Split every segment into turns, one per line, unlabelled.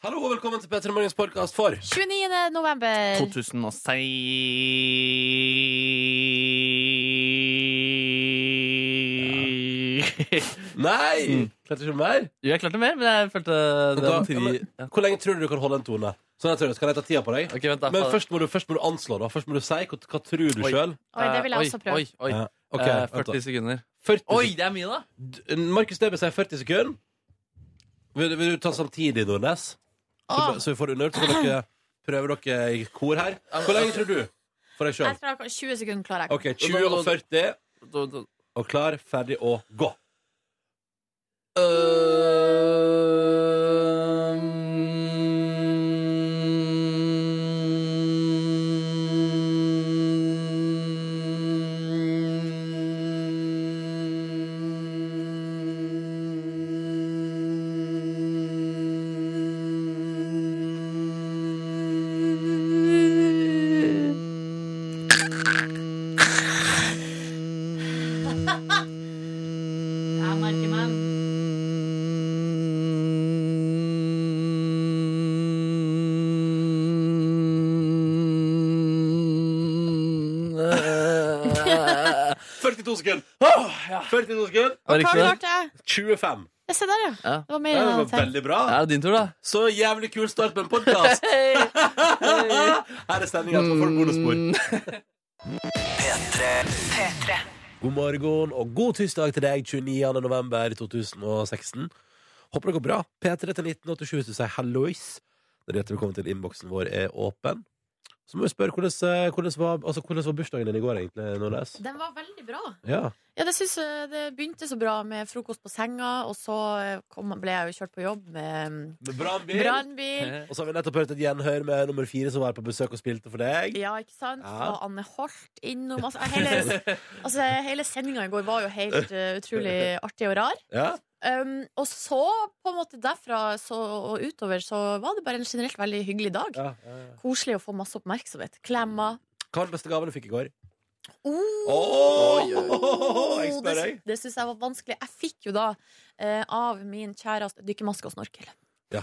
Hallo og velkommen til P3 Morgens podkast for
29. november.
2006
Nei! Klarte ikke mer.
Jo, jeg klarte mer, men jeg følte det
Da,
var
ja,
tri...
men, hvor lenge tror du du kan holde en tone? Sånn jeg tror det, Skal jeg ta tida på deg?
Ok, vent da
Men først må, du, først må du anslå, da. Først må du si hva, hva tror du
Oi.
sjøl.
Oi, det vil jeg også prøve.
Oi, oi,
Ja.
oi.
Ok,
Eh,
vent
40 sekunder
da. 40
Oi, det er mye da
sek- Markus Neby sier 40 sekunder. Vil, vil du ta samtidig, Nordnes? Så,
Åh,
så vi får det underøvd, så får dere prøve dere i kor her. Hvor lenge tror du? For
jeg
deg sjøl.
tror jeg kan- 20 sekunder klarer jeg.
OK, 20 og 40.
Da- da-
Og klar, ferdig og gå.
Jeg merker meg.
Mm.
Eh,
42 sekunder!
åh, ja.
42 sekunder.
Hva
Var det ikke det?
klarte jeg?
25.
Ja, Se der, ja.
Ja.
Det var mer
Det
enn jeg
var
hadde tenkt.
veldig bra.
Ja, det er din tur, da.
Så jævlig kul start på en podkast! Her er stemninga for folk bonusbord.
Mm.
God morgen og god tirsdag til deg 29. november 2016. Håper det går bra. P3 til 1987 hvis du sier hallois. Det er det at velkommen til innboksen vår er åpen. Så må vi spørre hvordan, eh, hvordan, var, altså, hvordan var bursdagen din i går, egentlig, Nordnes?
Den var veldig bra.
Ja.
Ja, det, synes jeg, det begynte så bra med frokost på senga, og så eh, kom, ble jeg jo kjørt på jobb med mm, brannbil.
Mm.
Og så har vi nettopp hørt et gjenhør med nummer fire som var på besøk og spilte for deg.
Ja, ikke sant?
Ja.
Og Anne Holt innom. Altså, hele altså, hele sendinga i går var jo helt eh, utrolig artig og rar.
Ja.
Um, og så, på en måte derfra så, og utover, så var det bare en generelt veldig hyggelig dag.
Ja, ja, ja.
Koselig å få masse oppmerksomhet. Klemmer.
Hva var den beste gaven du fikk i går?
Oh,
Oh, Jeg
det
spør deg.
det syns jeg var vanskelig. Jeg fikk jo da eh, av min kjæreste dykkermaske og snorkel.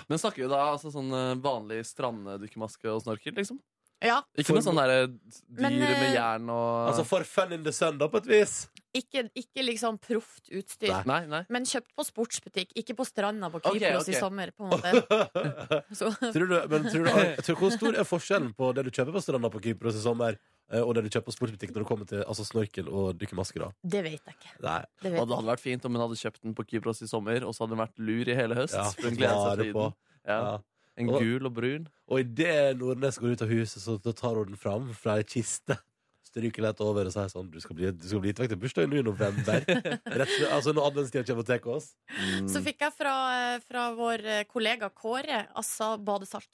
Men snakker vi da altså sånn eh, vanlig stranddykkermaske og snorkel, liksom?
Ja,
Ikke noe sånn derre dyr
Men, eh,
med jern og
Altså for fun in the sun, da, på et vis.
Ikke, ikke liksom proft utstyr.
Nei.
Nei, nei.
Men kjøpt på sportsbutikk, ikke på stranda på
Ok,
Kypros
ok.
i sommer. På en måte. Så,
tror du, men tror du, tror, hvor stor er forskjellen på det du kjøper på stranda på Kypros i sommer, eh, og det du kjøper på sportsbutikk når det kommer til altså snorkel og dykkermaske? da?
det vet jeg ikke. Det
Nei,
Og
vet
det hadde vært fint om hun hadde kjøpt den på Kypros i sommer, og så hadde hun vært lur i hele høst.
Ja,
for hun gleder
vare
seg til
på.
den. altså Ja.
ja.
En
Og-
gul og brun.
Og idet Nordnes går ut av huset, så da tar hun den fram fra ei kiste. Stryker lett over og sier sånn Du skal bli, du skal bli gitt vekk til bursdagen nå i november. Rett, og slett, altså når adventstida kommer og tar oss.
Mm.
jeg. Så fikk jeg fra, eh, fra vår kollega Kåre altså badesalt.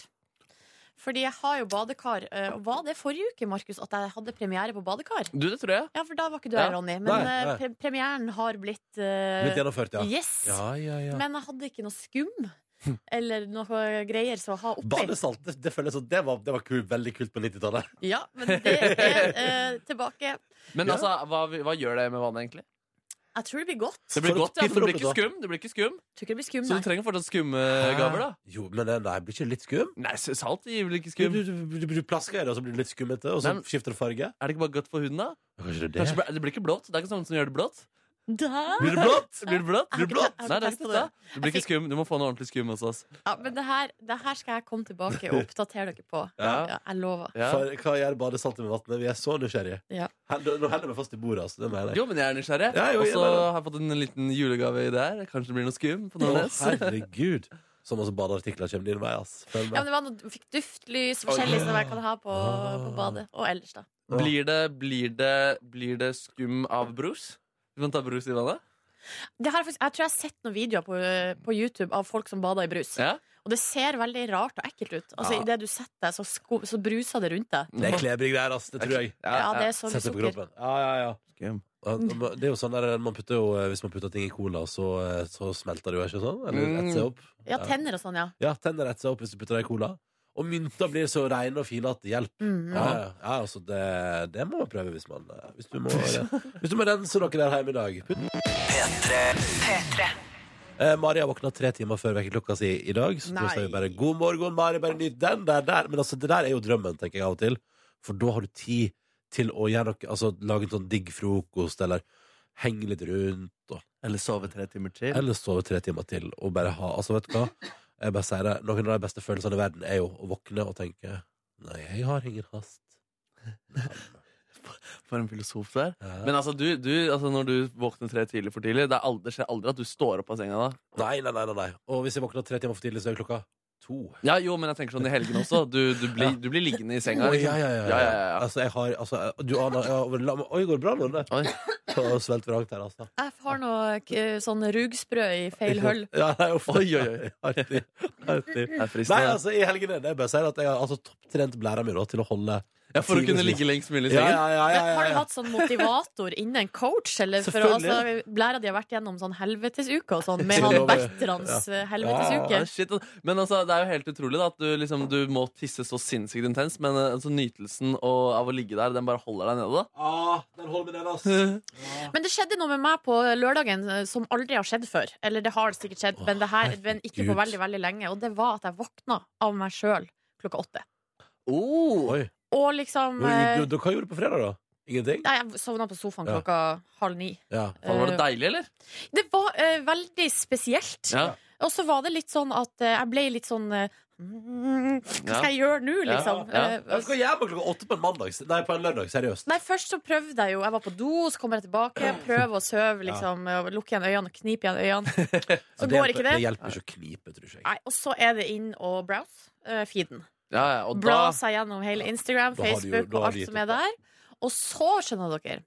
Fordi jeg har jo badekar. eh, Og var det forrige uke, Markus, at jeg hadde premiere på badekar?
Du, det tror jeg.
Ja, for da var ikke du
Ja.
her, Ronny. Men
Nei,
eh,
nei.
Pre premieren har blitt eh,
Litt gjennomført, ja.
Yes!
Ja, ja, ja.
Men jeg hadde ikke noe skum eller noe greier som å ha oppi.
Badesalt, det, det føles som det var, det var kul, veldig kult på 90-tallet.
Ja, men det er eh, tilbake.
Men
Ja.
altså, hva, hva gjør det med vannet, egentlig?
Jeg tror det blir godt.
Det blir
For-
godt, ja. for Det blir
for-
ikke skum. Det blir ikke skum.
Jeg tror ikke det blir skum,
Så du
nei.
trenger fortsatt skumme Eh, gaver, da.
Jo, men eh, nei, blir ikke det litt skum?
Nei, s- salt gir vel ikke
Du,
skum.
du, du, du, du plasker i det, og så blir det litt skummete, og så
Nei, men-
skifter det farge.
Er det ikke bare godt for huden, da?
Kanskje det
Kanskje, ble- det blir ikke blått. Det er ikke sånn som gjør det blått.
Da.
Blir det blått?
Blir det blått?
Jeg har
Blir det
ikke-
blått?
jeg har
Nei,
ikke tenkt
det er
på
ikke det. Det blir
Jeg
ikke skum. Du må få noe ordentlig skum hos oss.
Ja, men det her, det her skal jeg komme tilbake og oppdatere dere på.
Ja.
Ja, jeg lover.
Ja.
For hva gjør badesaltet med vannet? Vi er så nysgjerrige.
Ja.
Held- Nå heller vi fast i bordet, altså. Det mener jeg.
Jo, men jeg er nysgjerrig.
Ja, jo,
Og
jeg
så
mener det.
har jeg fått en liten julegave i det her. Kanskje det blir noe skum
Å,
på Nordnes.
herregud. Sånn altså badeartikler kommer din vei, ass. Følg
Ja, men
med.
det var noe, fikk duftlys forskjellig som jeg kan ha på, på badet. Og ellers, da.
Blir det, blir det, blir det skum av brus? Du kan ta brus i vannet?
Det her, er faktisk, jeg tror jeg har sett noen videoer på, eh, på YouTube av folk som bader i brus.
Ja.
Og det ser veldig rart og ekkelt ut. Altså,
Ja.
Idet du setter deg, så, sko- så bruser det rundt deg.
Det er klebrige greier, ass. Det tror jeg.
Ja, det er så mye
Sett det på
sukker. Mm.
kroppen. Ja, ja, ja.
Skum.
Ja, men Det er jo sånn der, man putter jo, eh, Hvis man putter ting i cola, så, eh, så smelter det jo, er ikke sånn? Eller
Mm.
etter seg opp.
Ja, tenner og sånn, ja.
Ja, tenner etter seg opp hvis du putter det i cola. Og mynter blir så reine og fine at det hjelper.
Mm.
Ja, ja, ja, altså det, det må man prøve hvis man eh, Hvis du må, hvis du må rense noe der hjemme i dag. Putt. Eh, Mari har våkna tre timer før vekkerklokka si i dag, så da
Nei.
sier vi bare 'god morgen, Mari', bare nyt den der, der. Men altså, det der er jo drømmen, tenker jeg av og til. For da har du tid til å gjøre noe, altså lage en sånn digg frokost, eller henge litt rundt, og
Eller sove tre timer til.
eller sove tre timer til og bare ha Altså, vet du hva? Jeg bare sier det. Noen av de beste følelsene i verden er jo å våkne og tenke Nei, jeg har ingen hast.
For en filosof der.
Ja.
Men altså, du, du, altså, når du våkner tre tidlig for tidlig, det, er aldri, det skjer aldri at du står opp av senga da.
nei, nei, nei, nei, nei. Og hvis jeg våkner tre timer for tidlig, så er klokka to.
Ja, jo, men jeg tenker sånn i helgen også. Du, du, blir, du blir liggende i senga.
Å,
liksom.
ja, ja, ja, ja.
Ja, ja, ja.
Altså, jeg har altså, jeg- Du aner jeg har- la meg- Oi, går det bra, Lunde?
Oi.
Svelgt vrangt her, altså.
Jeg har noe k- sånn rugsprø i feil høll.
Ja, nei, uff.
Oi, oi, oi.
Artig. Artig.
Det er
Nei,
fristende.
altså, i helgene det er bare å si at jeg har altså, topptrent blæra mi da, til å holde
ja, for å kunne ligge lengst mulig i sengen.
ja,
Men har du hatt sånn motivator inne, en coach, eller? For å- altså,
Selvfølgelig.
Læra de har vært gjennom sånn helvetesuke og sånn, med
Så
han
lover jeg.
Bertrands eh,
Ja,
helvetesuke.
Ah, shit. Men altså, det er jo helt utrolig da, at du, liksom, du må tisse så sinnssykt intens, men eh, altså, nytelsen og, av å ligge der, den bare holder deg nede. da.
Ah, den holder med den, ass.
Uh.
Men det skjedde noe med meg på lørdagen eh, som aldri har skjedd før. Eller det har sikkert skjedd,
Å,
men, det her, men ikke på
herregud.
veldig, veldig lenge. Og det var at jeg våkna av meg sjøl klokka åtte.
Oh,
Oi.
Og liksom eh,
Men, du, du, hva gjorde du på fredag, da? Ingenting?
Nei, jeg sovna på sofaen
Ja.
klokka halv ni.
Ja.
faen, var det
Eh,
deilig, eller?
Det var eh, veldig spesielt.
Ja.
Og så var det litt sånn at eh, jeg ble litt sånn eh, mm, Hva skal jeg gjøre nå,
Ja,
liksom?
ja.
Eh,
Jeg skal hjem klokka åtte på en mandag. Nei, på en lørdag. Seriøst.
Nei, Først så prøvde jeg jo. Jeg var på do, så kommer jeg tilbake. Prøver å sove,
Ja.
liksom. og Lukke igjen øynene og knipe igjen øynene. Så
hjelper-
går ikke det.
Det hjelper ikke å knipe, tror jeg.
Nei, Og så er det inn og browse eh, feeden.
Ja, ja, og da
Bla seg gjennom hele Instagram,
Da har de jo-
Facebook
da
og
har
alt
de
som
gitt
er
opp,
der. Og så, skjønner dere,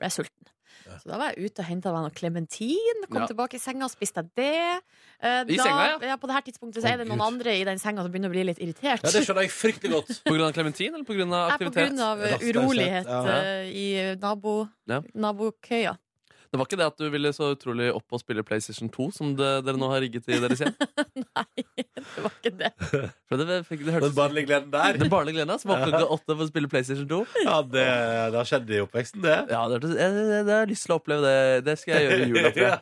ble jeg sulten.
Ja.
Så da var jeg ute og henta meg noe klementin, kom
Ja.
tilbake i senga og spiste jeg det. Eh,
I
da,
senga,
ja? På det her tidspunktet så er det
Å,
noen
Gud.
andre i den senga som begynner å bli litt irritert.
Ja, det skjønner jeg fryktelig godt.
På grunn av klementin eller på grunn av
er på
aktivitet?
grunn av eh,
Rastløshet,
urolighet
ja.
eh, i nabo,
Ja.
nabokøya.
Det var ikke det at du ville så utrolig opp og spille PlayStation 2, som det, dere nå har rigget i deres hjem?
Det var ikke det.
For det, fikk- det
Den
hørtes
barnlige gleden der.
Den barnlige gleden, som våknet klokka åtte for å spille PlayStation 2.
Ja, det, det har skjedd i oppveksten, det.
Ja, det, hørtes- jeg, jeg, jeg har lyst til å oppleve det. Det skal jeg gjøre i jula, tror jeg.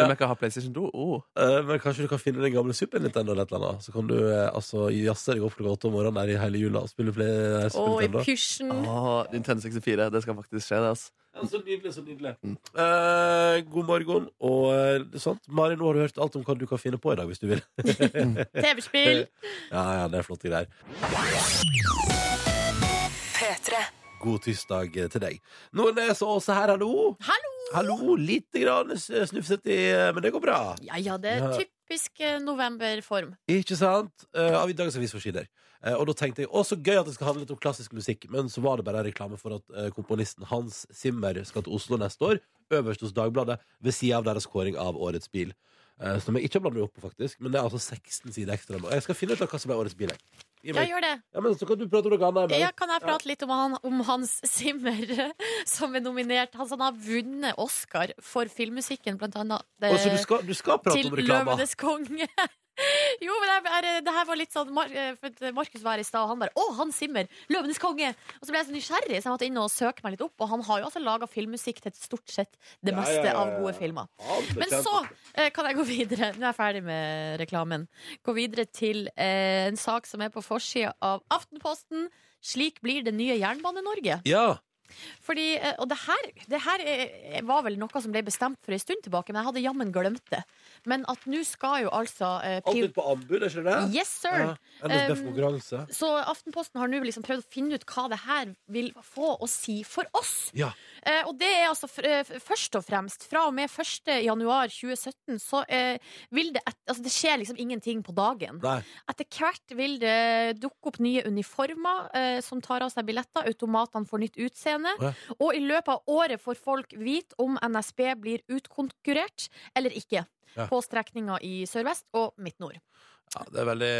Ja.
om jeg ikke har PlayStation 2. Oh.
Eh, Men kanskje du kan finne den gamle Super Nintendo eller et eller annet. Så kan du eh, altså, jazze deg opp klokka åtte om morgenen der i hele jula og spille play, eh, Super
Og i
Nintendo.
pysjen.
Åh, Nintendo 64. Det skal faktisk skje, det. ass
Ja, så nydelig, så nydelig. Eh, god morgen og eh, sånt. Mari, nå har du hørt alt om hva du kan finne på i dag, hvis du vil. Ah.
TV-spill.
Ja, ja, det er flotte greier. God tirsdag til deg. Noen er så også her, hallo.
Hallo!
Hallo, lite grann s- snufset i eh, Men det går bra.
Ja ja, det er
Ja.
typisk eh, novemberform.
Ikke sant? Eh, Av i dagens avisforsider. Eh, og da tenkte jeg å, så gøy at det skal handle litt om klassisk musikk. Men så var det bare en reklame for at eh, komponisten Hans Zimmer skal til Oslo neste år. Øverst hos Dagbladet, ved sida av deres kåring av Årets bil. Eh, som jeg ikke har bladd meg opp på, faktisk. Men det er altså 16 sider ekstra. nå. Jeg skal finne ut av hva som ble Årets bil. jeg. Gi
Ja,
meg-
gjør det.
Ja, men så kan du prate om noe annet.
Ja,
jeg bare-
kan jeg prate litt om, han, om Hans Zimmer, som er nominert? Han, han har vunnet Oscar for filmmusikken, blant annet. eh,
Og så du skal, du skal prate
til
om reklama.
Løvenes konge. Jo, men jeg, jeg, det her var litt sånn Mar- eh, for at Markus var her i stad, og han bare 'Å, Hans Zimmer! Løvenes konge!' Og så ble jeg så nysgjerrig, så jeg måtte inn og søke meg litt opp. Og han har jo altså laga filmmusikk til stort sett det
Ja,
meste
ja, ja, ja.
av gode filmer.
Ja, det
Men
kjenner
så
jeg.
eh, kan jeg gå videre. Nå er jeg ferdig med reklamen. Gå videre til eh, en sak som er på forsida av Aftenposten. Slik blir det nye Jernbane-Norge.
Ja.
Fordi, eh, Og det her, det her eh, var vel noe som ble bestemt for en stund tilbake, men jeg hadde jammen glemt det. Men at nå skal jo altså eh,
Alt
prior-
ut på anbud, er ikke det det?
Yes, sir!
Ja. NSB for
Um,
konkurranse.
Så Aftenposten har nå liksom prøvd å finne ut hva det her vil få å si for oss.
Ja.
Eh, og det er altså f eh, f- først og fremst fra og med 1. januar 2017 så eh, vil det et, Altså det skjer liksom ingenting på dagen.
Nei.
Etter hvert vil det dukke opp nye uniformer eh, som tar av seg billetter. Automatene får nytt utseende.
Ja.
Og i løpet av året får folk vite om NSB blir utkonkurrert eller ikke.
Ja.
På strekninga i Sør-Vest og Midt-Nord.
Ja, det er veldig,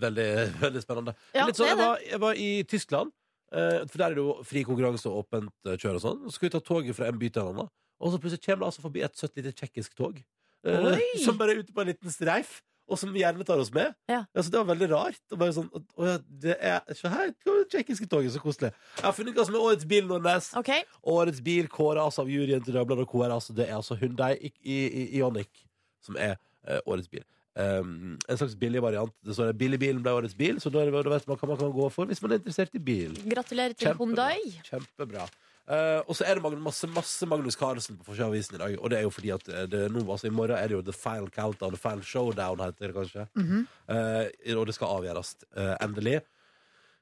veldig, veldig spennende.
Ja,
litt sånn,
det er
jeg, var, jeg var i Tyskland, eh, for der er det jo fri konkurranse og åpent eh, kjør og sånn. Så skal vi ta toget fra en by til en annen, og så plutselig kommer det altså forbi et søtt lite tsjekkisk tog. eh,
Oi!
som bare er ute på en liten streif, og som gjerne tar oss med.
Ja.
så det var veldig rart. Og bare sånn, å, ja, det er, Se her, det var det tsjekkiske toget, så koselig. Jeg har funnet ut hva som er årets bil, Nordnes.
OK?
Årets altså bil kåres av juryen til Dagbladet og KR. Altså, det er altså Hyundai I- I- I- Ioniq som er eh, årets bil. Um, en slags billig variant. Det står at Billigbilen ble årets bil, så da er det- da vet man hva man kan gå for hvis man er interessert i bil.
Gratulerer til
Kjempebra.
Hyundai.
Kjempebra. Eh, og så er det mag- masse, masse Magnus Carlsen på Forsida-avisen i dag. Og det er jo fordi at eh, det, er nå, altså, i morgen er det jo The Final Countdown, The Final Showdown, heter det kanskje. Eh, og det skal avgjøres, eh, endelig.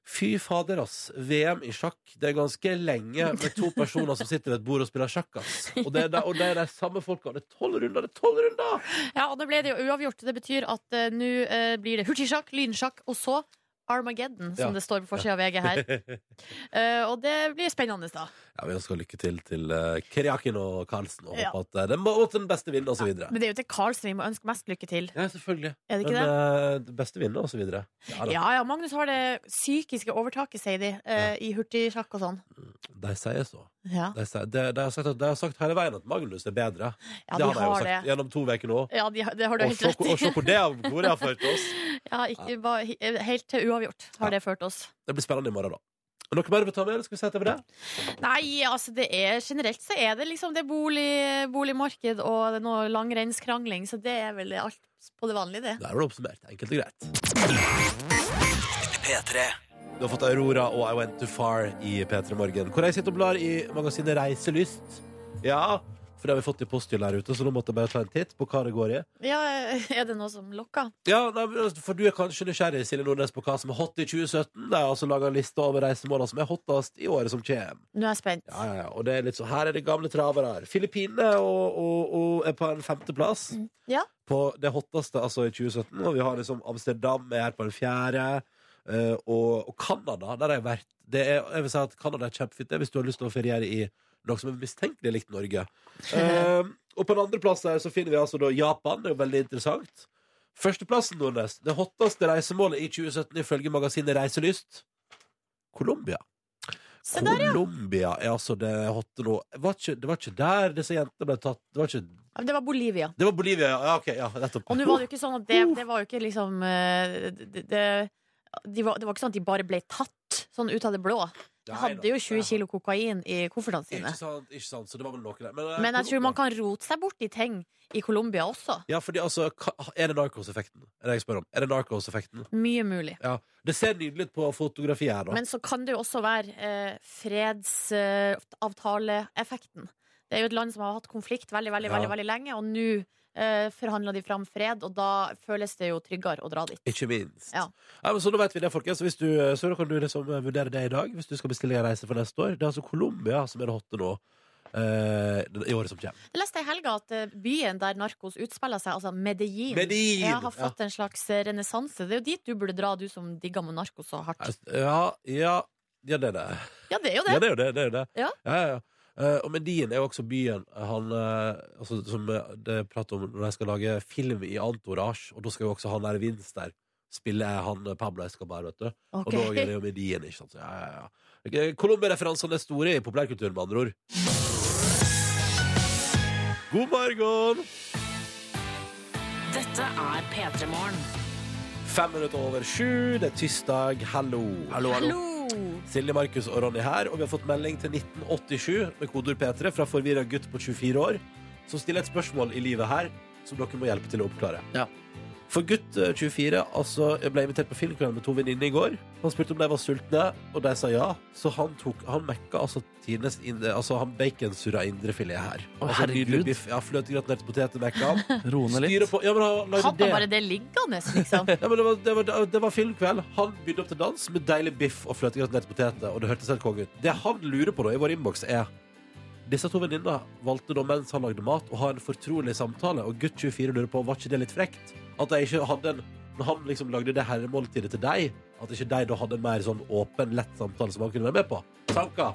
Fy fader, ass. VM i sjakk, det er ganske lenge med to personer som sitter ved et bord og spiller sjakk, ass. Og det er, da, og det er de samme folka. Det er tolv runder, det er tolv runder!
Ja, og da ble det jo uavgjort. Det betyr at eh, nå eh, blir det hurtigsjakk, lynsjakk og så Armageddon, som
Ja.
det står på forsida av VG her. Eh, og det blir spennende, da.
Ja, vi ønsker lykke til til eh, Keriakin og Carlsen, og
Ja.
håper at eh, den må måtte den beste vinne, og så videre.
Men det er jo til Karlsen vi må ønske mest lykke til.
Ja, selvfølgelig.
Er det ikke
Men
det?
eh, det beste vinner, og så videre. Ja, da.
Ja ja, Magnus har det psykiske overtaket, sier de, eh, i hurtigsjakk og sånn.
De sier så.
Ja.
De, sier, de, de, har sagt at, de har sagt hele veien at Magnus er bedre.
ja, de
det har de jo
har
sagt
det.
gjennom to uker nå.
Ja, de, har- det har du
Og
helt
se
rett
hvor og se
i.
hvor det, har- hvor det har ført oss.
Ja, ikke, bare, he- eh, helt til uavgjort har
Ja.
det ført oss.
Det blir spennende i morgen, da. Er det Noe mer du vil ta med? eller Skal vi sette over det?
Nei, altså det er generelt så er det liksom det er bolig, boligmarked og det er noe langrennskrangling, så det er vel alt på det vanlige, det.
Der var det oppsummert. Enkelt og greit. Du har fått Aurora og I Went Too Far i P3 Morgen. Hvor jeg sitter og blar i magasinet Reiselyst. Ja, for det har vi fått i posthylla her ute, så nå måtte jeg bare ta en titt på hva det går i.
Ja, er det noe som lokker?
Ja, nei, men altså, for du er kanskje nysgjerrig, Silje Nordnes, på hva som er hot i 2017. Det er altså laga en liste over reisemålene som er hottest i året som kommer.
Nå er jeg spent.
Ja, ja, ja. Og det er litt sånn, her er det gamle travere. her. Filippinene og, og, og er på en femteplass.
Ja.
På det hotteste altså i 2017. Og vi har liksom Amsterdam er her på den fjerde. eh, og, og Canada, der har jeg vært. Det er, jeg vil si at Canada er kjempefint det, hvis du har lyst til å feriere i noe som er mistenkelig likt Norge. Eh, og på den andre plassen her så finner vi altså da Japan. Det er jo veldig interessant. Førsteplassen, Nordnes. Det hotteste reisemålet i 2017 ifølge magasinet Reiselyst. Colombia.
Se der, ja.
Colombia er altså det hotte nå. Det var ikke, det var ikke der disse jentene ble tatt. Det var, ikke,
Ja, men Det var Bolivia.
det var Bolivia, ja. ja, ok, ja nettopp.
Og nå var det jo ikke sånn at det,
Uh.
det var jo ikke liksom eh, det, det, de var, det var ikke sånn at de bare ble tatt sånn ut av det blå. De hadde jo 20 kilo kokain i koffertene
Ikke
sine.
sant, ikke sant, så det var vel noe der. Men, eh,
Men jeg tror
Colombia-
man kan rote seg bort i ting i Colombia også.
Ja, fordi altså, ka- er det narkoseffekten? Er det jeg spør om? Er det narkoseffekten?
Mye mulig.
Ja. Det ser nydelig ut på fotografiet her, da.
Men så kan det jo også være eh, fredsavtaleeffekten. det er jo et land som har hatt konflikt veldig veldig,
Ja.
veldig, veldig lenge, og nå eh, forhandler de fram fred, og da føles det jo tryggere å dra dit.
Ikke minst.
Ja.
Nei, men så nå vet vi det, folkens. Så Hvis du, så da kan du liksom vurdere det i dag, hvis du skal bestille en reise for neste år. Det er altså Colombia som er det hotte nå. eh, I året som kommer.
Jeg leste i helga at eh, byen der narkos utspiller seg, altså Medellin,
Medellin!
jeg har fått en slags eh, renessanse. Det er jo dit du burde dra, du som digger med narkos så hardt.
Ja, ja, ja, det er det.
Ja, det er jo
Ja,
det.
det er jo det. det, er jo det.
Ja.
Ja, ja, ja. Eh, og Medien er jo også byen han, eh, altså, som eh, det er prat om når de skal lage film i Antorage. Og da skal jo også han der Vince der spille han eh, Pablo Escobar, vet du.
Ok.
Og da er det jo Medien, ikke sant. Så, ja, ja, ja. Ok, Colombia-referansene er store i populærkulturen, med andre ord. God morgen!
Dette er P3 Morgen.
Fem minutter over sju, det er tirsdag. Hallo.
Hallo!
Silje, Markus og Ronny her, og vi har fått melding til 1987 med kodord P3 fra forvirra gutt på 24 år, som stiller et spørsmål i livet her som dere må hjelpe til å oppklare.
Ja.
For gutt eh, 24 altså, jeg ble invitert på filmkveld med to venninner i går. Han spurte om de var sultne, og de sa ja. Så han tok Han mekka altså tidenes indre, altså, han baconsurra indrefilet her.
Å,
altså, nydelig
herregud.
biff. Ja, Fløtegratinerte poteter mekka han.
Roe ned
Styre
litt.
på Ja, men han lagde
Hadde
det.
han bare det liggende, liksom?
Ja, men det, var, det, var, det var filmkveld. Han bydde opp til dans med deilig biff og fløtegratinerte poteter. Og det hørtes helt konge ut. Det han lurer på da i vår innboks, er Disse to venninnene valgte da mens han lagde mat, å ha en fortrolig samtale, og gutt 24 lurer på var ikke det litt frekt? At de ikke hadde en Når han liksom lagde det herremåltidet til deg, at ikke de da hadde en mer sånn åpen, lett samtale som han kunne være med på? Tanker?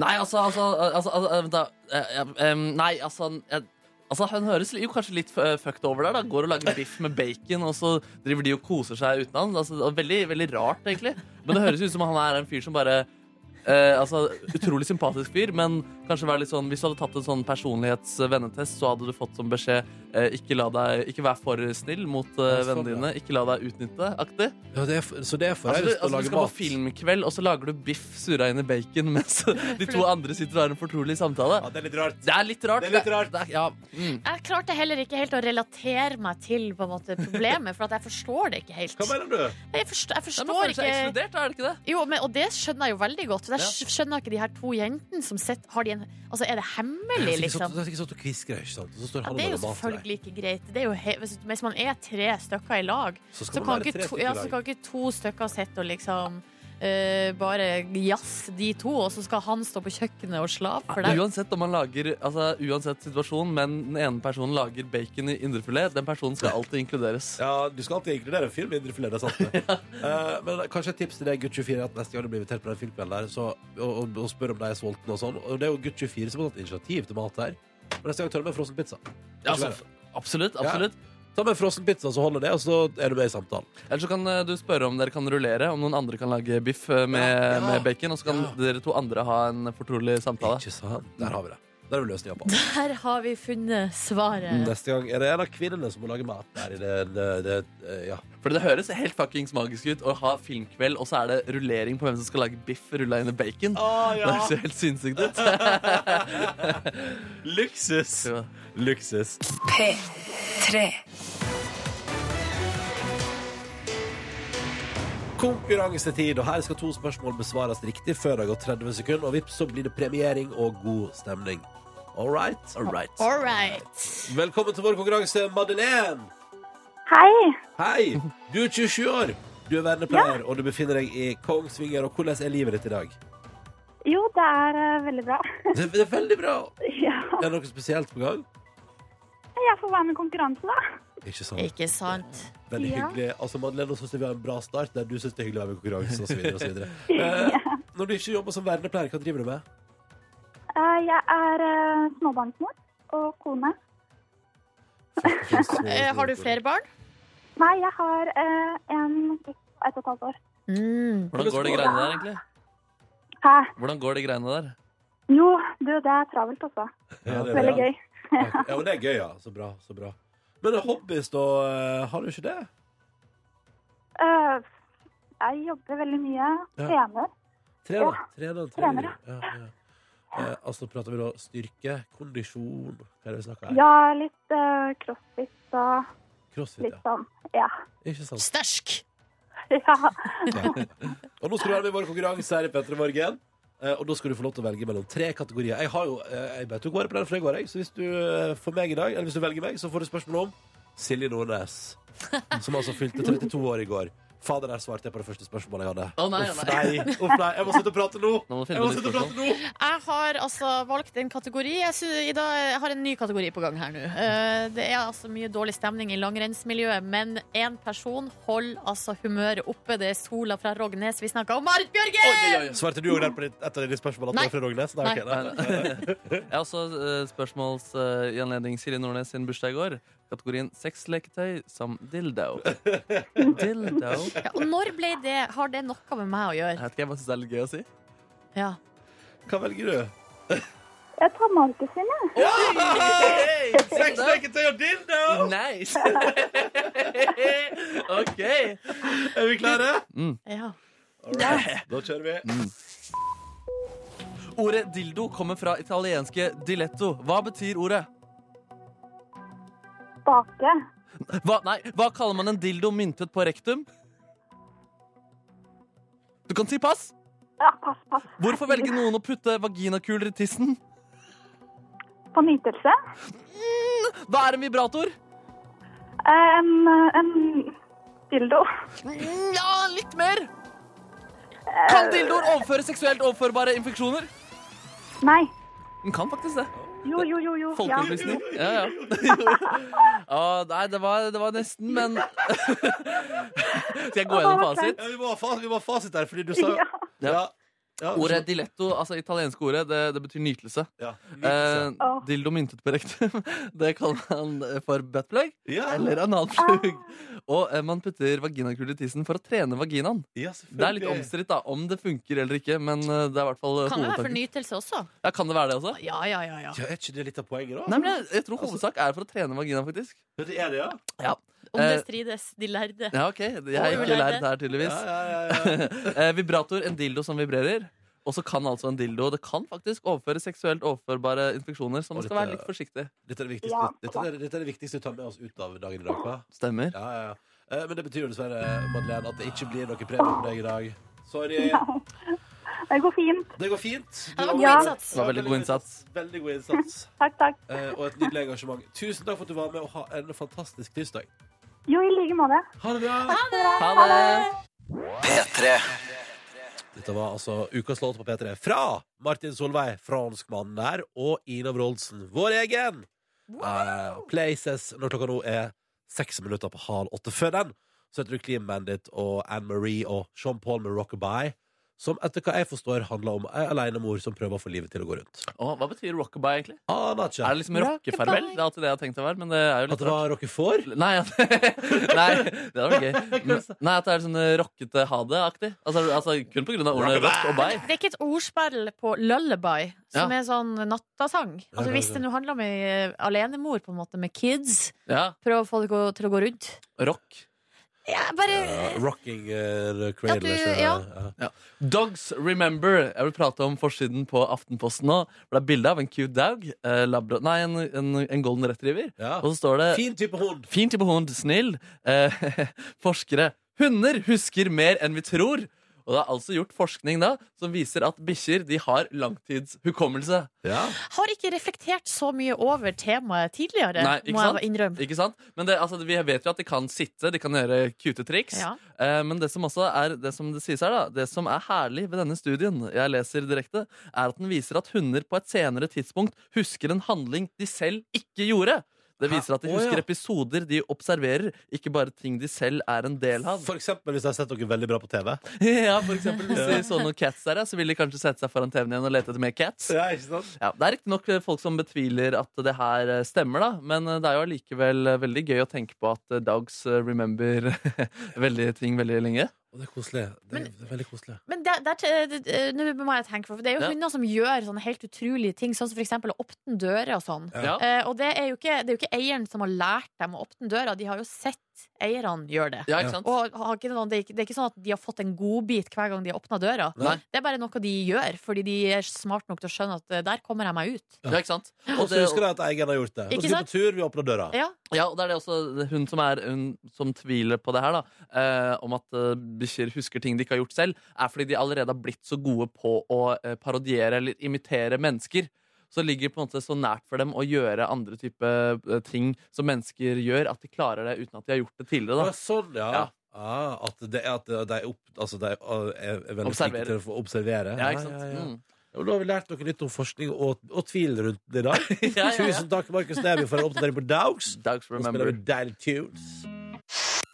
Nei, altså, altså, altså, altså eh, Vent, da. Eh, eh, em, Nei, altså jeg, Altså, Han høres jo kanskje litt eh, fucked over der. da Går og lager biff med bacon, og så driver de og koser seg uten han. Altså, det er veldig, veldig rart, egentlig. Men det høres ut som han er en fyr som bare eh, Altså, Utrolig sympatisk fyr, men Kanskje være litt sånn, Hvis du hadde tatt en sånn personlighetsvennetest, så hadde du fått som beskjed eh, ikke, la deg, ikke vær for snill mot eh,
Ja, sånn,
vennene dine. Ikke la deg utnytte. aktig.
Ja, det er for, så det er for
Altså, du,
raust å
altså, du
lage
skal på
mat.
filmkveld, og så lager du biff surra inn i bacon mens de to andre sitter og har en fortrolig samtale.
Ja, det er litt rart.
Det er litt rart.
Det er litt rart.
det er- ja. mm.
Jeg klarte heller ikke helt å relatere meg til på en måte, problemet, for at jeg forstår det ikke helt.
Hva mener du?
Jeg forstår, jeg
Ja, men
forstår
folk er
ikke
ekskludert, da, er det ikke det?
Jo, men, og det skjønner jeg jo veldig godt. For jeg
Ja.
skj- skjønner ikke de her to jentene som sitter Har de en Altså, er det hemmelig,
Det er sikkert sånn-
liksom?
det er sikkert sånn at du kvisker, ikke sant? Og så står
Ja,
han og
det er jo
lager mat til deg.
selvfølgelig ikke greit. Det er jo he hvis, hvis man er tre stykker i lag,
Så skal
så kan,
man være
ikke
tre
to,
stykker i
ja,
lag.
så kan ikke to stykker sitte og liksom eh, bare jazze de to, og så skal han stå på kjøkkenet og slave for deg.
Uansett om man lager Altså, uansett situasjon, men den ene personen lager bacon i indrefilet, den personen skal alltid inkluderes.
Ja, du skal alltid inkludere en film i Indre Filet, det er sant. det. Eh, men kanskje et tips til deg, gutt 24, at neste gang du blir invitert på den filmkvelden der, så, og, og, og spør om de er sultne og sånn. Og det er jo gutt 24 som har tatt initiativ til mat her. Men neste gang tar du med en frossen pizza.
Ja, altså, absolutt. absolutt
Ta med en frossen pizza, så holder det, og så er du med i samtalen.
Eller så kan eh, du spørre om dere kan rullere, om noen andre kan lage biff eh, med,
Ja, ja.
med bacon, og så kan
Ja.
dere to andre ha en fortrolig samtale.
Ikke sant? Der har vi det. Der har vi løsninga på alt.
Der har vi funnet svaret.
Neste gang er Mm, det en av kvinnene som må lage mat der i det, det, det eh, Ja.
For det høres helt fuckings magisk ut å ha filmkveld, og så er det rullering på hvem som skal lage biff rulla inn i bacon. Det høres jo helt sinnssykt ut.
Luksus!
Ja.
Luksus.
P3.
Konkurransetid, og her skal to spørsmål besvares riktig før det har gått 30 sekunder, og vips, så blir det premiering og god stemning. All right? All right.
All right.
Velkommen til vår konkurranse, Madeleine.
Hei.
Hei! Du er 27 år, du er vernepleier, og du befinner deg i Kongsvinger. Og hvordan er livet ditt i dag?
Jo, det er eh, veldig bra.
Det, det er veldig bra.
ja.
Er det noe spesielt på gang?
Jeg får være med i konkurranse, da.
Ikke sant?
Ikke sant?
Veldig
Ja.
hyggelig. Altså, Madeleine, nå synes jeg vi har en bra start, der du synes det er hyggelig å være med i konkurranse, og så videre, og så videre. Eh, når du ikke jobber som vernepleier, hva driver du med?
Eh, Jeg er eh, småbarnsmor og kone.
Eh, har du flere barn?
Nei, jeg har eh, en gutt på ett og et halvt år.
Mm.
Hvordan går de greiene der, egentlig?
Hæ?
Hvordan går de greiene der?
Jo, du, det er travelt også.
Ja, det er
Veldig
det.
gøy.
Ja, men det er gøy, ja. Så bra. så bra Men hobbies, da? eh, Har du ikke det?
Eh, Jeg jobber veldig mye.
Ja.
Trener.
Trener, trener,
trener,
trener. Ja, ja. Eh, altså, prater vi da styrke, kondisjon Hva er det vi snakker her?
Ja, litt eh, crossfit og
Crossfit,
litt
ja.
sånn. Ja.
Ikke sant?
Størsk!
ja.
Ja. Og nå skal du være med i vår konkurranse her i Petter i morgen. Eh, Og da skal du få lov til å velge mellom tre kategorier. Jeg har jo, eh, jeg vet jo ikke hva det er på den, for jeg går, jeg. Så hvis du eh, får meg i dag, eller hvis du velger meg, så får du spørsmål om Silje Nordnes. Som altså fylte 32 år i går. Fader, der svarte jeg på det første spørsmålet jeg hadde.
Å, nei,
Uff,
nei.
nei. Uff, nei. Jeg må slutte å prate nå.
Nå må du
Jeg
finne
må
på nytt
slutte å prate
spørsmål.
nå.
Jeg har altså valgt en kategori. Jeg, sy- i dag, jeg har en ny kategori på gang her nå. Eh, Det er altså mye dårlig stemning i langrennsmiljøet, men én person holder altså humøret oppe. Det er sola fra Rognes. Vi snakker om Marit Bjørgen!
Svarte du òg der på ditt- et av dine spørsmål? At
Nei.
det var fra Rognes? Nei,
Nei.
ok, nei.
Jeg har også eh, spørsmåls eh, i anledning Silje Nordnes sin bursdag i går. Kategorien sexleketøy som dildo. Dildo Jeg
Ja, og når ble det Har det noe med meg å gjøre?
vet ikke, jeg bare synes det er litt gøy å si.
Ja.
Hva velger du?
Jeg tar Markusen, jeg.
Sexleketøy og dildo!
Nice! OK.
Er vi klare?
ja.
Da kjører vi.
Ordet dildo kommer fra italienske diletto. Hva betyr ordet?
Bake.
Hva, nei, hva kaller man en dildo myntet på rektum? Du kan si pass.
Ja, pass, pass.
Hvorfor velger noen å putte vaginakuler i tissen?
På nytelse.
Hva er en vibrator?
Eh, En, en dildo.
Ja, litt mer. Kan dildoer overføre seksuelt overførbare infeksjoner?
Nei.
Den kan faktisk det.
Jo, jo, jo. jo. Ja.
Folkeopplysning. Ja, ja. Å, nei, det var, det var nesten, men Skal jeg gå gjennom fasit?
Ja, vi, må ha fas, vi må ha fasit her, fordi du sa
Ja.
Ja. Ja,
Ordet diletto, altså italienske ordet, det, det betyr nytelse.
ja.
Eh,
Åh.
dildo myntet på rektum, det kaller man for buttplug
Ja.
eller analplug. Og eh, man putter vaginakul i tissen for å trene vaginaen.
Ja,
Det er litt omstridt da, om det funker eller ikke, men eh, det er i hvert fall eh,
Kan det være for
hovedtanken.
nytelse også?
Ja, kan det være det også?
Ja, ja, ja. ja.
Ja, er ikke det litt av poenget, da?
Nei, men jeg, jeg tror hovedsak er for å trene vaginaen, faktisk.
Ja, Det er det, ja?
Om det
Eh,
strides de lærde.
Ja, ok, Jeg har ikke lært det her, tydeligvis.
Ja, ja, ja, ja.
Eh, vibrator, en dildo som vibrerer. Og så kan altså en dildo Det kan faktisk overføre seksuelt overførbare infeksjoner, så man
Og
skal
litt,
være litt
eh,
forsiktig.
Dette er det
Ja.
viktigste, dette er, dette er det viktigste å ta med oss ut av dagen i dag. Hva?
Stemmer.
Ja, ja, ja. Eh, Men det betyr jo dessverre, Madeleine, at det ikke blir noe premie for deg i dag. Sorry.
Det går fint.
Det går fint. Du
Ja, det var
har-
god innsats.
Det var veldig god innsats.
Veldig god innsats.
Takk, takk.
Eh, Og et nydelig engasjement. Tusen takk for at du var med, og ha en fantastisk tirsdag.
Jo, i like måte.
Ha det bra!
Ha det!
Dette var altså ukas låt på P3 fra Martin Solveig, franskmannen der, og Ina Wroldsen, vår egen! Eh, Places når klokka nå er seks minutter på halv åtte. Før den så heter du Clean Bandit og Anne Marie og Sean Paul med Rockabye, som etter hva jeg forstår handler om ei alenemor som prøver å få livet til å gå rundt.
Å, hva betyr rockabye, egentlig?
Aner ikke.
Er det liksom rockefarvel? Det er alltid det jeg har tenkt å være, men det er jo
At
litt
det var rockefòr?
Nei, at, nei, det hadde vært gøy. Men- Nei, at det er sånn eh, rockete ha det-aktig. Altså, altså kun på grunn av ordene rock og bye.
Det er ikke et ordspill på lullaby, som
Ja.
er sånn nattasang.
Ja,
Altså Hvis det nå handler om ei eh, alenemor på en måte med kids,
Ja,
prøv å få det gå- til å gå rundt.
rock.
Ja, bare
Ja, rocking uh,
At
cradle.
du-
ikke-
ja.
Dogs Remember. Jeg vil prate om forsiden på Aftenposten nå. For Det er bilde av en cute dog. eh, labra nei, en, en, en golden retriever.
Ja.
Og så står det
Fin type hund.
Fin type hund, snill. Eh, forskere. Hunder husker mer enn vi tror. Og det er altså gjort forskning da som viser at bikkjer de har langtidshukommelse.
Ja.
har ikke reflektert så mye over temaet tidligere,
Nei, ikke
må jeg
sant?
bare innrømme.
Ikke sant? Men det, altså, vi vet jo at de kan sitte, de kan gjøre cute triks.
Ja.
Eh, men det som også er det som det sies her, da, det som er herlig ved denne studien, jeg leser direkte, er at den viser at hunder på et senere tidspunkt husker en handling de selv ikke gjorde. Det
Hæ?
viser at de
Å,
husker
ja.
episoder de observerer, ikke bare ting de selv er en del av.
For eksempel hvis jeg har sett dere veldig bra på TV.
ja, for eksempel Hvis de så noen cats der, ja, så vil de kanskje sette seg foran TV-en igjen og lete etter mer cats.
Ja, ikke sant?
Ja, det er riktignok folk som betviler at det her eh, stemmer, da. Men eh, det er jo allikevel eh, veldig gøy å tenke på at eh, Dogs eh, remember veldig ting veldig lenge.
Og det er koselig. Det er, det er veldig koselig.
Men der, der, eh, det- eh, nå må jeg tenke på, for det er jo
Ja.
hunder som gjør sånne helt utrolige ting, sånn som for eksempel å åpne dører og sånn.
Ja.
Eh, og det er, jo ikke, det er jo ikke eieren som har lært dem å åpne døra, de har jo sett eierne gjøre det.
Ja, ikke sant?
Og har ikke noen, det, er ikke, det er ikke sånn at de har fått en godbit hver gang de har åpna døra.
Nei.
Det er bare noe de gjør, fordi de er smart nok til å skjønne at eh, der kommer jeg meg ut.
Ja, ikke sant?
Og
Og
så
det,
husker jeg at egen har gjort det. Og
Ikke
så er vi
sant?
på tur, vi åpner døra.
Ja,
ja, og det er det også hun som, er, hun som tviler på det her, da. Eh, om at eh, bikkjer husker ting de ikke har gjort selv, er fordi de allerede har blitt så gode på å eh, parodiere eller imitere mennesker. Så det ligger på en måte så nært for dem å gjøre andre type eh, ting som mennesker gjør, at de klarer det uten at de har gjort det tidligere.
Ja,
da
sånn, ja.
Ja.
Ah, at det er at de, opp, altså de ah, er er veldig flinke
Observerer.
til å få observere.
Ja, ikke sant?
Ja, ja, ja.
Mm.
Ja, men Da har vi lært noe nytt om forskning og, og tvil rundt det i dag.
Ja, ja, ja.
Tusen takk, Markus Neby, for en oppdatering på Dogs.
Dogs
Nå spiller
remember.
vi Deilig Tunes.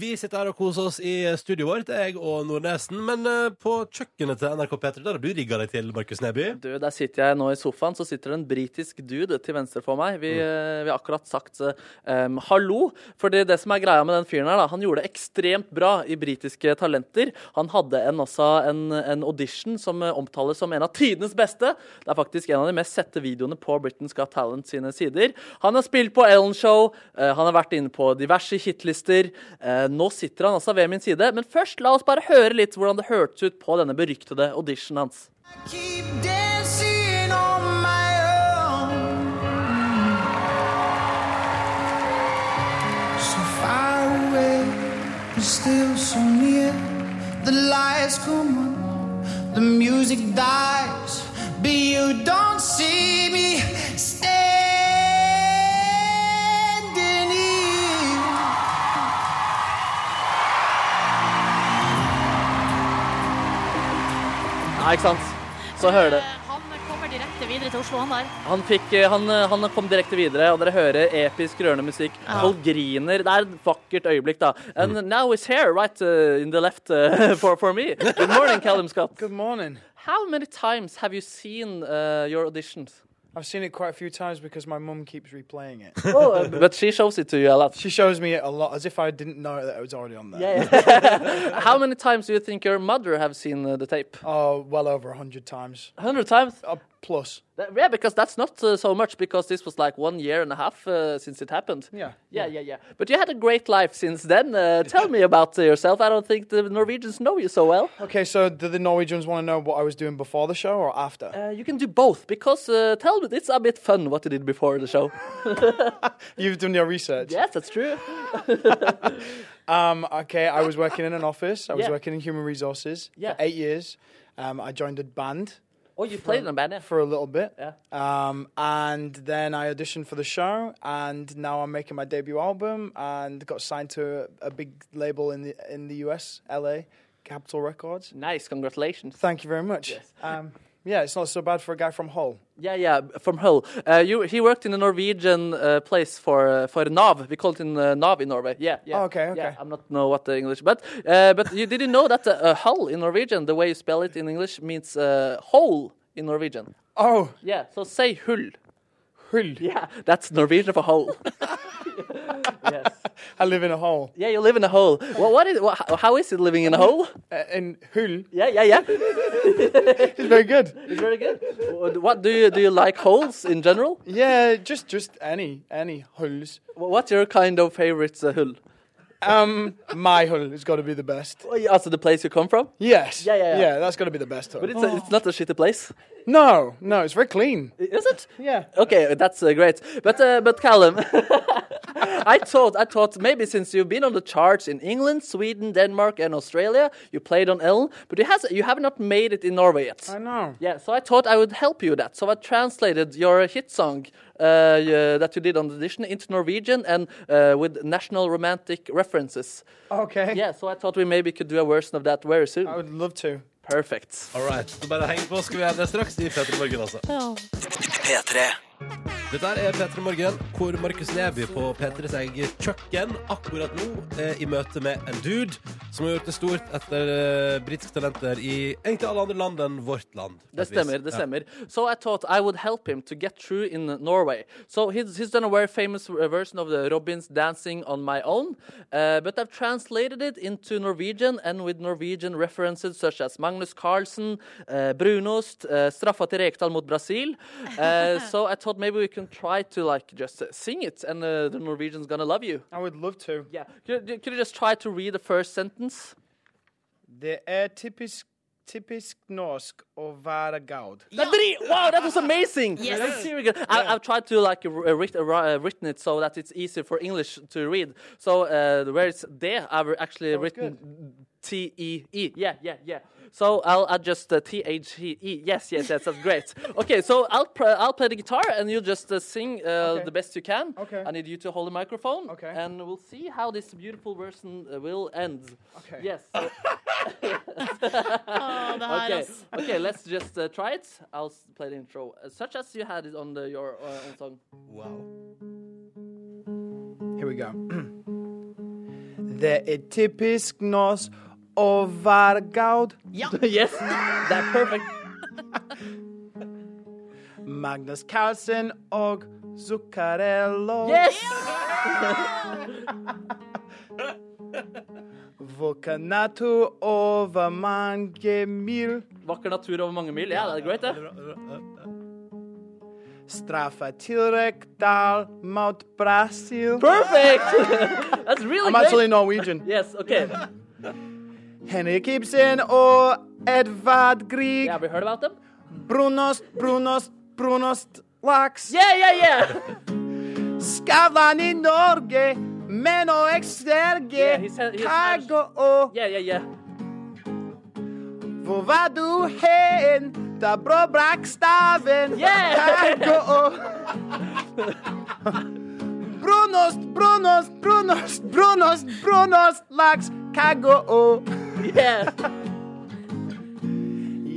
Vi sitter her og koser oss i studioet vårt, jeg og Nordnesen. Men eh, på kjøkkenet til NRK P3, der har du rigga deg til, Markus Neby.
Du, der sitter jeg nå i sofaen, så sitter det en britisk dude til venstre for meg. Vi, eh, vi har akkurat sagt eh, em, hallo. Fordi det som er greia med den fyren her, da, han gjorde det ekstremt bra i britiske talenter. Han hadde en, altså, en, en audition som eh, omtales som en av tidenes beste. Det er faktisk en av de mest sette videoene på Britain's Got Talent sine sider. Han har spilt på Ellen Show, eh, han har vært inne på diverse hitlister. Eh, nå sitter han altså ved min side. Men først, la oss bare høre litt hvordan det hørtes ut på denne beryktede auditionen hans.
Keep dancing on my own. So far away, but still so near. The lights come on, the music dies, but you don't see me standing here.
Ja, ikke sant? Så hører det.
Eh, Han kommer direkte videre til Oslo, han der.
Han, fikk, eh, han, eh, han kom direkte videre, og dere hører episk rørende musikk. Folk griner. Det er et vakkert øyeblikk, da. And now it's here, right uh, in the left uh, for, for me. Good morning, Callum Scott.
Good morning.
How many times have you seen uh, eh, your auditions?
I've seen it quite a few times because my mum keeps replaying it.
Oh, but she shows it to you a lot.
She shows me it a lot, as if I didn't know that it was already on there.
How many times do you think your mother have seen uh, the tape?
Oh, well over a hundred times.
A hundred times?
Uh, plus.
That- Yeah, because that's not uh, so much because this was like one year and a half uh, since it happened.
Yeah.
yeah, yeah, yeah. But you had a great life since then. Uh, tell me about uh, yourself. I don't think the Norwegians know you so well.
Okay, so do the Norwegians want to know what I was doing before the show or after?
Uh, you can do both because uh, tell me it's a bit fun what you did before the show.
You've done your research.
yes, that's true.
Um, okay, I was working in an office. I was
Yeah.
working in human resources
Yeah.
for eight years. Um, I joined a band
Oh, you played in a band. yeah.
for a little bit.
Yeah.
Um, and then I auditioned for the show, and now I'm making my debut album and got signed to a, a big label in the in the US, LA, Capitol Records.
Nice, congratulations.
Thank you very much. Um, yeah, it's not so bad for a guy from Hull.
Yeah, yeah, from Hull. Uh, you, he worked in a Norwegian uh, place for uh, for Nav. We call it in uh, Nav in Norway. Yeah, yeah.
Oh, okay,
Yeah,
okay.
I'm not know what the English, but uh, but you did you know that uh, uh, Hull in Norwegian, the way you spell it in English, means uh, hole in Norwegian.
Oh,
Yeah. So say hull.
Hull.
Yeah, that's Norwegian for hole. yes.
I live in a hole.
Yeah, you live in a hole. Well, what is? wha how is it living in a hole?
Uh, in Hull.
Yeah, yeah, yeah.
It's very good.
It's very good. What- What do you do? You like holes in general?
Yeah, just just any any hulls.
What's your kind of favorite uh, hull?
Um, my hull has got to be the best.
Well, yeah, Also, the place you come from.
Yes.
Yeah, yeah, yeah.
that's got to be the best hull.
But it's, a, it's not a shitty place,
no, no, it's very clean.
is it?
Yeah.
Okay, that's uh, great. But uh, but Callum, I thought I thought maybe since you've been on the charts in England, Sweden, Denmark, and Australia, you played on Ellen, but you has you have not made it in Norway yet.
I know.
Yeah, so I thought I would help you with that. So I translated your hit song uh, uh, that you did on the audition into Norwegian and uh, with national romantic references.
Okay.
Yeah, so I thought we maybe could do a version of that very soon.
I would love to.
Perfect.
All right, så bare heng på, skal vi gjøre det straks i P3 Morgen, altså. Dette her er P3 Morgen, hvor Markus Neby på P3s eget kjøkken akkurat nå er i møte med en dude som har gjort det stort etter eh, britiske talenter i egentlig alle andre land enn vårt land. på
Det
et vis.
stemmer. det
Ja.
stemmer. So I thought I would help him to get through in Norway. So he's, he's done a very famous uh, version of the Robins dancing on my own, uh, but I've translated it into Norwegian and with Norwegian references such as Magnus Carlsen, uh, Brunost, uh, straffa til Rekdal mot Brasil. Uh, so I thought maybe we can try to like just uh, sing it, and uh, the Norwegian's gonna love you.
I would love to.
Yeah. Could, you- could you just try to read the first sentence?
Det er typisk typisk norsk å være gaud.
That did it. Wow, that was amazing!
Yes.
That's really good. I, I've tried to like r- uh, writ, uh, ri- uh, written it so that it's easier for English to read. So uh, where it's there, I've actually written T E E. Yeah, yeah, yeah. So I'll add just uh, T H E E. Yes, yes, yes. That's great. okay, so I'll pr- I'll play the guitar and you just uh, sing uh, the best you can.
Okay.
I need you to hold the microphone.
Okay.
And we'll see how this beautiful version uh, will end.
Okay.
Yes. so-
Å, det her,
Okay,
altså.
okay, let's just uh, try it. I'll s- play the intro, uh, such as you had it on the, your uh, own song.
Wow.
Here we go. Det er typisk norsk å være gaud.
yes, that perfect.
Magnus Carlsen og Zuccarello.
Yes,
Våker natur over mange mil.
vakker natur over mange mil. Yeah, that's great. Eh?
Straffa til Rekdal mot Brasil.
Perfect. that's really
I'm
great.
actually Norwegian.
Yes. Okay.
Henrik Ibsen og Edvard Grieg.
Yeah, we heard about them.
Brunost, brunost, brunost laks.
Yeah, yeah, yeah.
Skavlan i Norge, men og
Yeah,
eksterge.
he said- he said-
Kago og
Yeah, yeah, yeah.
Hvor var du hen? Da bror brakk staven.
Yeah!
Kago og Brunost, brunost, brunost, brunost, brunost laks. Kago og
Yeah.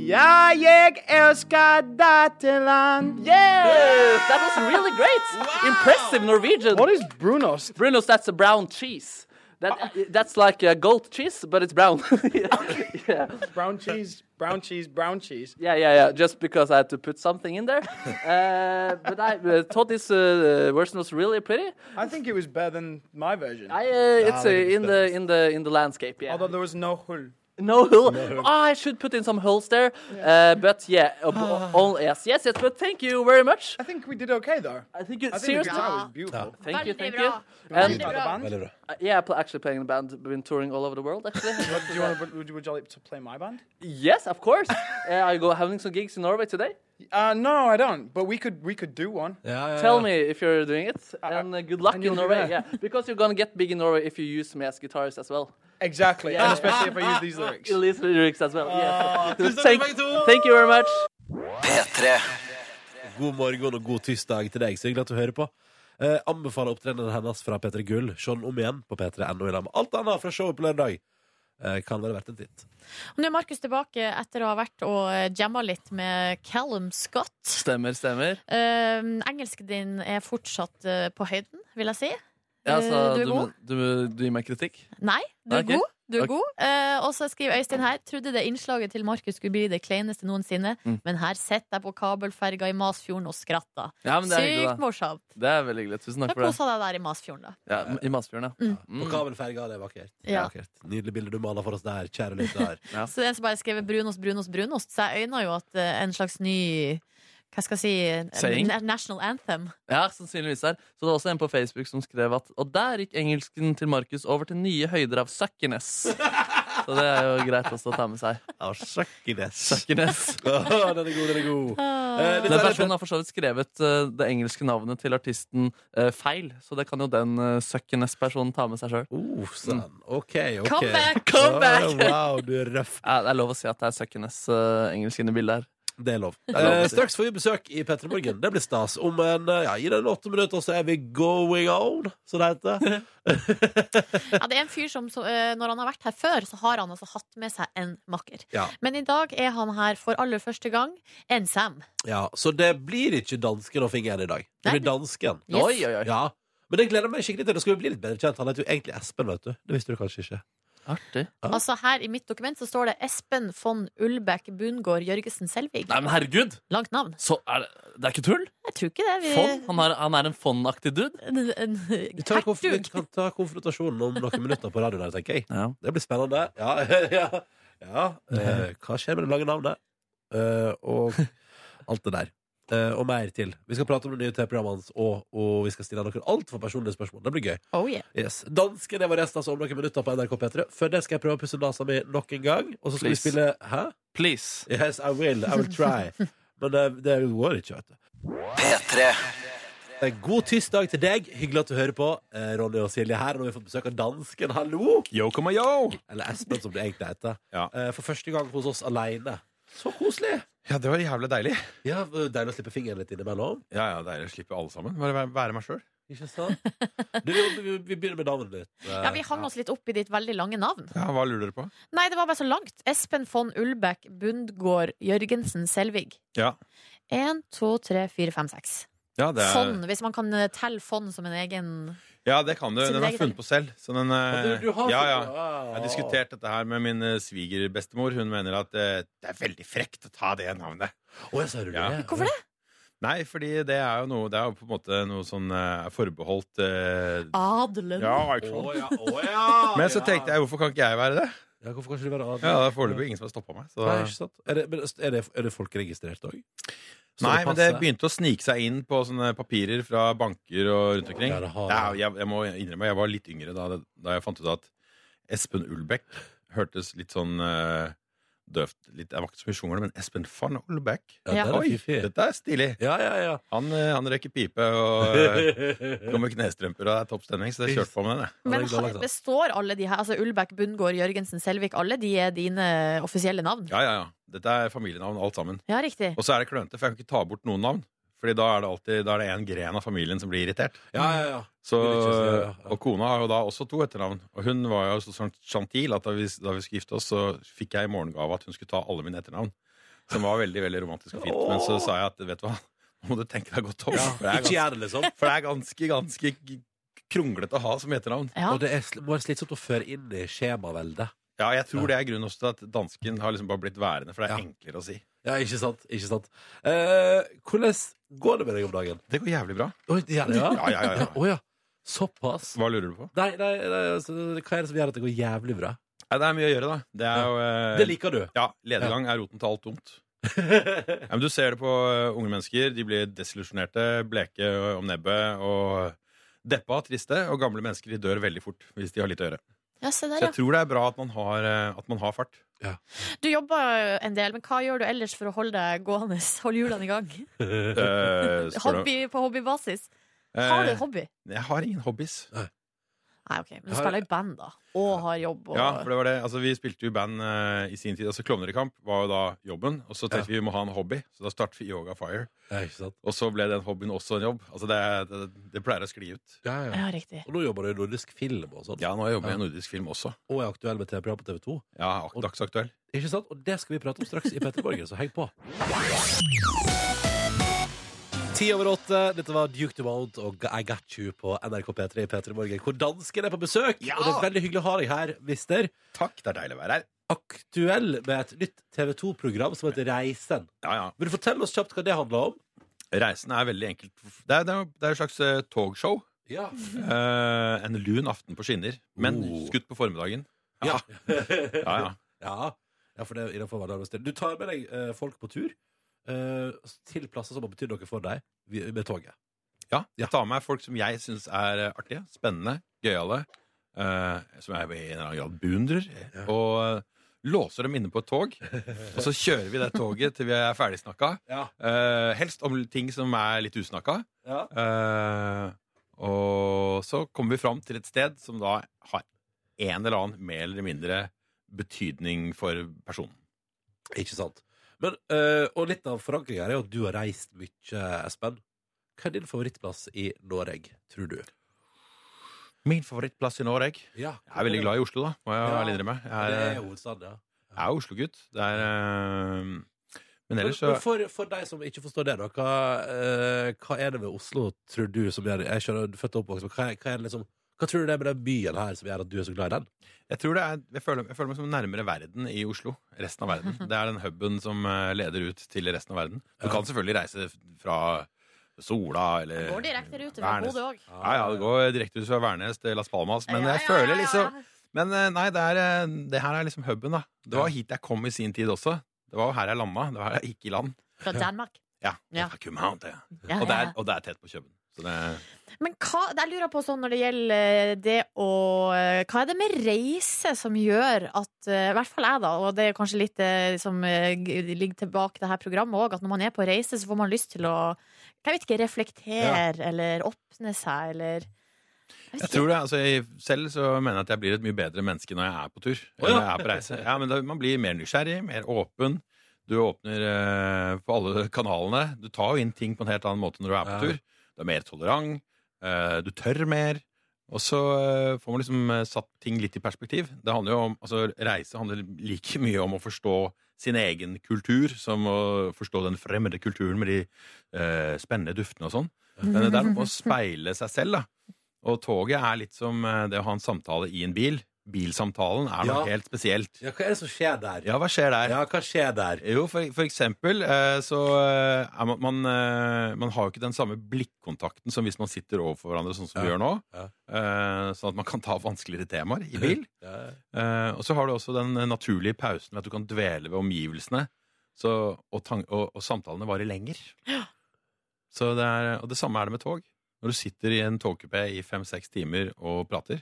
Ja, jeg elsker Dateland.
Yes, that was really great. Impressive Norwegian.
What is brunost?
Bruno's? That's a brown cheese.
That, that's like uh, goat cheese, but it's brown. yeah.
Brown cheese, brown cheese, brown cheese.
Yeah, yeah, yeah. Just because I had to put something in there. Uh, but I uh, thought this uh, version was really pretty.
I think it was better than my version.
I, uh, it's uh,
that is
in the in the in the landscape. Yeah.
Although there was no hull.
no hull. Ah, I should put in some holes there. Uh, but yeah, uh, b- all, yes, yes, yes. But thank you very much.
I think we did okay though.
I think you
I think
seriously.
the guitar was beautiful.
Ah.
Thank you,
Veldig
thank
bra.
you. And
Veldig bra.
Another band.
Veldig bra.
uh, yeah, I pl- actually playing in a band, been touring all over the world. Actually,
Do you want to, would, you, would you like to play my band?
yes, of course. Uh, I go having some gigs in Norway today.
Uh, no, I don't. But we could we could do one.
Ja, ja, ja.
Tell me if you're doing it, and uh, good luck
you'll
in
do
Norway.
that.
Yeah, because you're gonna get big in Norway if you use me as guitarist as well.
Exactly, and especially if I use these lyrics.
Elise lyrics as well. yeah.
Ah, tusen takk
thank,
for begge to.
thank you very much.
P3
God morgen og god tirsdag til deg. Så hyggelig at du hører på. Eh, anbefaler opptredenen hennes fra P3 Gull. Se den om igjen på p3.no i lag med alt annet fra showet på lørdag. Eh, kan være verdt en titt.
Nå er Markus tilbake etter å ha vært og eh, jamma litt med Callum Scott.
Stemmer, stemmer.
Eh, engelsken din er fortsatt eh, på høyden, vil jeg si.
Ja, altså,
Eh, du er
du,
god?
du, du gir meg kritikk?
Nei, du er
Ok.
god. Du er
Ok.
god. Eh, og så skriver Øystein her Trodde det innslaget til Markus skulle bli det kleineste noensinne,
Mm.
men her sitter jeg på kabelferga i Masfjorden og skratter.
Ja, men det er hyggelig,
Sykt
da.
morsomt.
Det er veldig hyggelig. Tusen
Da
takk for det.
kosa deg der i Masfjorden, da.
Ja, I Masfjorden, ja.
På
Mm.
kabelferga, det er vakkert. Det er
Ja.
vakkert. Nydelig bilde du maler for oss der, kjære lytter.
Så det er en som bare skrev brunost, brunost, brunost. Så jeg øyner jo at eh, en slags ny hva skal jeg si en
Saying?
na- National anthem.
ja, sannsynligvis der. Så det var også en på Facebook som skrev at Og der gikk engelsken til Markus over til nye høyder av suckiness. Så det er jo greit også å ta med seg.
Ja, Sjakkines.
Suckiness.
Åh, Den er god, den er god. Eh, dette
Den
er
personen sånn har for så vidt skrevet eh, det engelske navnet til artisten eh, feil, så det kan jo den uh, suckiness-personen ta med seg sjøl.
Oh, sann. OK, OK.
Come back!
Come back!
Åh, wow, du er røff.
Ja, det er lov å si at det er eh, suckiness-engelsk inni bildet her.
Det er lov.
er lov å
Eh,
si.
straks får vi besøk i P3 Morgen. Det blir stas. Om en, eh, ja, I den åtte minutter så er vi going on, som det heter.
Ja, det er en fyr som, så, eh, når han har vært her før, så har han altså hatt med seg en makker.
Ja.
Men i dag er han her for aller første gang en Sam.
Ja, så det blir ikke dansken og fingeren i dag. Det blir dansken.
Yes.
Oi, oi, oi.
Ja. Men det gleder jeg meg skikkelig til. Nå skal vi bli litt bedre kjent. Han heter jo egentlig Espen, vet du. Det visste du kanskje ikke.
Artig.
Altså Her i mitt dokument så står det Espen von Ulbæk Bungård Jørgesen Selvig.
Nei, men herregud!
Langt navn.
Så er det, det er ikke tull?
Jeg tror ikke det. Vi...
Fond? Han, er- han er en fond-aktig dude?
En, en,
Vi, tar konf vi
hertug.
kan ta konfrontasjonen om noen minutter på radioen her, tenker jeg.
Ja.
Det blir spennende. Ja, ja. ja. Eh, hva skjer med det lange navnet? Eh, og alt det der. Eh, og mer til. Vi skal prate om det nye TV-programmet hans, og, og vi skal stille noen altfor personlige spørsmål. Det blir gøy.
Oh, yeah.
Yes. Dansken det var resten altså om noen minutter på NRK P3. Før det skal jeg prøve å pusse nesa mi nok en gang. Og så skal
Please.
vi spille Hæ?
Please.
Yes, I will. I will try. Men eh, det går ikke, vet du.
P3
Eh, God tirsdag til deg. Hyggelig at du hører på. Eh, Ronny og Silje her. Nå har vi fått besøk av dansken. Hallo!
Yo, come on, yo!
Eller Espen, som det egentlig heter.
Ja.
Eh, For første gang hos oss aleine. Så koselig!
Ja, det var jævlig deilig.
Ja, Deilig å slippe fingeren litt innimellom.
Ja, ja, deilig å slippe alle sammen. Bare være- være meg sjøl.
Ikke sant? Du, vi, vi, vi begynner med navnet ditt. Eh,
Ja, Vi hang oss litt opp i ditt veldig lange navn.
Ja, hva lurer dere på?
Nei, det var bare så langt. Espen von Ulbæk Bundgård Jørgensen Selvig.
Ja.
Én, to, tre, fire, fem, seks.
Ja, det, er,
Sånn.
Fond, hvis man kan eh, telle fond som en egen
ja, det kan du.
Sin
Den har
egen
jeg funnet på selv. Så den,
Ja,
eh,
du, du har
ja, ja.
funnet- Ah.
Jeg har diskutert dette her med min eh, svigerbestemor. Hun mener at eh, det er veldig frekt å ta det navnet.
Å, jeg ser du
Ja.
det.
Hvorfor det?
Nei, fordi det er jo noe Det er jo på en måte noe sånn eh, forbeholdt eh,
Adelen.
Ja,
Å
ikke sant?
ja, å ja!
Men så tenkte jeg, hvorfor kan ikke jeg være det?
ja, Hvorfor kan ikke du være adel?
Ja, Det er foreløpig ingen som har stoppa meg. Så.
Nei, ikke sant? Er det, men altså, er det, er det folkeregistrert òg?
Nei, men det begynte å snike seg inn på sånne papirer fra banker og rundt omkring.
Ja, det har
Ja,
det.
jeg, jeg må innrømme, jeg var litt yngre da, det- da jeg fant ut at Espen Ulbæk hørtes litt sånn eh, døvt litt, Jeg var ikke så mye sjungler, men Espen van Ulbæk
Ja,
Ja.
der er
Oi,
fiffig.
dette er stilig!
Ja, ja, ja.
Han, eh, han røyker pipe og eh, kommer med knestrømper, og det er topp stemning, så jeg kjørte på med den. jeg.
Men
det er
ha-
godt, da.
består alle de her? Altså Ulbæk, Bundgård, Jørgensen, Selvik. Alle de er dine offisielle navn?
Ja, ja, ja. Dette er familienavn, alt sammen.
Ja, riktig.
Og så er det klønete, for jeg kan ikke ta bort noen navn. Fordi da er det alltid Da er det en gren av familien som blir irritert.
ja, ja, ja.
Så,
Det vil ikke si, ja, ja.
og kona har jo da også to etternavn. Og hun var jo så sånn chantil at da vi, da vi skulle gifte oss, så fikk jeg i morgengave at hun skulle ta alle mine etternavn. Som var veldig veldig romantisk og fint. Men så sa jeg at vet du hva, nå må du tenke deg godt om. For, det er
Ikke
ganske,
gjør det, liksom.
for det er ganske, ganske k- kronglete å ha som etternavn.
Og det er, sl- må være slitsomt å føre inn i skjemaveldet.
Ja, jeg tror det er grunnen også til at dansken har liksom bare blitt værende, for det er enklere å si.
Ja, ikke sant? Ikke sant? Eh, hvordan går det med deg om dagen?
Det går jævlig bra.
Oi, det gjør det, ja?
Ja, ja, ja, ja.
Å, ja. Såpass.
Hva lurer du på?
Nei, nei, nei altså, hva er det som gjør at det går jævlig bra?
Nei, det er mye å gjøre, da. Det, er jo, eh,
Det liker du.
Ja, lediggang er roten til alt dumt. ja, men du ser det på eh, unge mennesker. De blir desillusjonerte, bleke eh, om nebbet og deppa, triste. Og gamle mennesker de dør veldig fort hvis de har litt å gjøre.
Ja, se
Så
der, ja.
jeg tror det er bra at man har, eh, at man har fart.
Du jobber en del, men hva gjør du ellers for å holde deg gående? Holde hjulene i gang?
Eh, spør du-
Hobby på hobbybasis? Har du
Eh,
en hobby?
Jeg har ingen hobbies.
Nei, OK. Men du
har-
spiller i band, da. Og har jobb. Og...
Ja, for det var det. Altså, vi spilte jo i band eh, i sin tid. Altså, Klovner i kamp var jo da jobben. Og så tenkte vi vi må ha en hobby, så da startet vi Yoga Fire.
Ja, ikke sant?
Og så ble den hobbyen også en jobb. Altså, det, det, det pleier å skli ut.
Ja, ja.
ja, riktig.
Og nå jobber du i nordisk film og sånn.
Ja, nå jobber jeg i nordisk film også.
Og er aktuell med TV-program på TV 2.
Ja, ak- Dagsaktuell.
Ikke sant? Og det skal vi prate om straks i Petter Borgen, så heng på. Ti over åtte. Dette var Duke Dumont og I Got You på NRK P3 i P3 Morgen. Hvor dansken er på besøk!
Ja!
Og det er veldig hyggelig å ha deg her, mister.
Takk, det er deilig å være her.
Aktuell med et nytt TV 2-program som heter Reisen.
Ja, ja.
Vil du fortelle oss kjapt hva det handler om?
Reisen er veldig enkelt. Det er, det er, det er et slags eh, togshow.
Ja.
Eh, en lun aften på skinner, men
Oh.
skutt på formiddagen.
Ja.
Ja, ja.
Ja, ja for det er innenfor hverdagen. Du tar med deg eh, folk på tur eh, til plasser som har betydd noe for deg, vi- med toget.
Ja, jeg tar med folk som jeg syns er eh, artige, spennende, gøyale, eh, som jeg i en eller annen grad beundrer, og eh, låser dem inne på et tog. Og så kjører vi det toget til vi er ferdigsnakka.
Ja.
Eh, helst om ting som er litt usnakka.
Ja.
Eh, og så kommer vi fram til et sted som da har en eller annen mer eller mindre betydning for personen.
Ikke sant? Men, eh, og litt av forankringen er jo at du har reist mye, Espen. Hva er din favorittplass i Norge, tror du?
Min favorittplass i Norge.
Ja,
Jeg er veldig glad i Oslo, da. Må jeg
Ja.
ærlig innrømme. Jeg
Det
er, eh,
er hovedstaden, ja.
Jeg er Oslo-gutt. Det er eh, Men
Men,
ellers så
men for, for deg som ikke forstår det, da, hva, eh, hva er det med Oslo, tror du, som gjør Jeg skjønner, du er født og oppvokst, men hva, er- hva er det liksom hva tror du det er med den byen her som gjør at du er så glad i den?
Jeg tror det er jeg føler, jeg føler meg som nærmere verden i Oslo. Resten av verden. Det er den huben som eh, leder ut til resten av verden. Du
Ja.
kan selvfølgelig reise f- fra Sola eller
Det går direkte rute fra
Værnes.
Bodø òg.
Ja, ja, det går direkte ut fra Værnes til Las Palmas. Eh, Men jeg føler liksom Men eh, nei, det, er, eh, det her er liksom huben, da. Det var hit jeg kom i sin tid også. Det var jo her jeg landa. Det var her jeg gikk i land.
Fra Danmark.
Ja.
Ja.
fra København, det.
Ja,
Og, det
ja.
er, og det er tett på København. Så det
Men hva, jeg lurer på sånn når det gjelder det å eh, Hva er det med reise som gjør at eh, I hvert fall jeg, da, og det er kanskje litt eh, som eh, g- ligger tilbake det her programmet òg, at når man er på reise, så får man lyst til å Jeg vet ikke, reflektere eller åpne seg eller Jeg
Jeg
vet
tror
ikke.
det, altså jeg, Selv så mener jeg at jeg blir et mye bedre menneske når jeg er på tur.
Å, ja.
Eller jeg er på reise. Ja, men da, Man blir mer nysgjerrig, mer åpen. Du åpner eh, på alle kanalene. Du tar jo inn ting på en helt annen måte når du er på
Ja.
tur. Du er mer tolerant. eh, du tør mer. Og så eh, får man liksom eh, satt ting litt i perspektiv. Det handler jo om, altså Reise handler like mye om å forstå sin egen kultur som å forstå den fremmede kulturen med de eh, spennende duftene og sånn. Men det er noe med å speile seg selv, da. Og toget er litt som eh, det å ha en samtale i en bil. Bilsamtalen er noe
Ja.
helt spesielt.
Ja, hva er det som skjer der?
Ja, hva skjer der?
ja hva skjer der?
Jo, for, for eksempel eh, så eh, er man man, eh, man har jo ikke den samme blikkontakten som hvis man sitter overfor hverandre, sånn som vi
Ja.
gjør nå.
Ja.
Eh, Sånn at man kan ta vanskeligere temaer i bil.
Ja.
Eh, og så har du også den eh, naturlige pausen ved at du kan dvele ved omgivelsene. Så, og, tan- og, og samtalene varer lenger. Så det er, og det samme er det med tog. Når du sitter i en togkupé i fem-seks timer og prater,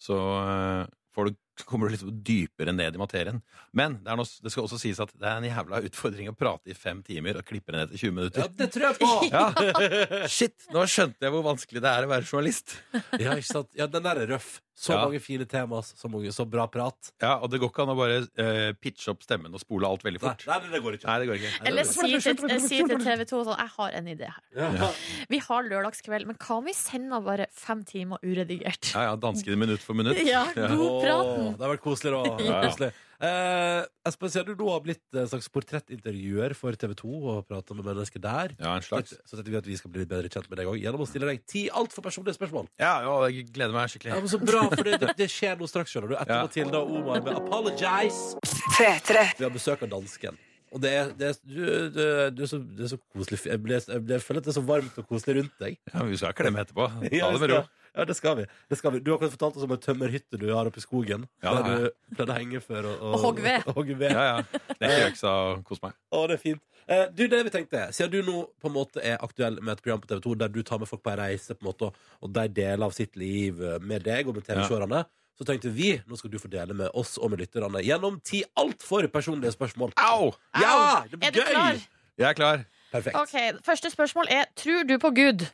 så eh, får du, kommer du liksom dypere ned i materien. Men det, er noe, det skal også sies at det er en jævla utfordring å prate i fem timer og klippe det ned til 20
ja,
minutter.
det tror jeg på!
Ja. Shit! Nå skjønte jeg hvor vanskelig det er å være journalist.
Ja, ikke sant? Ja, den der er røff. Så
Ja.
mange fine temas, så, mange, så bra prat.
Ja, Og det går ikke an å bare eh, pitche opp stemmen og spole alt veldig
Nei,
fort.
nei, nei, det går ikke.
Nei, det går ikke.
Eller si til, eh, si til TV 2 sånn Jeg har en idé her.
Ja.
Vi har lørdagskveld, men hva om vi sender bare fem timer uredigert?
Ja, ja, danskene minutt for minutt.
Ja, god prat
Åh, det har vært koselig, da. Det har vært koselig. Eh, Espen, ser du du har blitt en slags portrettintervjuer for TV 2 og prata med mennesker der.
Ja, en slags.
Så, så tenkte vi at vi skal bli litt bedre kjent med deg òg gjennom å stille deg ti altfor personlige spørsmål.
Ja, ja, jeg gleder meg skikkelig.
Ja, men Så bra, for det, det, det skjer noe straks, skjønner du. Etter
Ja.
Matilda og Omar med 'Apologize'. Vi har besøk av dansken. Og det er, det er, du, du, du er så, det er så koselig. Jeg, ble, jeg, ble, jeg føler at det er så varmt og koselig rundt deg.
Ja, men vi skal klemme etterpå. Ta
Ja,
det
vi
med ro.
skal- Ja, det skal vi. Det skal vi. Du har akkurat fortalt oss om en tømmerhytte du har oppe i skogen.
Ja, det har
der
jeg.
du pleide å henge før. Og,
Og hogge ved.
og hogge ved.
Ja, ja. Det er ikke og kos meg.
Å, det er fint. Eh, du, det vi tenkte, Siden du nå på en måte er aktuell med et program på TV 2 der du tar med folk på ei reise, på en måte, og- og de deler av sitt liv eh, med deg og med TV-seerne, så tenkte vi nå skal du få dele med oss og med lytterne gjennom ti altfor personlige spørsmål.
Au!
Ja! Det
Ah, Er
blir
du klar?
gøy!
Jeg er klar.
Perfekt.
Ok, Første spørsmål er Tror du på Gud?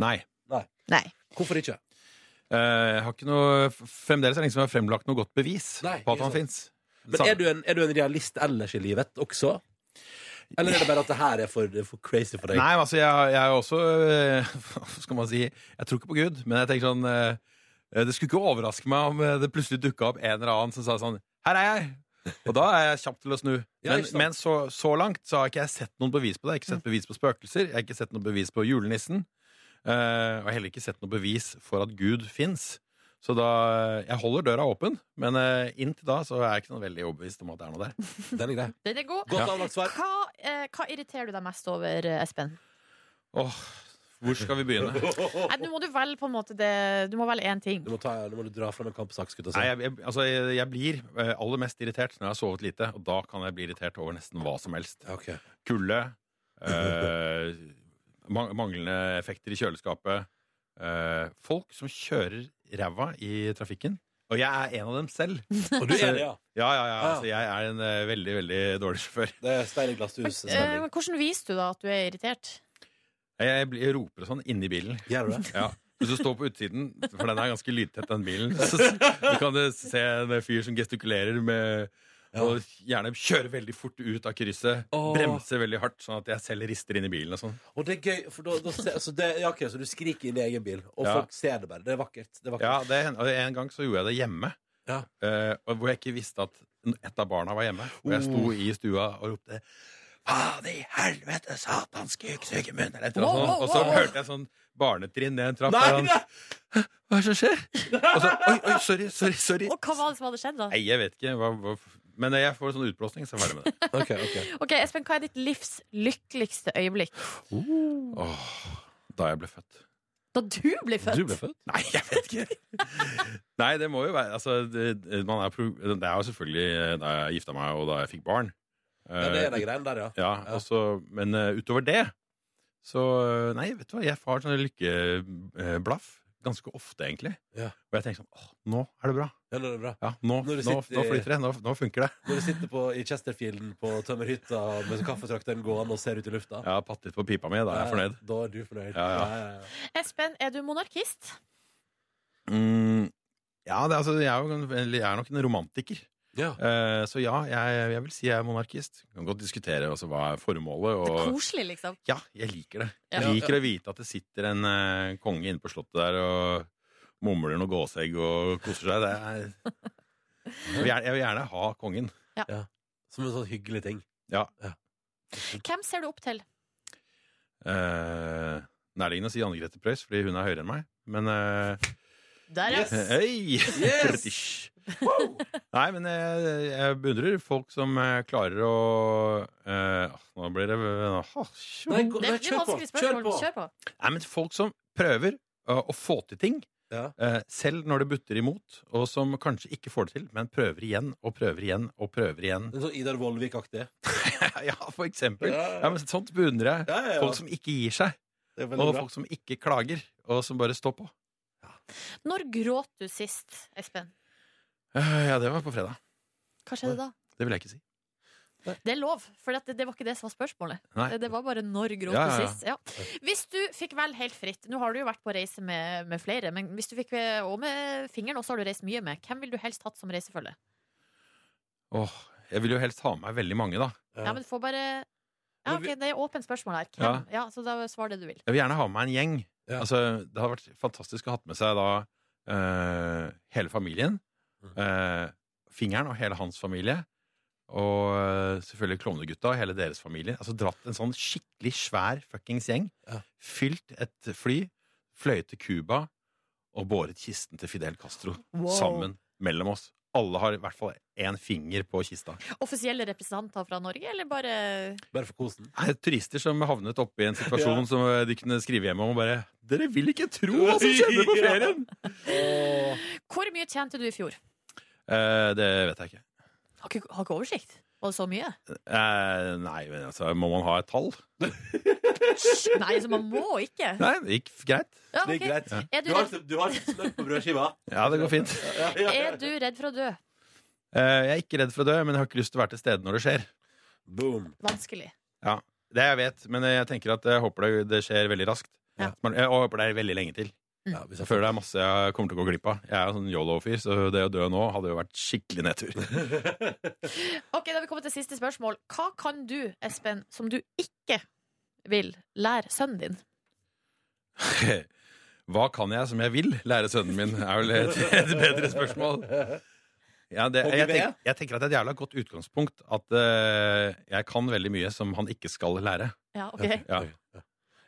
Nei.
Nei.
Hvorfor ikke?
Eh, Jeg har ikke noe Fremdeles er det ingen som har fremlagt noe godt bevis
Nei,
på at
ikke
han
sant.
fins.
Men er du, en, er du en realist ellers i livet også? Eller er det bare at det her er for, for crazy for deg?
Nei, men altså, jeg, jeg er jo også eh, Hva skal man si? Jeg tror ikke på Gud, men jeg tenker sånn eh, Det skulle ikke overraske meg om eh, det plutselig dukka opp en eller annen som sa sånn Her er jeg! Og da er jeg kjapp til å snu.
Ja,
Men,
ikke sant. Mm.
men så, så langt så har ikke jeg sett noen bevis på det. Jeg har ikke sett bevis på spøkelser, jeg har ikke sett noe bevis på julenissen. eh, og jeg har heller ikke sett noe bevis for at Gud fins. Så da Jeg holder døra åpen, men eh, inntil da så er jeg ikke sånn veldig overbevist om at det er noe der.
Den er grei.
Den er god.
Godt avlagt svar.
Hva, eh, hva irriterer du deg mest over, eh, Espen?
Åh, hvor skal vi begynne?
Nei, nå må du velge på en måte det Du må velge én ting.
Du må, ta, du må dra fram en kampsak, skulle jeg
Nei,
til å si.
jeg, jeg, altså, jeg, jeg blir eh, aller mest irritert når jeg har sovet lite, og da kan jeg bli irritert over nesten hva som helst.
Ok.
Kulde, eh, man- manglende effekter i kjøleskapet, eh, folk som kjører ræva i trafikken. Og jeg er en av dem selv.
Og du er enig, ja?
Ja, ja, ja.
Ja.
Altså, jeg er en eh, veldig, veldig dårlig sjåfør.
Det er Stein i glasshus.
Eh,
stemning.
men hvordan viser du da at du er irritert?
Jeg, jeg, blir- jeg roper og sånn inni bilen.
Gjør du det?
Ja. Hvis du står på utsiden, for den er ganske lydtett, den bilen, så så kan du se en fyr som gestikulerer med Og gjerne kjøre veldig fort ut av krysset.
Åh.
Bremse veldig hardt, sånn at jeg selv rister inn i bilen. og sånn
Og det er gøy, for da, da ser, så, det, ja, ok, så du skriker i din egen bil, og
Ja.
folk ser det bare. Det er vakkert. Det er vakkert.
Ja, det hen- og En gang så gjorde jeg det hjemme,
Ja.
eh, og hvor jeg ikke visste at et av barna var hjemme. Og jeg sto i stua og ropte 'Faen i helvete, satans kuk, Sigmund!' Eller et eller annet
Wow,
sånt.
wow,
Og så
wow.
hørte jeg sånn barnetrinn ned en trapp.
Nei,
og sånn,
nei!
Hva er det som skjer? Og så, oi, oi, sorry, sorry, sorry.
Og hva var det som hadde skjedd, da?
Nei, jeg vet ikke. Hva, hva, men jeg får sånn utblåsning, så er jeg ferdig med det.
Ok, ok.
Ok, Espen, hva er ditt livs lykkeligste øyeblikk?
Da jeg ble født.
Da du ble født?
Du ble født?
Nei, jeg vet ikke. Nei, det må jo være altså, det, man er, pro- det er jo selvfølgelig eh, da jeg gifta meg, og da jeg fikk barn.
Ja, det
Eh,
er den greien der, ja.
ja, og så- men eh, utover det så eh, Nei, vet du hva, jeg har sånn lykkeblaff eh, ganske ofte, egentlig.
Ja.
Og jeg tenker sånn åh, nå er det bra.
ja det er bra.
Ja, nå,
Når du
nå,
sitter-
nå flyter det. Nå, nå funker det.
Når du sitter på, i Chesterfielden på tømmerhytta med kaffetrakteren gående og ser ut i lufta.
Jeg har pattet litt på pipa mi, da er jeg fornøyd.
Da er du fornøyd.
Ja, ja.
Espen, er du monarkist?
Mm, ja, det, er altså, jeg, er jo, en- eller jeg er nok en romantiker.
Ja.
Eh, så ja, jeg, jeg vil si jeg er monarkist. Kan godt diskutere altså, hva er formålet.
Det er
Og,
koselig, liksom.
ja, jeg liker det.
Ja.
Jeg liker å vite at det sitter en eh, konge inne på slottet der og mumler noe gåsegg og koser seg. Det er, jeg, vil gjerne, jeg vil gjerne ha kongen.
Som en sånn hyggelig ting.
Hvem ser du opp til?
Eh, nærliggende å si Anne Grete Preus, fordi hun er høyere enn meg. Men eh,
Der, ja.
Hei! British. Nei, men jeg, jeg beundrer folk som eh, klarer å eh, Nå blir det åh, tjo.
Nei, gå-
Det
nei,
er et vanskelig spørsmål. Kjør på.
Nei, men folk som prøver eh, å få til ting,
Ja.
eh, selv når det butter imot, og som kanskje ikke får det til, men prøver igjen og prøver igjen og prøver igjen.
En sånn Idar Vollvik-aktig.
ja, for eksempel.
Ja,
Ja, men sånt beundrer jeg.
ja, ja.
Folk som ikke gir seg,
Det er veldig
og
bra.
folk som ikke klager, og som bare står på.
Når gråt du sist, Espen?
Eh, ja, det var på fredag.
Hva skjedde da?
Det vil jeg ikke si.
Det er lov, for at det, det var ikke det som var spørsmålet.
Nei.
Det, det var bare når gråt
Ja, ja,
du
ja.
sist. Ja. Hvis du fikk velge helt fritt Nå har du jo vært på reise med, med flere, men hvis du fikk eh, og med fingeren også har du reist mye med. Hvem vil du helst hatt som reisefølge?
Åh, jeg vil jo helst ha med meg veldig mange, da.
Ja, men få bare ja,
Men
ok,
vi-
Det er åpent spørsmål her. Hvem?
Ja.
Ja. Så da svar det du vil.
Jeg vil gjerne ha med meg en gjeng.
Ja.
Altså, det hadde vært fantastisk å ha med seg da eh, hele familien. eh, fingeren og hele hans familie. Og eh, selvfølgelig Klovnegutta og hele deres familie. Altså dratt en sånn skikkelig svær fuckings gjeng. Fylt et fly, fløyet til Cuba og båret kisten til Fidel Castro
Wow.
sammen mellom oss. Alle har i hvert fall én finger på kista.
Offisielle representanter fra Norge, eller bare
Bare for kosen.
Nei, turister som havnet oppe i en situasjon
Ja.
som eh, de kunne skrive hjem om og bare 'Dere vil ikke tro hva som skjedde på ferien!'
Hvor mye tjente du i fjor?
Eh, det vet jeg ikke.
Har ikke, har ikke oversikt. Var det så mye?
Eh, nei, men altså, må man ha et tall?
Nei, så man må ikke.
Nei, det gikk greit.
Ja, Det gikk ok. greit. Er du Du har- redd-
smør på brødskiva.
Ja, det går fint.
Er du redd for å dø?
Eh, jeg er ikke redd for å dø, men jeg har ikke lyst til å være til stede når det skjer.
Boom.
Vanskelig.
Ja, det jeg vet, men jeg tenker at jeg håper det, det skjer veldig raskt. Men Jeg og jeg håper det er veldig lenge til.
Ja, hvis
Jeg føler det er masse jeg kommer til å gå glipp av. Jeg er jo sånn yolo-fyr, så det å dø nå hadde jo vært skikkelig nedtur.
Ok, Da har vi kommet til siste spørsmål. Hva kan du, Espen, som du ikke vil lære sønnen din?
Hva kan jeg som jeg vil lære sønnen min? er vel et, et bedre spørsmål. Ja, det,
Og
jeg,
du
tenk, jeg tenker at det er et jævla godt utgangspunkt at eh, jeg kan veldig mye som han ikke skal lære.
Ja, ok.
Ja.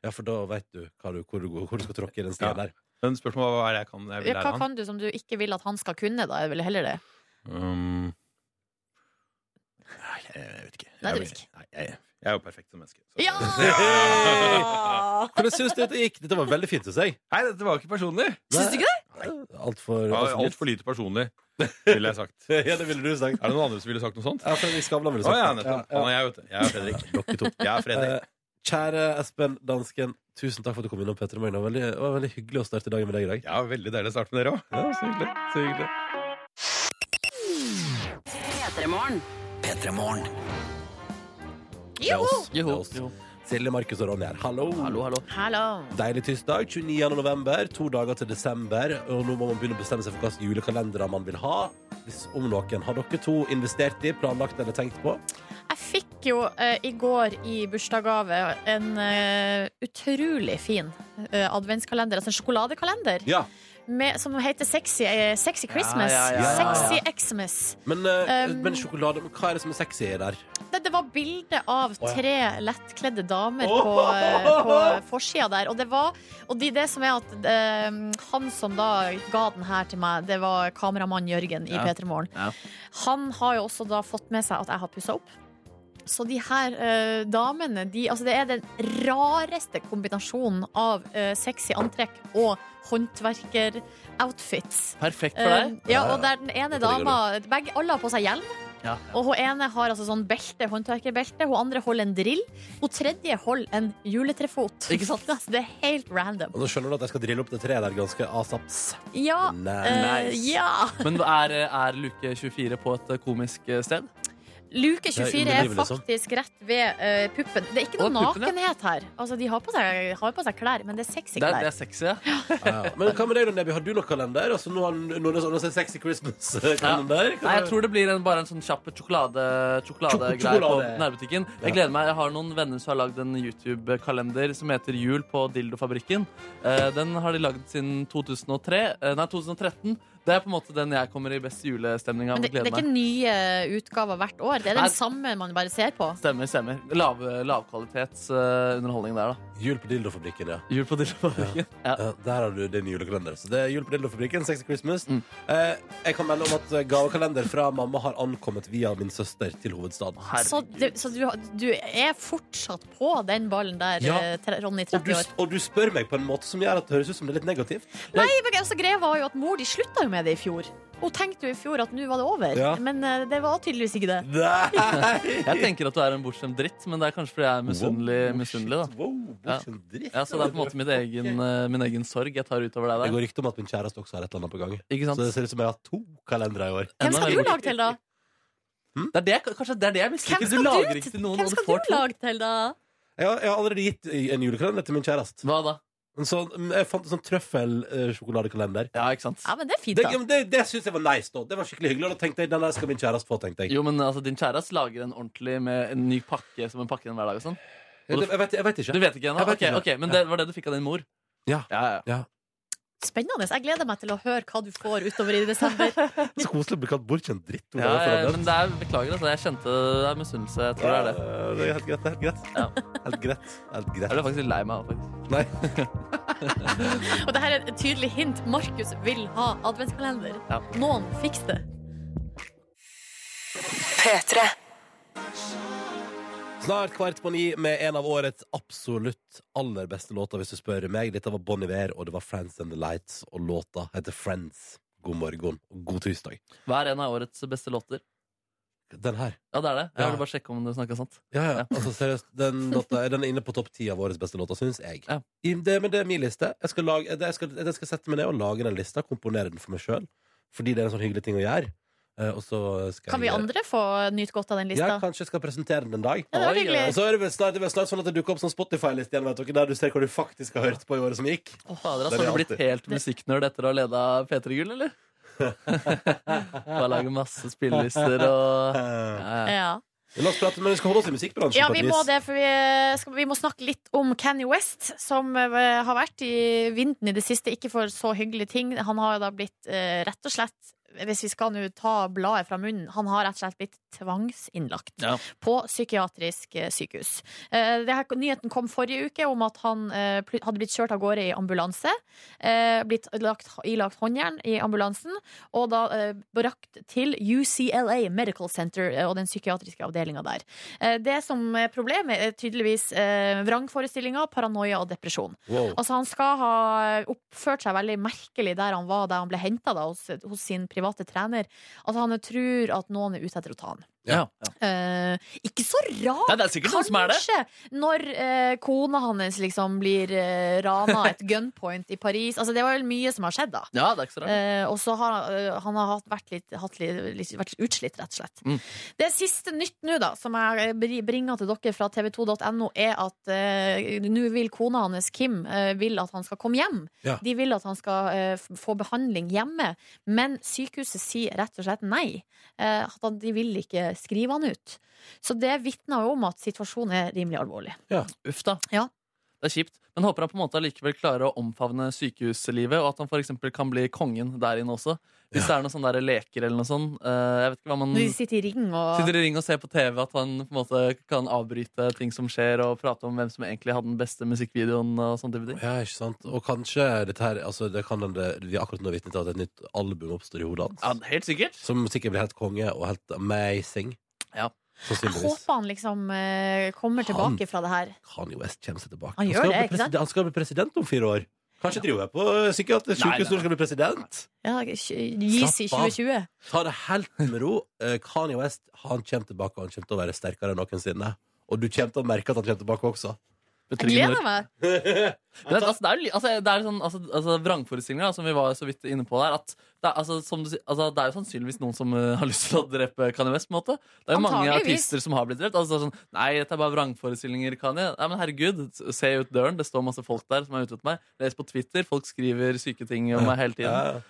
Ja, for da veit du hva du, hvor, du, går- hvor du skal tråkke i den stien
Ja.
der.
Men spørsmålet var hva er det jeg kan jeg vil
Ja, Hva
lære han?
kan du som du ikke vil at han skal kunne, da? Er vel heller det.
Um, nei, jeg vet ikke.
Nei, du
Jeg-
vet ikke.
nei, jeg, jeg er jo perfekt som menneske. så-
Ja!
Hvordan syns du dette gikk? Dette var veldig fint, syns jeg.
Nei, dette var ikke personlig.
Syns du ikke det?
Altfor
Ja,
alt
Altfor lite personlig, ville jeg sagt.
Ja, det ville du sagt.
Er det noen andre som ville sagt noe sånt?
Ja, Fredrik Skavlan ville
Å
sagt
ja,
det.
nettopp. Han og jeg, vet du. Jeg er Fredrik.
Dere to.
Jeg er Fredrik.
Eh, Kjære Espen Dansken, tusen takk for at du kom innom. Petter Magne. Det var veldig, det var veldig hyggelig å starte dagen med deg i dag.
Ja, veldig deilig å starte med dere òg. Ja, så hyggelig. Så hyggelig.
Det er oss. Det er
Joho.
oss. Silje, Markus og Ronny her. Hallo.
Hallo, hallo.
Hallo.
Deilig tirsdag, 29. november, to dager til desember. Og nå må man begynne å bestemme seg for hvilke julekalendere man vil ha. Hvis om noen. Har dere to investert i, planlagt eller tenkt på?
Jeg fikk jo eh, i går i bursdagsgave en eh, utrolig fin eh, adventskalender, altså en sjokoladekalender,
Ja.
med, som heter Sexy, eh, sexy Christmas.
Ja, ja, ja, ja.
Sexy Xmas.
Men, eh,
Um,
men sjokolade, men hva er det som er sexy der?
Det, det var bilde av
ja.
tre lettkledde damer på, eh, på forsida der. Og det var Og det, det som er at eh, han som da ga den her til meg, det var kameramann Jørgen i
Ja.
P3 Morgen.
Ja.
Han har jo også da fått med seg at jeg har pussa opp. Så de her eh, damene de, altså Det er den rareste kombinasjonen av eh, sexy antrekk og håndverker-outfits.
Perfekt for deg.
Eh, ja, og der den ene
Dette liker
dama begge, Alle har på seg hjelm.
Ja.
Og hun ene har altså sånn belte, håndverkerbelte. Hun andre holder en drill. Hun tredje holder en juletrefot.
Ikke sant?
Altså, det er helt random.
Og nå skjønner du at jeg skal drille opp det treet der ganske asaps.
Ja. eh,
Nice.
ja.
Men er, er luke 24 på et eh, komisk sted?
Luke
Det
24
er
er
underlivet, liksom.
faktisk rett ved eh, puppen. Det er ikke
Å,
noe
puppen, ja.
nakenhet her. Altså, de har på seg, har på seg klær, men det er sexy
Det er, det
klær.
er sexy, ja.
Men hva med deg, da, Nebby? Har du noen kalender? Altså, nå har nå er det sånn- nå er det Sexy Christmas-kalender?
Nei, jeg tror det blir en, bare en sånn kjapp sjokolade, sjokoladegreie på
Sjokolade.
nærbutikken. Jeg gleder meg, jeg har noen venner som har lagd en YouTube-kalender som heter Jul på dildofabrikken. Eh, den har de lagd siden 2003, eh, nei, 2013. Det er på en måte den jeg kommer i best julestemning av.
Men det, det
Gleder
er ikke
meg.
nye eh, utgaver hvert år. Det er
Nei.
den samme man bare ser på.
Stemmer, stemmer. Lav, Lavkvalitets eh, underholdning der, da.
Jul på Dildofabrikken, ja.
Jul på dildofabrikken. Ja.
Ja, Eh, Der har du din julekalender. Så det er jul på Dildofabrikken, Sexy Christmas.
Mm.
Eh, jeg kan melde om at gavekalender fra mamma har ankommet via min søster til hovedstaden.
Herregud.
Så, du, så du, du er fortsatt på den ballen der,
Ja.
eh, tre- Ronny,
Og du,
30 år.
og du spør meg på en måte som gjør at det høres ut som det er litt negativt.
Nei, men altså, greia var jo at mor de slutta jo med det i fjor. Hun tenkte jo i fjor at nå var det over,
Ja.
men eh, det var tydeligvis ikke det.
Nei!
Jeg tenker at du er en bortskjemt dritt, men det er kanskje fordi jeg er misunnelig, misunnelig da.
Wow, bortsett dritt.
Ja, så det er på en måte min egen, eh, min egen sorg jeg tar utover
Det
deg der.
går rykte om at min kjæreste også har et eller annet på gang.
Ikke
Så
sant?
det ser ut som jeg har to kalendere i år.
Hvem skal
Enda
du
mer-
lage til, da?
Det er det, kanskje det er det jeg
Hvem
misliker. Du
skal du,
lager ikke
til-
til noen,
hvem
og du
skal
får
du
to.
lage til, da?
Jeg har, jeg har allerede gitt en julekalender til min kjæreste.
Hva da?
En sånn, jeg fant en sånn trøffelsjokoladekalender.
Ja, ikke sant?
Ja, men det er fint,
Det,
da.
men det, det syns jeg var nice, da. Det var skikkelig hyggelig. Og da tenkte jeg, den der skal min kjæreste få, tenkte jeg.
Jo, men altså, din kjæreste lager en ordentlig med en ny pakke som en pakke en hverdag og sånn.
Jeg, jeg, vet, jeg vet ikke.
Du vet ikke ennå?
Jeg vet
Ok,
ikke.
ok, men det var det du fikk av din mor?
Ja.
ja, ja.
Spennende. Jeg gleder meg til å høre hva du får utover i desember.
Så koselig å bli kalt bortkjent dritt.
Ja, ja, Eh, men det er, beklager, altså. Jeg kjente det er misunnelse. Jeg tror det er det.
Det er helt greit. Helt greit. Helt greit. Helt greit.
Jeg ble faktisk litt lei meg. Faktisk.
Nei.
Og det her er et tydelig hint. Markus vil ha adventskalender.
Ja.
Noen fiks det.
P3.
Snart kvart på ni med en av årets absolutt aller beste låter, hvis du spør meg. Dette var Bon Iver, og det var Friends and the Lights, og låta heter Friends. God morgen og god tirsdag.
Hva er en av årets beste låter?
Den her.
Ja, det er det.
Ja.
Jeg ville bare sjekke om du snakka sant.
Ja, ja. Altså, seriøst, den, låta, den er inne på topp ti av årets beste låter, syns jeg.
Ja.
I- Det, men det er min liste. Jeg skal, lage, det, jeg, skal, jeg skal sette meg ned og lage den lista, komponere den for meg sjøl. Fordi det er en sånn hyggelig ting å gjøre. Eh, og så skal
Kan vi
jeg,
andre få nyte godt av den lista?
Ja, kanskje jeg skal presentere den en dag.
Ja, det var
Oi, altså.
hyggelig.
Og så er det vel snart, det er vel snart sånn at det dukker opp sånn Spotify-liste igjen, vet dere, der du ser hva du faktisk har hørt på i året som gikk.
Å, fader, altså,
Det er
har du blitt
alltid.
helt musikknerd etter å ha leda P3 Gull, eller? Bare lage masse spillelister og
Eh,
ja, ja.
Ja.
la oss prate, men vi skal holde oss i musikkbransjen.
Ja,
på et
vi
vis.
må det, for vi, eh, skal, vi må snakke litt om Kanye West, som eh, har vært i vinden i det siste, ikke for så hyggelige ting. Han har jo da blitt eh, rett og slett, hvis vi skal nå ta bladet fra munnen, han har rett og slett blitt tvangsinnlagt
Ja.
på psykiatrisk eh, sykehus. Eh, det her, nyheten kom forrige uke om at han eh, pl- hadde blitt kjørt av gårde i ambulanse, eh, blitt lagt, ilagt håndjern i ambulansen, og da eh, brakt til UCLA Medical Center eh, og den psykiatriske avdelinga der. Eh, Det som er problemet er tydeligvis eh, vrangforestillinger, paranoia og depresjon.
Wow.
Altså Han skal ha oppført seg veldig merkelig der han var da han ble henta hos, hos sin private trener. Altså Han tror at noen er ute etter å ta han.
Ja.
Eh, ikke så rart!
Nei, det er sikkert noen som er det.
Kanskje når eh, kona hans liksom blir eh, rana et gunpoint i Paris. Altså Det var vel mye som har skjedd, da.
Ja, det er ikke så rart.
Eh, og så har eh, han har hatt, vært, litt, hatt litt, litt, vært utslitt, rett og slett.
Mm.
Det siste nytt nå, da, som jeg eh, bri- bringer til dere fra tv2.no, er at eh, nå vil kona hans, Kim, eh, vil at han skal komme hjem.
Ja.
De vil at han skal eh, f- få behandling hjemme, men sykehuset sier rett og slett nei. Eh, at han- de vil ikke skrive han ut. Så det vitner jo om at situasjonen er rimelig alvorlig.
Uff da.
Ja.
Det er kjipt, men håper han på en måte likevel klarer å omfavne sykehuslivet, og at han for eksempel kan bli kongen der inne også. Hvis det er noen sånne der leker eller noe sånt. eh, jeg vet ikke hva man
Når de sitter i ring og
Sitter i ring og ser på TV at han på en måte kan avbryte ting som skjer, og prate om hvem som egentlig hadde den beste musikkvideoen. og sånne type ting.
Ja, ikke sant? Og kanskje dette her altså, det kan hende Vi er akkurat nå vitne til at et nytt album oppstår i hodet hans.
Ja, helt sikkert.
Som sikkert blir helt konge og helt amazing.
Ja.
Jeg
Sannsynligvis.
håper han liksom eh, kommer
Han-
tilbake fra det her.
Kanye West kommer seg tilbake.
Han gjør
skal
det, ikke
bli
sant?
president- Han skal bli president om fire år. Kanskje driver jeg på eh, psykiatrisk
Nei,
sykehus
nei,
når han skal bli president.
Ja, Yeezy
Slapp av.
2020.
Ta det helt med ro. Eh, Kanye West han kommer tilbake, og han kommer til å være sterkere enn noensinne. Og du kommer til å merke at han kommer tilbake også.
Jeg gleder meg.
Men, altså, det er, jo li- altså, det er sånn, altså, altså, vrangforestillinger da, som vi var så vidt inne på der. At det, er, altså, som du, sier- altså, det er jo sannsynligvis noen som eh, har lyst til å drepe Kanye West. på en måte Det er jo mange
Antageligvis.
artister som har blitt drept. Altså, sånn, Nei, dette er bare vrangforestillinger, Kanye. Nei, men herregud, s- se ut døren. Det står masse folk der som er ute etter meg. Les på Twitter. Folk skriver syke ting om meg hele tiden.
Ja.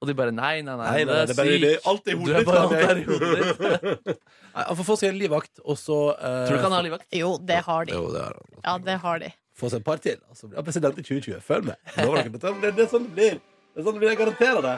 Og de bare nei, nei, nei.
Nei, nei, nei, det er bare
sykt.
det er alt i
Du
hodet
er
ditt.
bare alt
Kanye.
der i hodet ditt.
Nei, Han får få seg en livvakt, og så eh,
Tror du ikke han har livvakt?
Jo, det har de.
Jo, det er han.
Ja, det har de.
få seg et par til. Altså, blir han president i 2020. Følg med. Nå var det ikke betalt. Det, det er sånn det blir. Det er sånn det blir. Jeg garanterer det.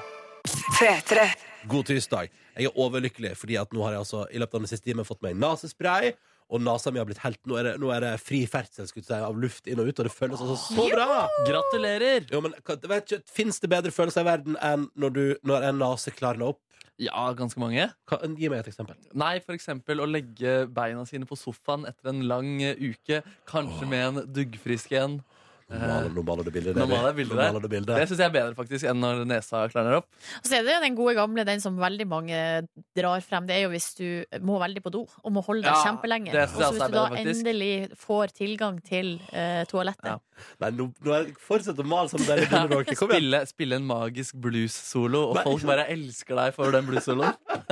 P3.
God tirsdag. Jeg er overlykkelig, fordi at nå har jeg altså i løpet av den siste timen fått meg nasespray. Og nasa mi har blitt helt Nå er det, nå er det fri ferdsel skulle jeg si, av luft inn og ut, og det føles altså så bra!
Gratulerer!
Jo, men hva- vet ikke, Fins det bedre følelser i verden enn når, du, når en nase klarner opp?
Ja, ganske mange.
Hva- gi meg et eksempel.
Nei, for eksempel å legge beina sine på sofaen etter en lang eh, uke, kanskje med en duggfrisk en.
Nå maler, nå maler du bildet.
Eh, Nå
Levi.
maler jeg bildet
Nå
der.
maler du bildet.
Det syns jeg er bedre faktisk enn når nesa klarner opp.
Og så er det jo den gode gamle, den som veldig mange drar frem. Det er jo hvis du må veldig på do og må holde deg
Ja,
kjempelenge.
det
Og
synes
så
jeg
hvis
også er
du da
bedre, faktisk.
endelig får tilgang til eh, toalettet.
Ja.
Nei, nå, nå er, fortsett å male som dere begynner dere. Kom igjen.
Spille, spille en magisk blues-solo, og
Nei.
folk bare elsker deg for den blues-soloen.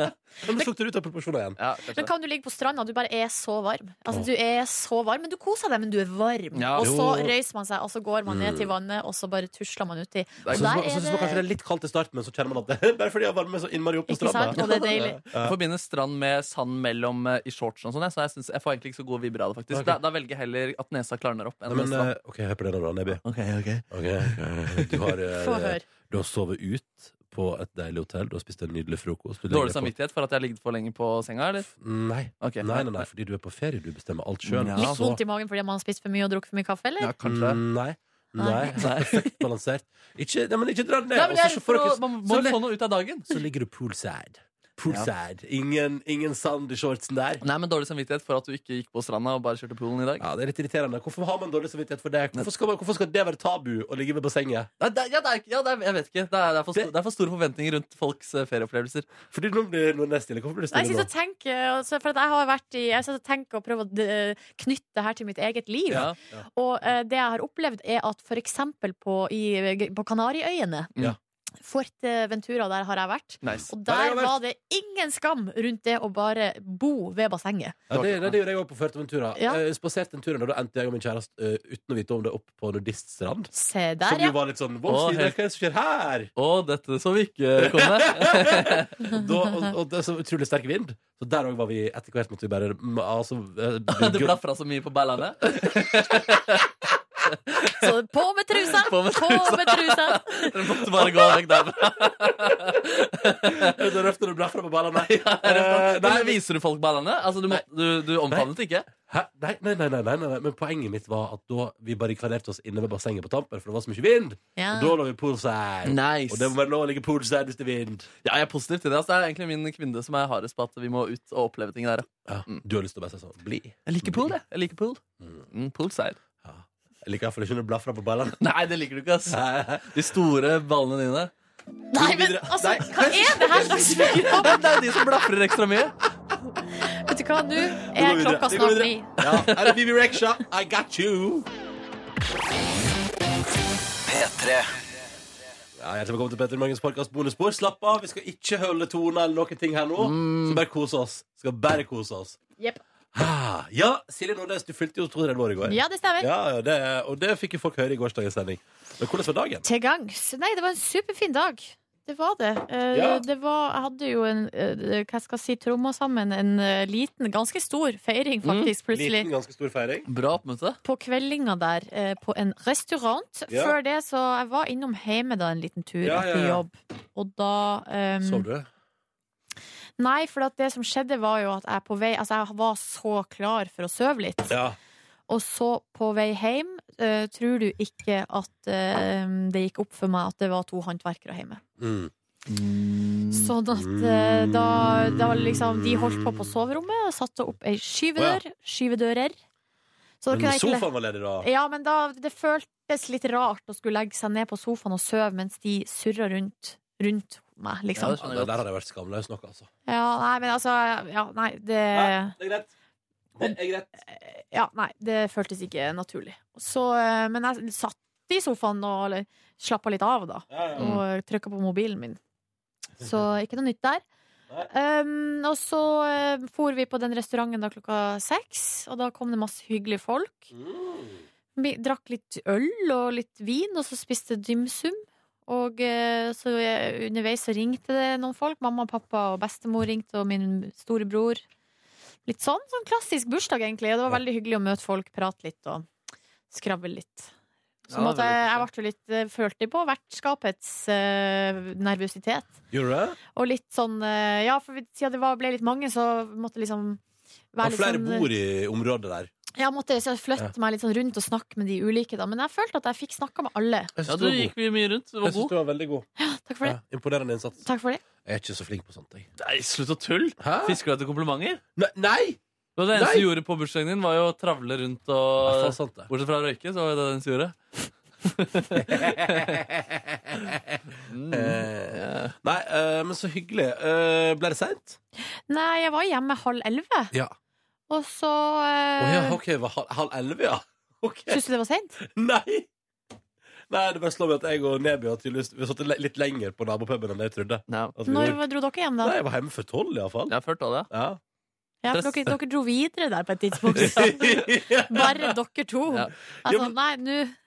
Nå slukte du ut av proporsjoner igjen.
Ja,
Men
kanskje det.
kan du ligge på stranda? Du bare er så varm. Altså, du er så varm, men du koser deg, men du er varm.
Ja.
Og så
Jo.
røyser man seg, og så går man
Mm.
ned til vannet, og så bare tusler man uti.
Så
Og
syns man,
der
så synes man kanskje det
er det
er litt kaldt i starten, men så kjenner man at det bare fordi jeg varmer meg så innmari opp på
Ikke sant?
stranda.
Og det er deilig.
Jeg forbinder strand med sand mellom eh, i shortsen og sånn, jeg, så jeg, synes, jeg får egentlig ikke så god vibber av det, faktisk.
Ok.
Da, da velger jeg heller at nesa klarner opp enn
Nei, men,
strand.
eh, ok, hør på det, da, Neby.
Ok, ok.
Ok, ok. Du har, eh,
Få høre.
du har sovet ut på et deilig hotell. Du har spist en nydelig frokost. Du
Dårlig
ligger på-
samvittighet for at jeg har ligget for lenge på senga, eller?
Nei.
Ok.
Nei, nei, nei, fordi du er på ferie. Du bestemmer alt sjøl.
Ja,
Litt vondt i magen fordi man har spist for mye og drukket for mye kaffe, eller?
Ja, kanskje.
Nei. Nei.
Nei.
Perfekt balansert. Ikke, nei, men ikke dra det ned.
Nei, men
Og så
jeg, er
får
redd for
dere-
å, man må
så le-
jo få noe ut av dagen.
så ligger du poolside. Poolside. Ingen, ingen sand i shortsen der.
Nei, men Dårlig samvittighet for at du ikke gikk på stranda og bare kjørte poolen i dag.
Ja, det er litt irriterende. Hvorfor har man dårlig samvittighet for det? Hvorfor skal, man, hvorfor skal det være tabu å ligge ved bassenget?
Nei, det, ja, det er, ikke- ja, det er, jeg vet ikke. Det er, det, er for, sto-
Det-
det er for store forventninger rundt folks eh, ferieopplevelser.
Fordi nå blir nå er det stille. Hvorfor blir det
Nei, jeg sitter
stille
og
nå?
tenker, altså, for at jeg har vært i Jeg sitter og tenker og prøver å eh, knytte det her til mitt eget liv.
Ja.
Og eh, det jeg har opplevd, er at for eksempel på, i, på Kanariøyene
Ja.
Fuerteventura, der har jeg vært.
Nice.
Og
Der har
der
jeg vært.
var det ingen skam rundt det å bare bo ved bassenget.
Ja, det, det, det gjorde jeg òg på Fuerteventura.
Ja.
Eh, Spaserte en tur en dag, da endte jeg og min kjæreste eh, uten å vite om det opp på nudiststrand.
Se
som
der, ja.
jo var litt sånn Hva
Å,
sier dere? Hva er det som skjer her?
Å, dette så vi ikke komme.
Og, da, og, og det er så utrolig sterk vind. Så der òg var vi etter hvert måtte vi bare mm, altså, eh,
Du
bygge-
blafra så mye på ballene.
Så på med trusa! På med trusa!
Dere måtte bare gå vekk derfra.
Det er røft når du blafrer på ballene. Eh,
Nei,
nei,
viser du folk ballene? Altså, du, må, du, du omfavnet ikke?
Hæ? Nei, nei, nei, nei, nei, nei, nei, men poenget mitt var at da vi barrikaderte oss inne ved bassenget på tampen, for det var så mye vind,
Ja.
og da lå vi poolside.
Nice.
Og det må være lov å ligge poolside hvis det er vind.
Ja, jeg er positiv til det. Altså, det er egentlig min kvinne som er hardest på at vi må ut og oppleve ting der. ja.
Ja,
Mm.
du har lyst til å bare si sånn, bli.
Jeg liker pool, jeg. Jeg liker pool.
Mm.
Mm, poolside.
Ja. Jeg liker i hvert fall ikke når du blafrer på ballene.
Nei, det liker du ikke, ass.
Hæ?
De store ballene dine.
Nei, men altså, hva er det her slags program?
Det er jo de som blafrer ekstra mye.
Vet du hva, nå
Vi går
er
videre.
klokka
Vi går
snart ni.
videre. Ja, her er Bibi Rexha, I got you.
P3
Ja, hjertelig velkommen til Petter Morgens podcast bonusbord. Slapp av, vi skal ikke holde tonen eller noen ting her nå. Så bare kose oss. Skal bare kose oss.
Jepp.
Ah, Ja, Silje Nordnes, du fylte jo 32 år i går.
Ja, det stemmer.
Ja, ja, det, og det fikk jo folk høre i gårsdagens sending. Men hvordan var dagen?
Til gangs. Nei, det var en superfin dag. Det var det. Eh,
Ja.
det var, jeg hadde jo en, eh, hva skal jeg si, tromma sammen en eh, liten, ganske stor feiring, faktisk, plutselig.
Mm. Liten, ganske stor feiring.
Bra oppmøte.
På kveldinga der, eh, på en restaurant.
Ja.
Før det, så jeg var innom hjemme da en liten tur
Ja, ja,
etter
ja.
jobb. Og da eh,
Sov du?
Nei, for at det som skjedde, var jo at jeg på vei Altså, jeg var så klar for å sove litt.
Ja.
Og så på vei hjem eh, tror du ikke at eh, det gikk opp for meg at det var to håndverkere hjemme.
Mm.
Sånn at eh, da, da liksom De holdt på på soverommet og satte opp ei skyvedør. Skyvedører. Så da kunne
Men
jeg ikke le-
sofaen var ledig, da?
Ja, men da, det føltes litt rart å skulle legge seg ned på sofaen og sove mens de surra rundt, rundt meg,
Ja,
liksom.
det
Ja,
skjønner
det
jeg
der
godt.
hadde jeg vært skamløs nok, altså.
Ja, nei, men altså Ja, nei, det
Det er greit. Det er greit.
Ja, nei, det føltes ikke naturlig. Så, eh, men jeg satt i sofaen og eller, slappa litt av, da.
Ja, ja.
Og trykka på mobilen min. Så ikke noe nytt der. Um, og så eh, for vi på den restauranten da klokka seks, og da kom det masse hyggelige folk.
Mm.
Vi drakk litt øl og litt vin, og så spiste dimsum. Og eh, så eh, underveis så ringte det noen folk. Mamma og pappa og bestemor ringte, og min storebror. Litt sånn, sånn klassisk bursdag, egentlig. Og det var veldig hyggelig å møte folk, prate litt og skravle litt. Så
Ja,
måtte
veldig
jeg, jeg
koselig.
ble jo litt, eh, følte på vertskapets eh, nervøsitet.
Gjorde du det?
Og litt sånn eh, Ja, for vi- siden det var, ble litt mange, så måtte liksom være
Og
litt
flere
sånn- eh,
bor i området der.
Ja, måtte så flytte meg litt sånn rundt og snakke med de ulike, da. Men jeg følte at jeg fikk snakka med alle.
Jeg
Ja, du gikk vi mye rundt. Du var god.
var veldig god.
Takk for det.
Ja, imponerende innsats.
Takk for det.
Jeg er ikke så flink på sånt, jeg.
Nei, slutt å tulle.
Hæ?
Fisker du etter komplimenter?
Ne- Nei!
Det, var det eneste
Nei.
du gjorde på bursdagen din, var jo å travle rundt
Det er faen
og
sant, det.
Bortsett fra å røyke, så var det det eneste du gjorde.
Eh, Nei, eh, men så hyggelig. Eh, Ble det seint?
Nei, jeg var hjemme halv elleve,
Ja.
og så
Å
eh,
ja, OK. det var Halv halv elleve, ja? Ok.
Syns du det var seint?
Nei! Nei, det bare slår meg at jeg og Neby har tydeligvis Vi har sittet le- litt lenger på nabopuben enn jeg trodde.
Ja.
At vi
Når
gjorde.
dro dere hjem, da?
Nei, jeg var hjemme før tolv, iallfall.
Jeg har ført av det.
Ja.
Ja, for dere, dere dro videre der på et tidspunkt.
ja,
Bare dere to.
Ja.
Ja,
Altså,
men-
nei,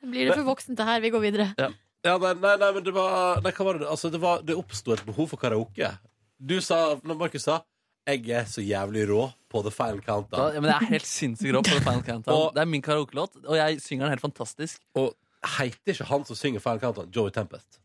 nå blir det for voksent, det her. Vi går videre.
nei, nei, nei, men det var Nei, hva var det? Altså, det, var- det oppsto et behov for karaoke. Du sa, når Markus sa Jeg er så jævlig rå på The Final
Da,
Countdown.
ja, men jeg er helt sinnssykt rå på Final Countdown.
Og-
Det er min karaokelåt, og jeg synger den helt fantastisk.
Og heter ikke han som synger Final Countdown, Joey Tempest?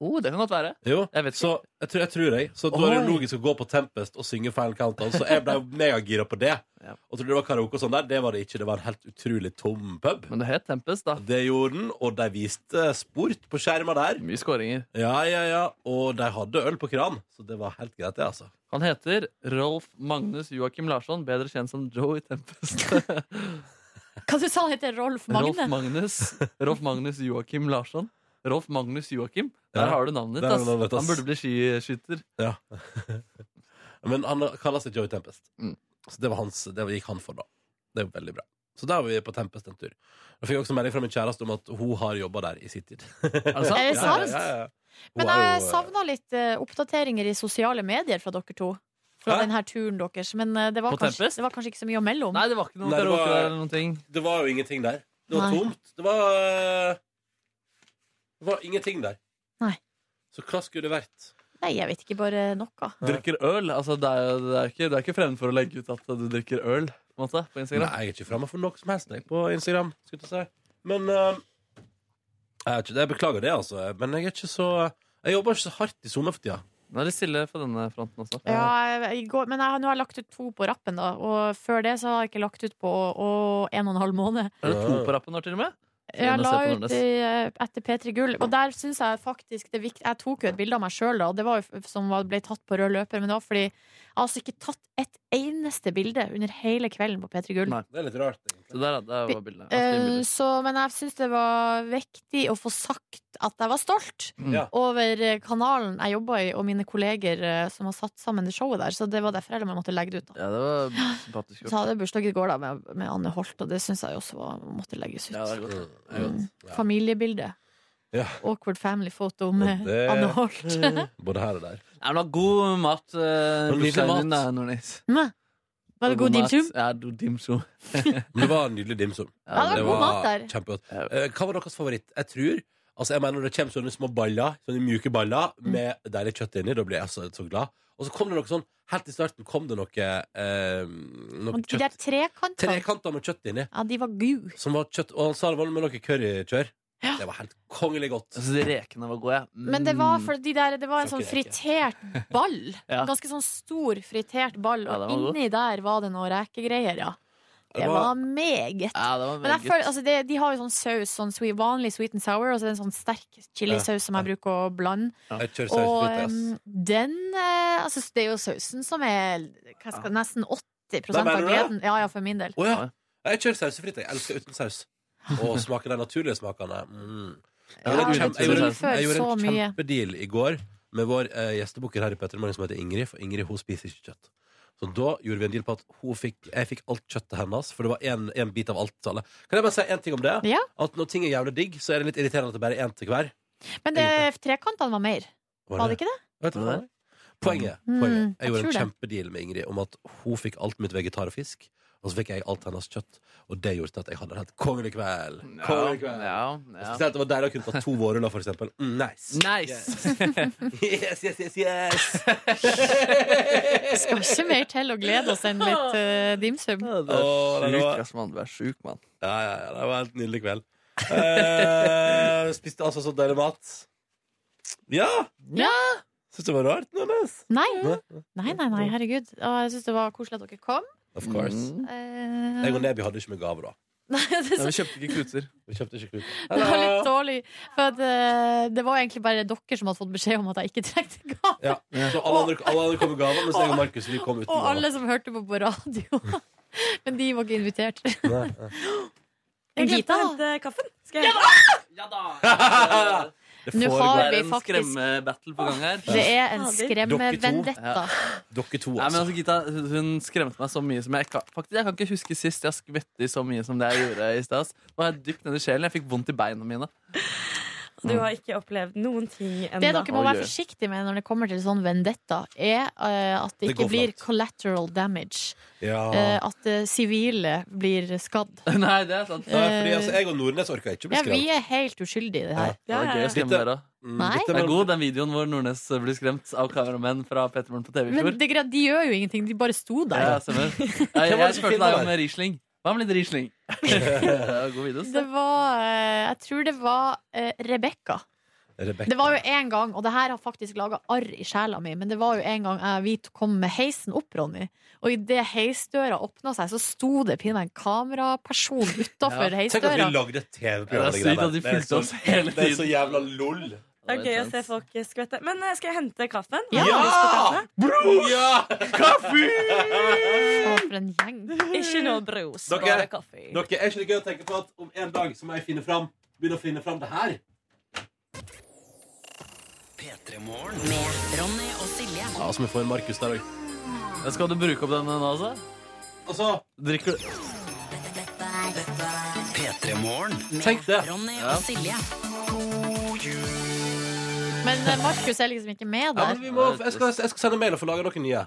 Oh, det kan godt være.
Jo,
Jeg vet ikke.
så jeg tror, jeg tror jeg. Så da er det
Oi.
logisk å gå på Tempest og synge Final Countdown. Så jeg ble megagira på det.
Ja.
Og trodde det var karaoke og sånn der. Det var det ikke. Det var en helt utrolig tom pub.
Men det het Tempest, da.
Det gjorde den, og de viste sport på skjerma der.
Mye skåringer.
Ja, ja, ja. Og de hadde øl på kran, så det var helt greit, det, altså.
Han heter Rolf Magnus Joakim Larsson, bedre kjent som Joey Tempest.
Hva du sa han heter? Rolf
Rolf
Magne?
Magnus Rolf Magnus Joakim Larsson. Rolf Magnus Joakim. Der
Ja,
har du navnet
der
ditt.
har
ass.
du navnet ditt, ass.
Han burde bli skiskytter.
Ja. Men han kaller seg Joey Tempest.
Mm.
Så det, var hans, det gikk han for, da. Det er jo veldig bra. Så da var vi på Tempest en tur. Da fikk jeg også melding fra min kjæreste om at hun har jobba der i sin tid.
Er det sant?
Er det sant?
Hun
Men
er jo,
jeg
eh,
savna litt eh, oppdateringer i sosiale medier fra dere to. Fra
Hæ?
denne turen deres. Men eh, det var,
På
kanskje,
Tempest?
det var kanskje ikke så mye å melde om.
Nei, det var ikke noe
Nei, det var-
karaoke der eller noen ting.
Det var jo ingenting der. Det var
Nei.
tomt. Det var eh, Det var ingenting der.
Nei.
Så hva skulle det vært?
Nei, jeg vet ikke. Bare noe.
Drikker øl. Altså, det er, jo- det er ikke, det er ikke fremmed for å legge ut at du drikker øl på, en måte, på
Nei,
Instagram.
jeg er ikke framme for noe som helst jeg, på Instagram. Skulle jeg til å si. Men eh, jeg, er ikke, jeg beklager det, altså. Men jeg er ikke så Jeg jobber ikke så hardt i sommer for tida.
Nå er det stille på denne fronten også.
Ja, jeg- i går, men jeg, har- nå har jeg lagt ut to på rappen, da. Og før det så har jeg ikke lagt ut på å, en og en halv måned.
Er det to på rappen nå, til og med?
Jeg
Nå
la
ser jeg på
ut i, eh, etter P3 Gull, og der syns jeg faktisk det er viktig Jeg tok jo et bilde av meg sjøl, da, og det var jo f- som var- ble tatt på rød løper, men det var fordi jeg har altså ikke tatt et eneste bilde under hele kvelden på P3 Gull.
Nei.
Det er litt rart, egentlig.
Så der, er- der var bildet. Ja, fine
Eh,
bilder.
Så, men jeg syns det var viktig å få sagt at jeg var stolt
Mm.
Ja.
over eh, kanalen jeg jobba i, og mine kolleger eh, som har satt sammen det showet der. Så det var derfor jeg måtte legge det ut. da
Ja, det var sympatisk.
Så hadde jeg bursdag i går da med, med Anne Holt, og det syns jeg også var, måtte legges ut.
Ja, det er godt.
Mm.
Mm.
Ja.
Familiebilde.
Ja.
Awkward family photo med
det-
Anne Holt.
Både her og der.
Nei, men det var god mat. Uh,
Nydelig mat.
Nordnes.
Mm. Var det god dim
mat.
sum?
Ja, god dim sum.
Men det var en nydelig dimsum.
Ja, det var god mat der.
Kjempegodt.
Ja.
Eh, hva var deres favoritt? Jeg tror Altså, jeg mener Det kommer sånne små baller, sånne mjuke baller
Mm.
med deilig kjøtt inni. Da blir jeg så, så glad. Og så kom det noe sånn Helt i starten kom det noe, eh, noe
Og De der
kjøtt.
trekantene,
Trekanter med kjøtt inni.
ja, de var gule.
Som var kjøtt Og han sa det var med noe currykjør.
Ja.
Det var helt kongelig godt.
Jeg synes Altså, Rekene var gode. jeg. Mm.
Men det var, for de der, det var en
Skal
sånn
ikke reke.
fritert ball.
Ja.
En ganske sånn stor fritert ball,
Ja,
og
den var god.
inni der var det noe rekegreier, ja.
Det
Det
var-
var meget.
ja, det var
Men jeg
meget.
føler, altså det, de har jo sånn saus, sånn sweet, vanlig sweet and sour, og så er det en sånn sterk chilisaus som jeg bruker å blande.
Jeg kjører
Og
saus ut, ass.
em, den eh, altså, Det er jo sausen som er hva skal, nesten 80
Nei, mener
av
du det?
gleden. Ja, ja, for min del.
Å ja. Jeg kjører sausefritt. Jeg elsker uten saus. Og smaker de naturlige smakene. Mm. Jeg gjorde
Ja,
en kjem-
det
jeg
tror
gjorde
jeg
en,
før
jeg gjorde en
så mye.
kjempedeal i går med vår eh, gjestebukker her i Petremorgen som heter Ingrid, for Ingrid hun spiser ikke kjøtt. Så da gjorde vi en deal på at hun fikk, jeg fikk alt kjøttet hennes, for det var en, en bit av alt til alle. Kan jeg bare si en ting om det?
Ja.
At når ting er jævlig digg, så er det litt irriterende at det bare er én til hver.
Men det, trekantene var mer, var det ikke det?
Vet du
Var
hva?
det
Poenget,
Mm,
poenget. Jeg
jeg
gjorde en
tror
kjempedeal med Ingrid om at hun fikk alt mitt vegetar og fisk, og så fikk jeg alt hennes kjøtt. Og det gjorde at jeg hadde en helt kongelig kveld. Kongelig kveld.
Ja,
Og
ja, ja.
Spesielt det var deilig å kunne ta to vårruller, for eksempel. Mm, nice.
Nice!
Yes, yes, yes, yes.
Skal ikke mer til å glede oss enn litt eh, dimsum.
Ja, det
Åh, det
er
var-
sjuk, ass, mann. Du er sjuk, mann.
Ja, ja, ja, det var en helt nydelig kveld. Eh, spiste altså så deilig mat. Ja!
Ja.
Syns det var rart, Nånes.
Nei, nei, nei, nei herregud. Og jeg syns det var koselig at dere kom.
Of course.
Mm.
Eh,
Jeg og Neby hadde ikke med gave, da.
Nei, det
Ja,
er
vi
så-
kjøpte ikke kluter.
Vi kjøpte ikke kluter.
det var litt dårlig. For at, eh, det var egentlig bare dere som hadde fått beskjed om at jeg ikke trengte gave.
Ja. Så alle andre, alle andre kom med gaver, mens jeg og Markus vi kom uten
Og
gaver.
alle som hørte på på radio. Men de var ikke invitert.
Nei, nei.
Jeg glemte
Gita,
å hente kaffen. Skal jeg?
Ja da!
Det
Nå
foregår-
har
Det er
vi
en
faktisk
skremmebattle på gang her.
Det er en
Dere
skremmevendetta.
Dere to,
Nei, men
altså.
altså, Gita, hun hun skremte meg så mye som jeg ikke Faktisk, jeg kan ikke huske sist jeg skvett i så mye som det jeg gjorde i sted. ass. Nå er jeg dypt nede i sjelen. Jeg fikk vondt i beina mine.
Du har ikke opplevd noen ting ennå.
Det dere må være forsiktige med når det kommer til sånn vendetta, er eh, at det
Det
ikke
går
blir collateral damage.
Ja.
Eh, at eh, sivile blir skadd.
Nei, det er sant.
Nei, fordi altså, jeg og Nordnes orker ikke bli
Ja, vi
skremt.
er helt uskyldige i det her.
Det var gøy å skremme dere.
Mm,
Nei. dette
Det
var-
er god den videoen hvor Nordnes blir skremt av kameramenn fra Petermoren på TV i
Men
fjor.
det, er greit, de gjør jo ingenting, de bare sto der.
Ja, stemmer. Jeg, jeg spurte deg om Riesling. Hva med litt Riesling? Det var god video. altså.
Det var eh, Jeg tror det var uh, Rebekka.
Rebecca.
Det var jo en gang, og det her har faktisk laga arr i sjela mi, men det var jo en gang jeg, vi kom med heisen opp, Ronny, og idet heisdøra åpna seg, så sto det pinadø en kameraperson utafor
Tenk at vi
heisdøra.
lagde et TV-program.
Ja, det er sykt at de
Det er
fulgte
så-
oss hele
Det er så
tiden.
jævla lol.
Det er gøy å se folk skvette. Men eh, skal jeg hente kaffen?
Ja!
Har du lyst på kaffe?
Bror!
Faen, for en gjeng.
Ikke noe brus,
Dere,
bare kaffe.
dere, er ikke det gøy å tenke på at om en dag så må jeg finne fram, begynne å finne fram det her?
Med Ronny og Silje.
Ja, så må vi få en Markus der òg.
Skal du bruke opp denne nå, altså?
Altså
Drikker du
Tenk det.
Ronny
Ja.
og Silje.
Men eh, Markus er liksom ikke med
Ja,
der.
men vi må, jeg, skal, jeg skal sende mail og få laga noen nye.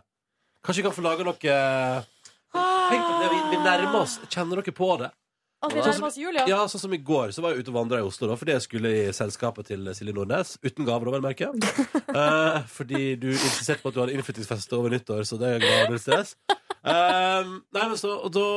Kanskje vi kan få laga noe Tenk på det, vi, vi nærmer oss. Kjenner dere på det?
At vi
Sånn som-
nærmer oss jul, ja.
Ja, Sånn som i går, så var jeg ute og vandra i Oslo, da, fordi jeg skulle i selskapet til Silje Nordnes. Uten gaver, da, vel å merke. Eh, fordi du insisterte på at du hadde innflyttingsfest over nyttår, så det ga null stress. Eh, nei, men så, og da,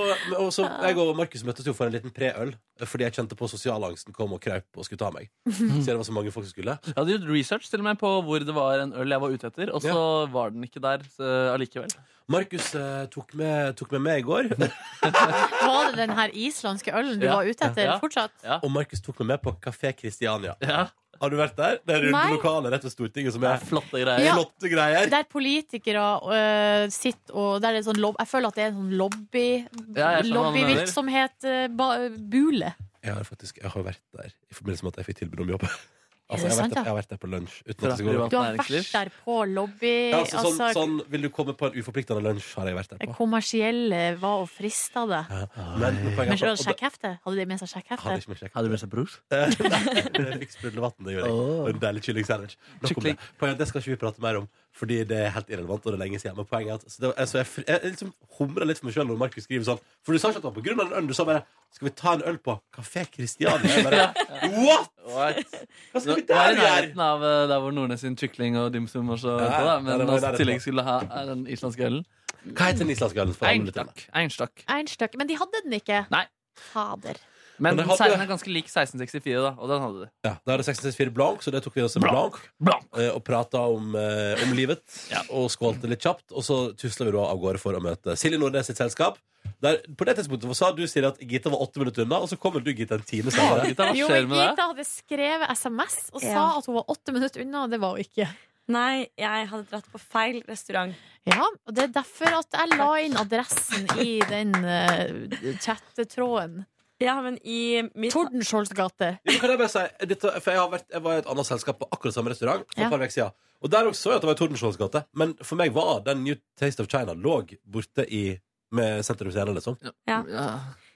og så Jeg og Markus møttes jo for en liten preøl, eh, fordi jeg kjente på sosialangsten kom og kraup og skulle ta meg. Siden det var så mange folk som skulle.
Jeg hadde gjort research til og med på hvor det var en øl jeg var ute etter, og så var den ikke der så, allikevel.
Markus eh, tok, med, tok med meg i går.
Var det den her islandske ølen du
Ja.
var ute etter
Ja.
fortsatt?
Og Markus tok meg med på Kafé Kristiania. Har du vært der? Det er runde
Nei.
lokalet rett ved Stortinget som er
flotte
Ja.
Flotte greier.
Der politikere øh, sitter og der er det sånn lob Jeg føler at det er en sånn lobby
Ja, jeg skjønner hva du mener.
lobbyvirksomhet øh, ba- bule.
Jeg har faktisk jeg har vært der i forbindelse med at jeg fikk tilbud om jobb.
det
Altså, jeg, har
sant, ja?
vært der, jeg har vært der på lunsj. Uten
Fra
at det går
privat
Du har vært der på lobby
ja, altså, sånn,
altså,
sånn, Vil du komme på en uforpliktende lunsj, har jeg vært der på.
Kommersielle var og frista det.
Ja, Men, men
Men
poenget
så var det
er at- og da-
sjekkhefte? Hadde de med seg sjekkhefte?
Hadde ikke med sjekk. Jeg fikk sprudlevann, det gjorde jeg. Og en deilig kylling sandwich. Nok om det. Poenget er at det skal ikke vi prate mer om, fordi det er helt irrelevant, og det er lenge siden. Men poenget er at så det, altså, jeg, fr- jeg liksom humrer litt for meg sjøl når Markus skriver sånn. For du sa ikke at det var på grunn av den ølen, du sa bare skal vi ta en øl på Kafé Kristiania? Jeg bare, What?! Hva skal vi
Det var
der
i
gjøre?
nærheten av eh, der hvor Nordnes sin kykling og dimsum var så
Ja,
på, da. Men
ja, det var i
altså, i
nærheten.
tillegg skulle ha er den islandske ølen.
Hva heter den islandske ølen? for alle
Einstakk. Einstakk.
Einstakk. Men de hadde den ikke.
Nei.
Fader.
Men
Men det
den
hadde-
er ganske lik 1664, da, og den hadde du.
Ja, Da er det 664 blank, så det tok vi oss en blank.
Blank.
eh, Og prata om, eh, om livet og skålte litt kjapt. Og så tusla vi da av gårde for å møte Silje Nordnes sitt selskap. Der, på det tidspunktet sa du Silje, at Gita var åtte minutter unna, og så kommer du, Gita, en time senere.
Jo, men Gita hadde skrevet SMS og sa
Ja.
at hun var åtte minutter unna, og det var hun ikke.
Nei, jeg hadde dratt på feil restaurant.
Ja, og det er derfor at jeg la inn adressen i den eh, chattetråden.
Ja, men i mitt
Tordenskiolds gate.
Jo, men kan jeg bare si, dette, for jeg, har vært, jeg var i et annet selskap på akkurat samme restaurant for
Ja.
et par uker siden. Og der også så jeg at det var i Tordenskiolds gate. Men for meg var den New Taste of China lå borte i med Sentrum Scene, liksom.
Ja.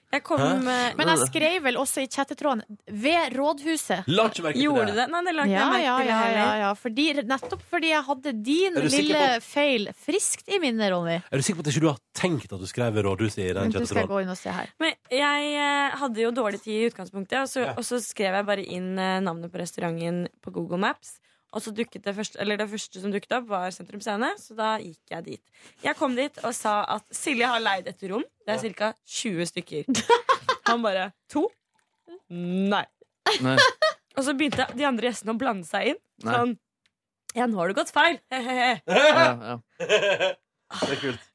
Jeg kom
Hæ?
med
Men jeg skrev vel også i chattetråden 'ved rådhuset'.
La ikke merke til
Gjorde det. det? Nei, det la ikke jeg
ja,
merke
ja,
til
ja,
heller.
ja, ja. Fordi, Nettopp fordi jeg hadde din
Er du sikker
lille feil friskt i minnet, Ronny.
Er du sikker på at ikke du har tenkt at du skrev Rådhuset i den
Men du skal
kjøttetråden?
gå inn og se her.
Men jeg eh, hadde jo dårlig tid i utgangspunktet, og så, og så skrev jeg bare inn eh, navnet på restauranten på Google Maps. Og så dukket det første, eller det første som dukket opp, var Sentrum Scene, så da gikk jeg dit. Jeg kom dit og sa at Silje har leid et rom. Det er ca. 20 stykker. Han bare To? Nei.
Nei.
Og så begynte de andre gjestene å blande seg inn.
Nei.
Sånn Ja, nå har du gått feil!
Ja,
Det er kult.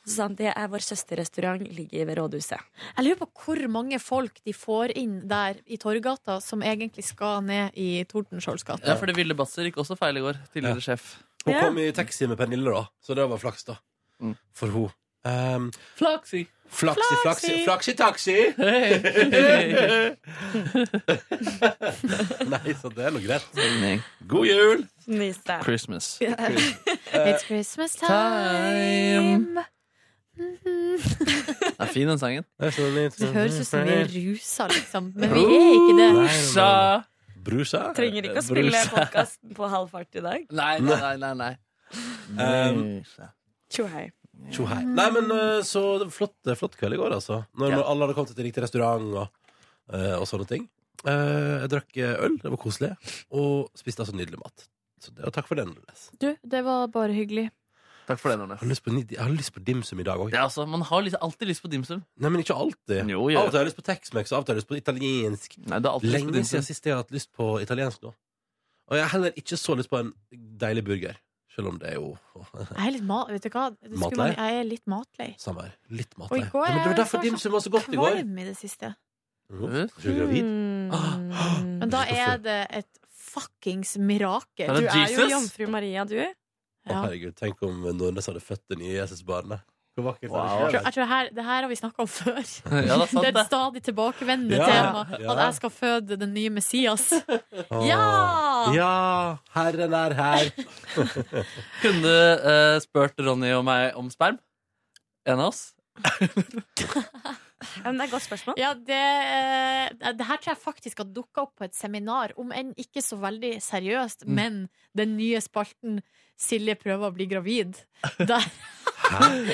Så sa han det er vår søsterrestaurant, ligger ved rådhuset.
Jeg lurer på hvor mange folk de får inn der i Torgata, som egentlig skal ned i Tordenskiolds gate.
Ja, fordi Vilde Basser gikk også feil i går. Tidligere sjef.
Hun kom i taxi med Pernille, da, så det var flaks, da.
Mm.
For hun. Um,
Flaksi.
Flaksi, flaksi,
Flaksi.
flaksi, taksi!
Hey.
Nei, så det er nå greit. God jul!
Nyste.
Christmas.
Ja. It's Christmas time.
Det er fin, den sangen.
Det
Det høres ut som vi er rusa, liksom. Men vi er ikke det.
Rusa.
Brusa? Eh,
Trenger ikke å spille
Brusa.
podkasten på halv fart i dag.
Nei, nei, nei. nei, nei.
Um,
Tjo hei.
Tjo hei. Nei, men eh, så flott, flott kveld i går, altså. Når, når alle hadde kommet til riktig restaurant og, eh, og sånne ting. Eh, jeg drakk eh, øl, det var koselig, og spiste altså nydelig mat. Så det, og takk for den. Nordnes.
Du, det var bare hyggelig.
Takk for det, Nordnes.
Jeg har lyst på, nid- jeg har lyst på dimsum i dag òg.
Ja, altså, man har liksom alltid lyst på dimsum.
Nei, men ikke alltid.
Jo, jo.
Av og til har jeg lyst på Tex-Mex, av og til har jeg lyst på italiensk.
Nei, det er alltid lyst på
Lenge
dimsum.
siden sist jeg har hatt lyst på italiensk nå. Og jeg har heller ikke så lyst på en deilig burger. Selv om det er jo
Jeg er litt ma vet du hva? Det skulle
Matlei?
man- Jeg er litt matlei.
Samme her. Litt mat.
Og i
der.
går
ja, men det
jeg
var derfor
så
dimsum var så godt i går.
Kvalm i det Mm, siste.
Uff, Er du gravid? Ah,
Men da er det et fuckings mirakel.
Er det
Du er jo
Jesus?
jomfru
Maria, du.
Å, herregud, tenk om Nordnes hadde født det nye Jesusbarnet. Hvor
Jeg
vakkert hadde
tror,
det
jeg tror det her, det her har vi snakka om før.
Ja, det er sant,
det er
det.
et stadig tilbakevendende
Ja,
tema.
ja.
At jeg skal føde den nye Messias.
Åh.
Ja!
Ja, herren er her.
Kunne du eh, spurt Ronny og meg om sperm? En av oss?
Ja, men det er et godt spørsmål.
Ja, det, eh, det her tror jeg faktisk har dukka opp på et seminar, om enn ikke så veldig seriøst,
Mm.
men den nye spalten 'Silje prøver å bli gravid'. Der,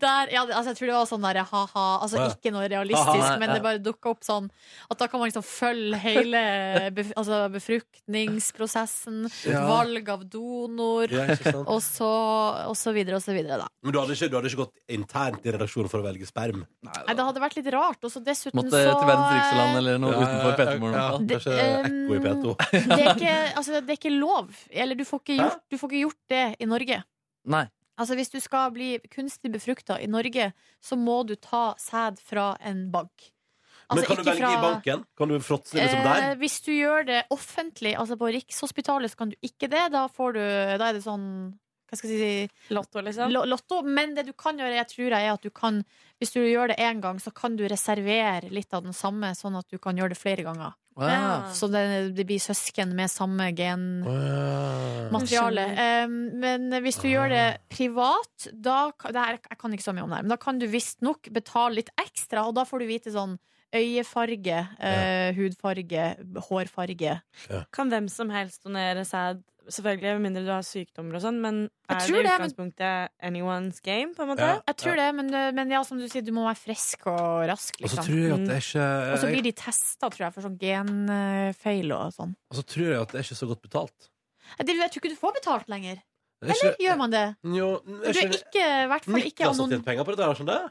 der ja, det- altså Jeg tror det var sånn derre ha-ha. Altså
Å, ja.
ikke noe
Ha-ha,
realistisk,
nei,
men
ja.
det bare dukka opp sånn at da kan man liksom følge hele bef altså befruktningsprosessen,
Ja.
valg av donor,
Ja, ikke sant.
og så, og så videre og så videre, da.
Men du hadde, ikke, du hadde ikke gått internt i redaksjonen for å velge sperm?
Nei, det hadde vært litt rart. Og så dessuten
Måtte
eh,
så
til verdens rikeste land
eller noe utenfor Petermoren,
Ja,
i hvert
kanskje
fall.
ekko i
um,
P2.
det er, ikke, altså, det er ikke lov. Eller du får ikke,
Hæ?
gjort, du får ikke gjort det i Norge.
Nei.
Altså Hvis du skal bli kunstig befrukta i Norge, så må du ta sæd fra en bank.
Men
Altså,
kan du
ikke
velge i
fra-
banken? Kan du fråtse liksom
Eh,
der?
hvis du gjør det offentlig, altså på Rikshospitalet, så kan du ikke det. Da, får du, da er det sånn hva skal jeg si
Lotto, liksom?
Lotto. Men det du kan gjøre, jeg tror jeg, er at du kan Hvis du gjør det én gang, så kan du reservere litt av den samme, sånn at du kan gjøre det flere ganger.
Ah.
Så det, det blir søsken med samme genmateriale. Eh, men hvis du gjør det privat, da kan- det her, Jeg kan ikke så mye om det her, men da kan du visstnok betale litt ekstra, og da får du vite sånn øyefarge, eh, hudfarge, hårfarge.
Kan hvem som helst donere sæd? Selvfølgelig, Med mindre du har sykdommer og sånn, men
Jeg
er
tror
det i
det, men-
utgangspunktet anyone's game? på en måte?
Ja,
Jeg tror det, men, eh, men ja, som du sier, du må være frisk og rask.
Og
Liksom.
så tror jeg at det er ikke
Mm. Og så blir de testa, tror jeg, for sånn genfeil og sånn.
Og så tror jeg at det er ikke så godt betalt.
Jeg tror jeg tror ikke du får betalt lenger.
Det er ikke-
Eller gjør man det?
Jo,
Du er ikke, i hvert fall ikke
Niklas har
anonym.
tjent penger på dette, har han ikke det?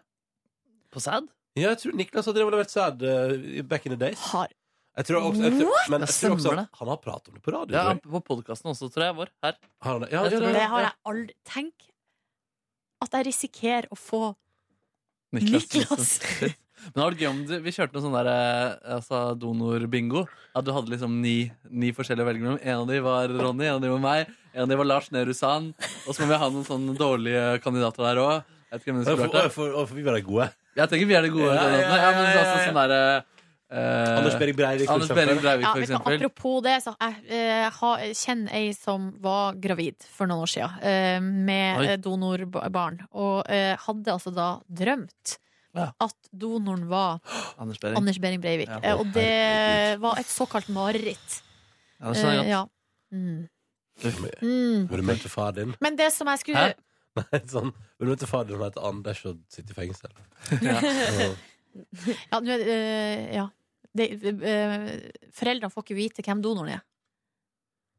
På sæd?
Ja, jeg tror Niklas har drevet og levert sæd eh, back in the days.
Har
jeg tror også, jeg tror,
What?
men jeg tror også
Stemmer det.
at han har pratet om det på radio.
Ja,
tror jeg.
På podkasten også, tror jeg. Vår. Her.
Har han det? Ja,
det,
ja, ja,
har
ja.
jeg aldri Tenk at jeg risikerer å få Niklas.
Men det var gøy om du, Vi kjørte noe sånn der eh, altså, donorbingo. At du hadde liksom ni, ni forskjellige å velge mellom. En av de var Ronny, en av de var meg, en av de var Lars Nehru Sand. Og så må vi ha noen sånne dårlige kandidater der òg. Jeg vet ikke hvem
Å,
det skulle
for- å,
vært. da.
for- å, for vi var de gode.
Jeg tenker vi er de
Ja,
gode.
ja, ja,
kandidatene. Ja, men
ja, ja,
altså
ja.
sånn der, eh,
Anders Behring Breivik, for
Anders
eksempel.
Behring Breivik,
Ja,
for
vet du hva,
eksempel.
apropos det, så jeg eh, har- kjenner ei som var gravid for noen år siden eh, med
Oi.
eh, donorbarn, og eh, hadde altså da drømt
Ja.
at donoren var
Anders Behring.
Anders Behring Breivik.
Ja.
Eh, og det var et såkalt mareritt.
Ja, det skjønner jeg
Eh,
godt.
ja. Mm. Mm.
Vil du møte far din?
Men det som jeg skulle
Nei, sånn. Vil du møte far din som heter Anders og sitter i fengsel?
Ja.
Ja.
Ja, nå er det, eh, ja. Det, eh, foreldrene får ikke vite hvem donoren er.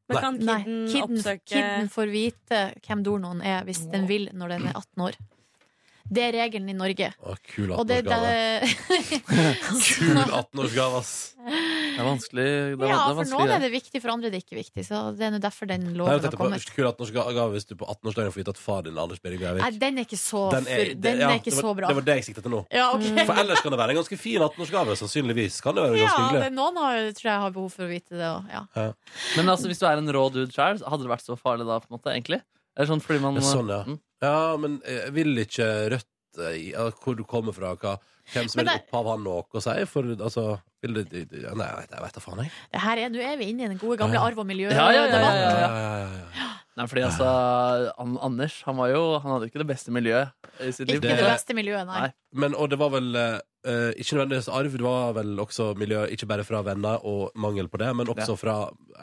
Men kan
Nei,
kiden oppsøke-
kiden får vite hvem donoren er hvis den vil når den er 18 år. Det er regelen i Norge.
Å, kul
Og det,
18-årsgave. Kul 18-årsgave, ass!
Det er vanskelig. Det var,
ja,
det er
for
vanskelig
noen er
greier.
det viktig, for andre er det ikke viktig. Så det er nå derfor den
Nei, jeg
loven har
tenkte på
kommet.
Kul 18-årsgave hvis du på 18-årsdagen får vite at far din er Anders Behring Breivik.
Nei, den er ikke så,
Den er-
fur-
det-
den
ja,
er ikke
det var,
så bra.
Det var det jeg siktet til nå.
Ja, ok.
For ellers kan det være en ganske fin 18-årsgave. Sannsynligvis kan det være
ja,
ganske hyggelig.
det, noen har, tror jeg har behov for å vite det òg. Ja.
Ja.
Men altså, hvis du er en rå dude sjøl, hadde det vært så farlig da, på en måte, egentlig? Eller sånn fordi man
Ja, sånn, ja. ja, men jeg vil ikke Rødt eh, ja, Hvor du kommer fra, hva, hvem som
Men
vil
det-
opphav har noe å si? For altså vil det, det- det- ja, Nei, jeg vet- jeg vet da faen, jeg.
Det her er, nå er vi inne i den gode gamle
Ja.
arv- og miljødebatten.
Ja, ja, ja, ja, ja, ja.
ja.
Nei, fordi altså An Anders han, var jo, han hadde jo ikke det beste miljøet i sitt liv.
Ikke det beste miljøet, nei.
Men, og det var vel eh, eh, ikke nødvendigvis arv, det var vel også miljø ikke bare fra venner og mangel på det, men også fra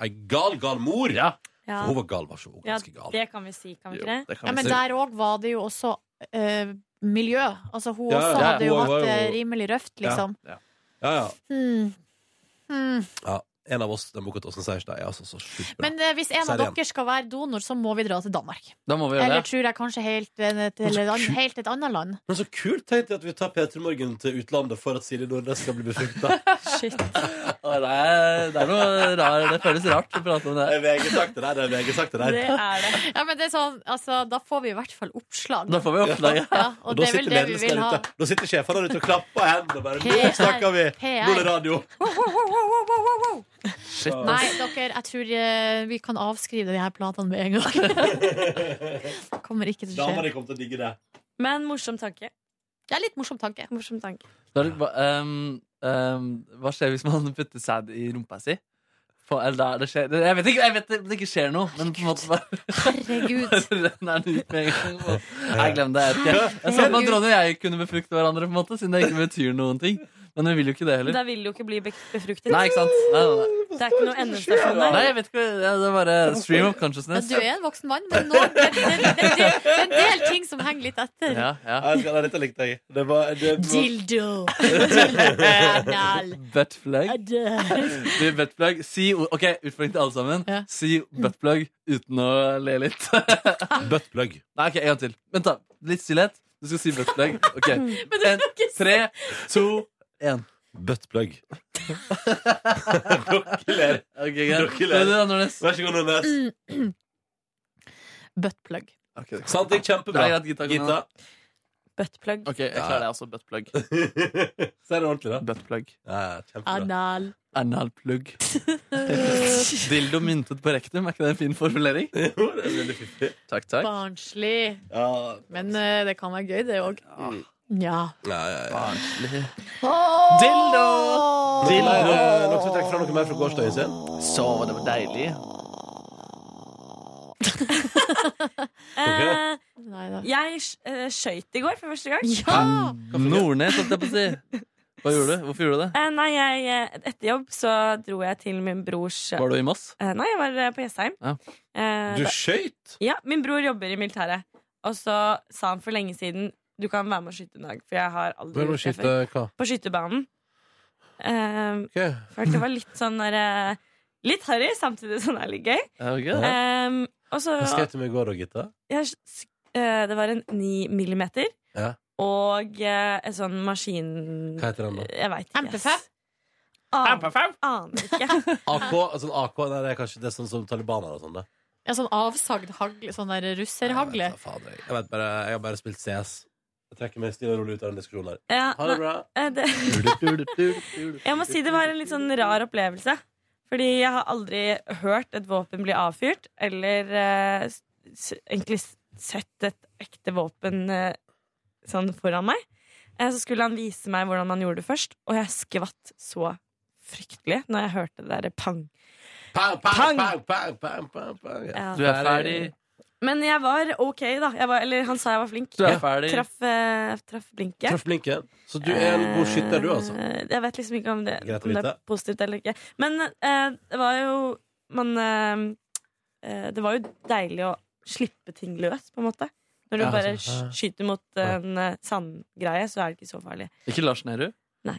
ei gal, gal mor.
Ja.
For hun var gal, var så
Ja,
ganske gal.
det kan vi si, kan vi ikke det?
Ja, men der òg var det jo også eh, miljø. Altså, hun
Ja, ja,
også
ja.
hadde jo
Hun var
hatt det
jo-
rimelig røft, liksom.
Ja, ja. ja,
Hmm. Hmm.
ja. ja. En av oss, den boka til Åsen Seierstad, er altså så sjukt bra.
Men eh, hvis en av
Serien.
dere skal være donor, så må vi dra til Danmark.
Da må vi gjøre
Eller
det.
tror jeg kanskje helt, eh, til,
Men så
eller,
kult.
helt et annet land.
Men så kult tenkte jeg at vi tar P3 Morgen til utlandet for at Silje Nordnes skal bli befrukta.
Å, Det er, det er noe rar, det føles rart å prate om det.
Det er VG-sagt, det der. Det er VG-sagt, det der.
Ja, men det er sånn, altså, da får vi i hvert fall oppslag.
Da får vi oppslag, ja.
ja og,
Og da
det er vel
sitter
det vi
ledelsen
vil
der
ha.
ute. Da sitter sjefene der ute og klapper i hendene og bare Nå
PR.
snakker vi! Nå er det
PR.
radio!
Wow, wow, wow, wow, wow, wow, wow.
Shit, ass.
Nei, dere, jeg tror eh, vi kan avskrive de her platene med en gang. Kommer ikke til å skje.
Damene kommer til å digge det.
Men morsom tanke.
Det er litt morsom tanke.
Morsom tanke.
Da er det- hva- ehm, ehm, hva skjer hvis man putter sæd i rumpa si? På, eller da, det skjer, jeg vet ikke, jeg vet det, det ikke skjer noe, men på en måte bare
Herregud.
Renner den ut med en gang. og- Nei, glem det. Jeg vet ikke. Jeg så på at
Herregud.
Ronny og jeg kunne befrukte hverandre, på en måte, siden det ikke betyr noen ting. Men vi vil jo ikke det heller.
Da vil det jo ikke bli be- befruktet.
Nei, ikke sant? Nei, nei, nei.
Det er ikke noe endestasjon
Nei,
der.
jeg vet ikke. ja, Det er bare stream of
Ja,
consciousness.
du er en voksen mann, men nå, det, det, det, det, det er en del ting som henger litt etter.
Ja,
ja. Nei, dette likte jeg. Det var, det var...
Dildo. Anal.
Buttplug.
Adøl.
Du, buttplug. Si, o- ok, utfordring til alle sammen. Si buttplug uten å le litt.
buttplug.
Nei, ok, en gang til. Vent, da. Litt stillhet. Du skal si buttplug. Ok.
Men
En, tre, to, én.
Buttplug.
Ler. Ok, greit.
Dere ler.
Men du da, Nordnes?
Vær så god, Nordnes.
Mm. Buttplug.
Sant, det gikk kjempebra.
Det er greit, Gita, kom
Gita.
Buttplug.
Ok, jeg klarer det også. Buttplug.
Ser det ordentlig, da?
Buttplug.
Ja, kjempebra.
Anal.
Analplug. Dildo myntet på rektum, er ikke det en fin formulering?
Jo, det er veldig fiffig.
Takk, takk.
Barnslig.
Ja.
Men eh, det kan være gøy, det òg.
Ah.
Ja.
Ja, ja, ja.
Barnslig.
Dildo!
Dildo. Er det noen som eh, trekker fra noe mer fra gårsdagen sin?
Så det var deilig.
Eh,
Nei da.
jeg sk- eh, skøyt i går for første gang.
Nordnes, holdt jeg på å si. Hva gjorde du? Hvorfor gjorde du det?
Eh, nei, jeg, eh, etter jobb så dro jeg til min brors
Var du i Moss?
Eh, nei, jeg var eh, på Jessheim.
Ja.
Eh,
Du
da-
skøyt?
Ja, min bror jobber i militæret. Og så sa han for lenge siden du kan være med og skyte en dag, for jeg har aldri
Hvem må
gjort det
skyte
før.
hva?
På skytebanen. Eh,
Ok.
For det var litt sånn der, eh, Litt harry, samtidig som det er litt gøy.
Ja, ok.
Eh, og så
Hva skøyt du med i går da, Gitta?
jeg, s- eh, Det var en 9 millimeter
Ja.
og eh, en sånn maskin...
Hva heter den da?
Jeg veit ikke.
MP5?
Aner aner ikke.
AK? Altså, AK nei, det er kanskje det er sånn som talibaner og sånn, det.
Ja, sånn avsagd hagle. Sånn der russerhagle.
Fader, jeg, vet bare, jeg har bare spilt CS. Jeg trekker meg stille og rolig ut av den diskusjonen her.
Ja,
Ha det
nei,
bra.
eh, det, jeg må si det var en litt sånn rar opplevelse. Fordi jeg har aldri hørt et våpen bli avfyrt, eller eh, s- s- egentlig s- sett et ekte våpen eh, sånn foran meg. Eh, så skulle han vise meg hvordan man gjorde det først, og jeg skvatt så fryktelig når jeg hørte det derre pang.
Pang, pang,
Pang!
pang, pang, pang, pang, pang.
Ja.
Du er ferdig.
Men jeg var ok, da. Jeg var, eller han sa jeg var flink.
Du er ferdig.
Traff, eh, traff blinket.
Traff blinken. Så du er en god skytter, du, altså.
Eh, Jeg vet liksom ikke om det,
Greit å
om det er
vite.
positivt eller ikke. Men eh, det var jo Man eh, eh, Det var jo deilig å slippe ting løs, på en måte. Når du
Ja,
bare
altså, ja.
sk- skyter mot en eh, sandgreie, så er det ikke så farlig.
Ikke Lars Nehru?
Nei.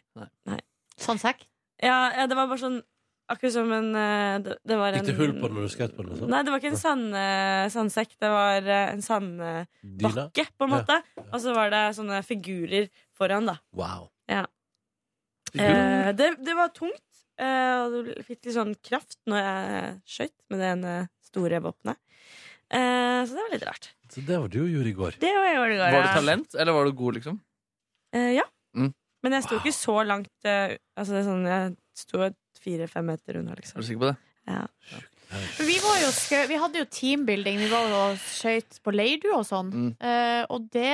Sandsekk?
Ja, ja, det var bare sånn Akkurat som en eh, det, det var en
Gikk det hull på den når du skøyt på den? Liksom?
Nei, det var ikke en sand, eh, sandsekk. Det var eh, en
Dyna?
sandbakke, på en måte. Og så var det sånne figurer foran, da.
Wow.
Ja. Eh, det, det var tungt, eh, og du fikk litt sånn kraft når jeg skøyt med det ene store våpenet. Eh, så det var litt rart.
Så det var det du gjorde i går.
Det var, jeg gjorde i går,
Var du
ja.
talent, eller var du god, liksom?
Eh, ja.
Mm.
Men jeg sto ikke så langt eh, Altså det er sånn, Jeg sto et fire-fem meter unna, liksom.
Er du sikker på det?
Ja.
Vi, var jo skø vi hadde jo teambuilding. Vi var jo og skøyt på leirdu og sånn.
Mm.
Eh, og det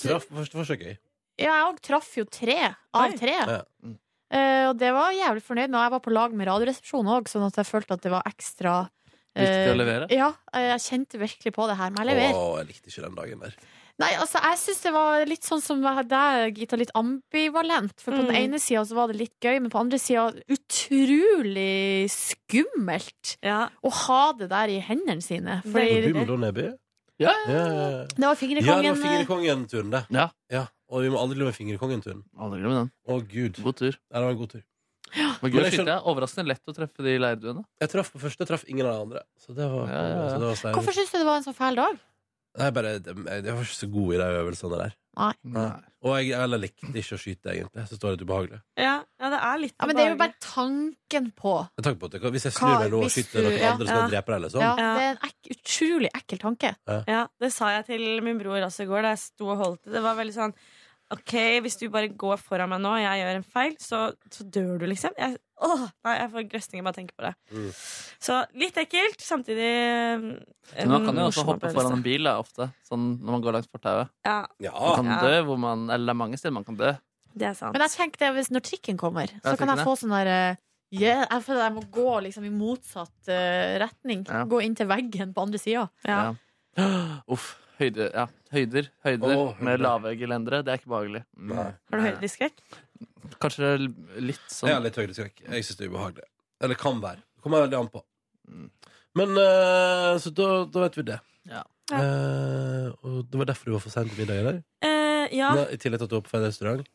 Traff på første forsøk, jeg.
Ja, jeg òg traff jo tre av tre.
Ja. Mm.
Eh, og det var jeg jævlig fornøyd med. Og Jeg var på lag med Radioresepsjonen òg, sånn at jeg følte at det var ekstra eh,
Viktig å levere?
Ja, eh, jeg kjente virkelig på det her med å levere.
Å, jeg likte ikke den dagen der.
Nei, altså, jeg syns det var litt sånn som deg, Gita, litt ambivalent. For på den ene sida så var det litt gøy, men på andre sida utrolig skummelt å ha det der i hendene sine.
Var du
Fordi
med da, Neby?
Ja,
ja, ja.
det var
Ja, det var
Fingerkongen.
eh?
Fingerkongen-turen, det.
Ja.
Og vi må aldri glemme Fingerkongen-turen.
Aldri glemme den.
Å, Gud.
God tur.
Ja, det var en god tur.
Men
Men
gud,
jeg
shit,
skjønner-
det er overraskende lett å treffe de leirduene.
Jeg traff på første, jeg traff ingen av de andre. Så det var,
Ja, ja, ja.
Så det var stein.
eh, Hvorfor syns du det var en så fæl dag?
Nei, bare, jeg jeg var ikke så god i de øvelsene der.
Nei.
Og jeg, jeg likte ikke å skyte, egentlig. Jeg synes det var litt ubehagelig.
Ja, ja det er litt
Ja, men det er jo bare tanken på
Men takk på at jeg, hvis jeg
Hva-
snur meg nå og
hvis
skyter
du-
noen
ja.
andre, så kan jeg
Ja.
drepe deg, liksom.
Ja, det er en ek utrolig ekkel tanke.
Ja, det sa jeg til min bror også i går da jeg sto og holdt det. Det var veldig sånn OK, hvis du bare går foran meg nå, og jeg gjør en feil, så, så dør du, liksom. Jeg, åh, nei, jeg får grøsninger bare av å tenke på det. Så litt ekkelt, samtidig
Men man kan jo også hoppe foran en bil da, ofte, sånn når man går langs fortauet.
Ja.
Man kan
Ja.
dø hvor man Eller det er mange steder man kan dø.
Det er sant.
Men jeg tenker det, hvis når trikken kommer, så
Jeg
kan
tenker
jeg
det.
få sånn der eh, yeah, Jeg føler jeg må gå liksom i motsatt eh, retning.
Ja.
Gå inn til veggen på andre sida.
Ja. Uff. Høyde, ja. Høyder. Høyder
Å, høyder.
med lave gelendere. Det er ikke behagelig. Mm.
Har du høydeskrekk?
Kanskje litt sånn
Jeg har litt høydeskrekk. Jeg syns det er ubehagelig. Eller kan være. Det kommer veldig an på.
Mm.
Men eh, Så da, da vet vi det. Eh, og det var derfor du var for sent til middag i dag?
Eh, ja.
Nei, I tillegg til at du var på feil restaurant?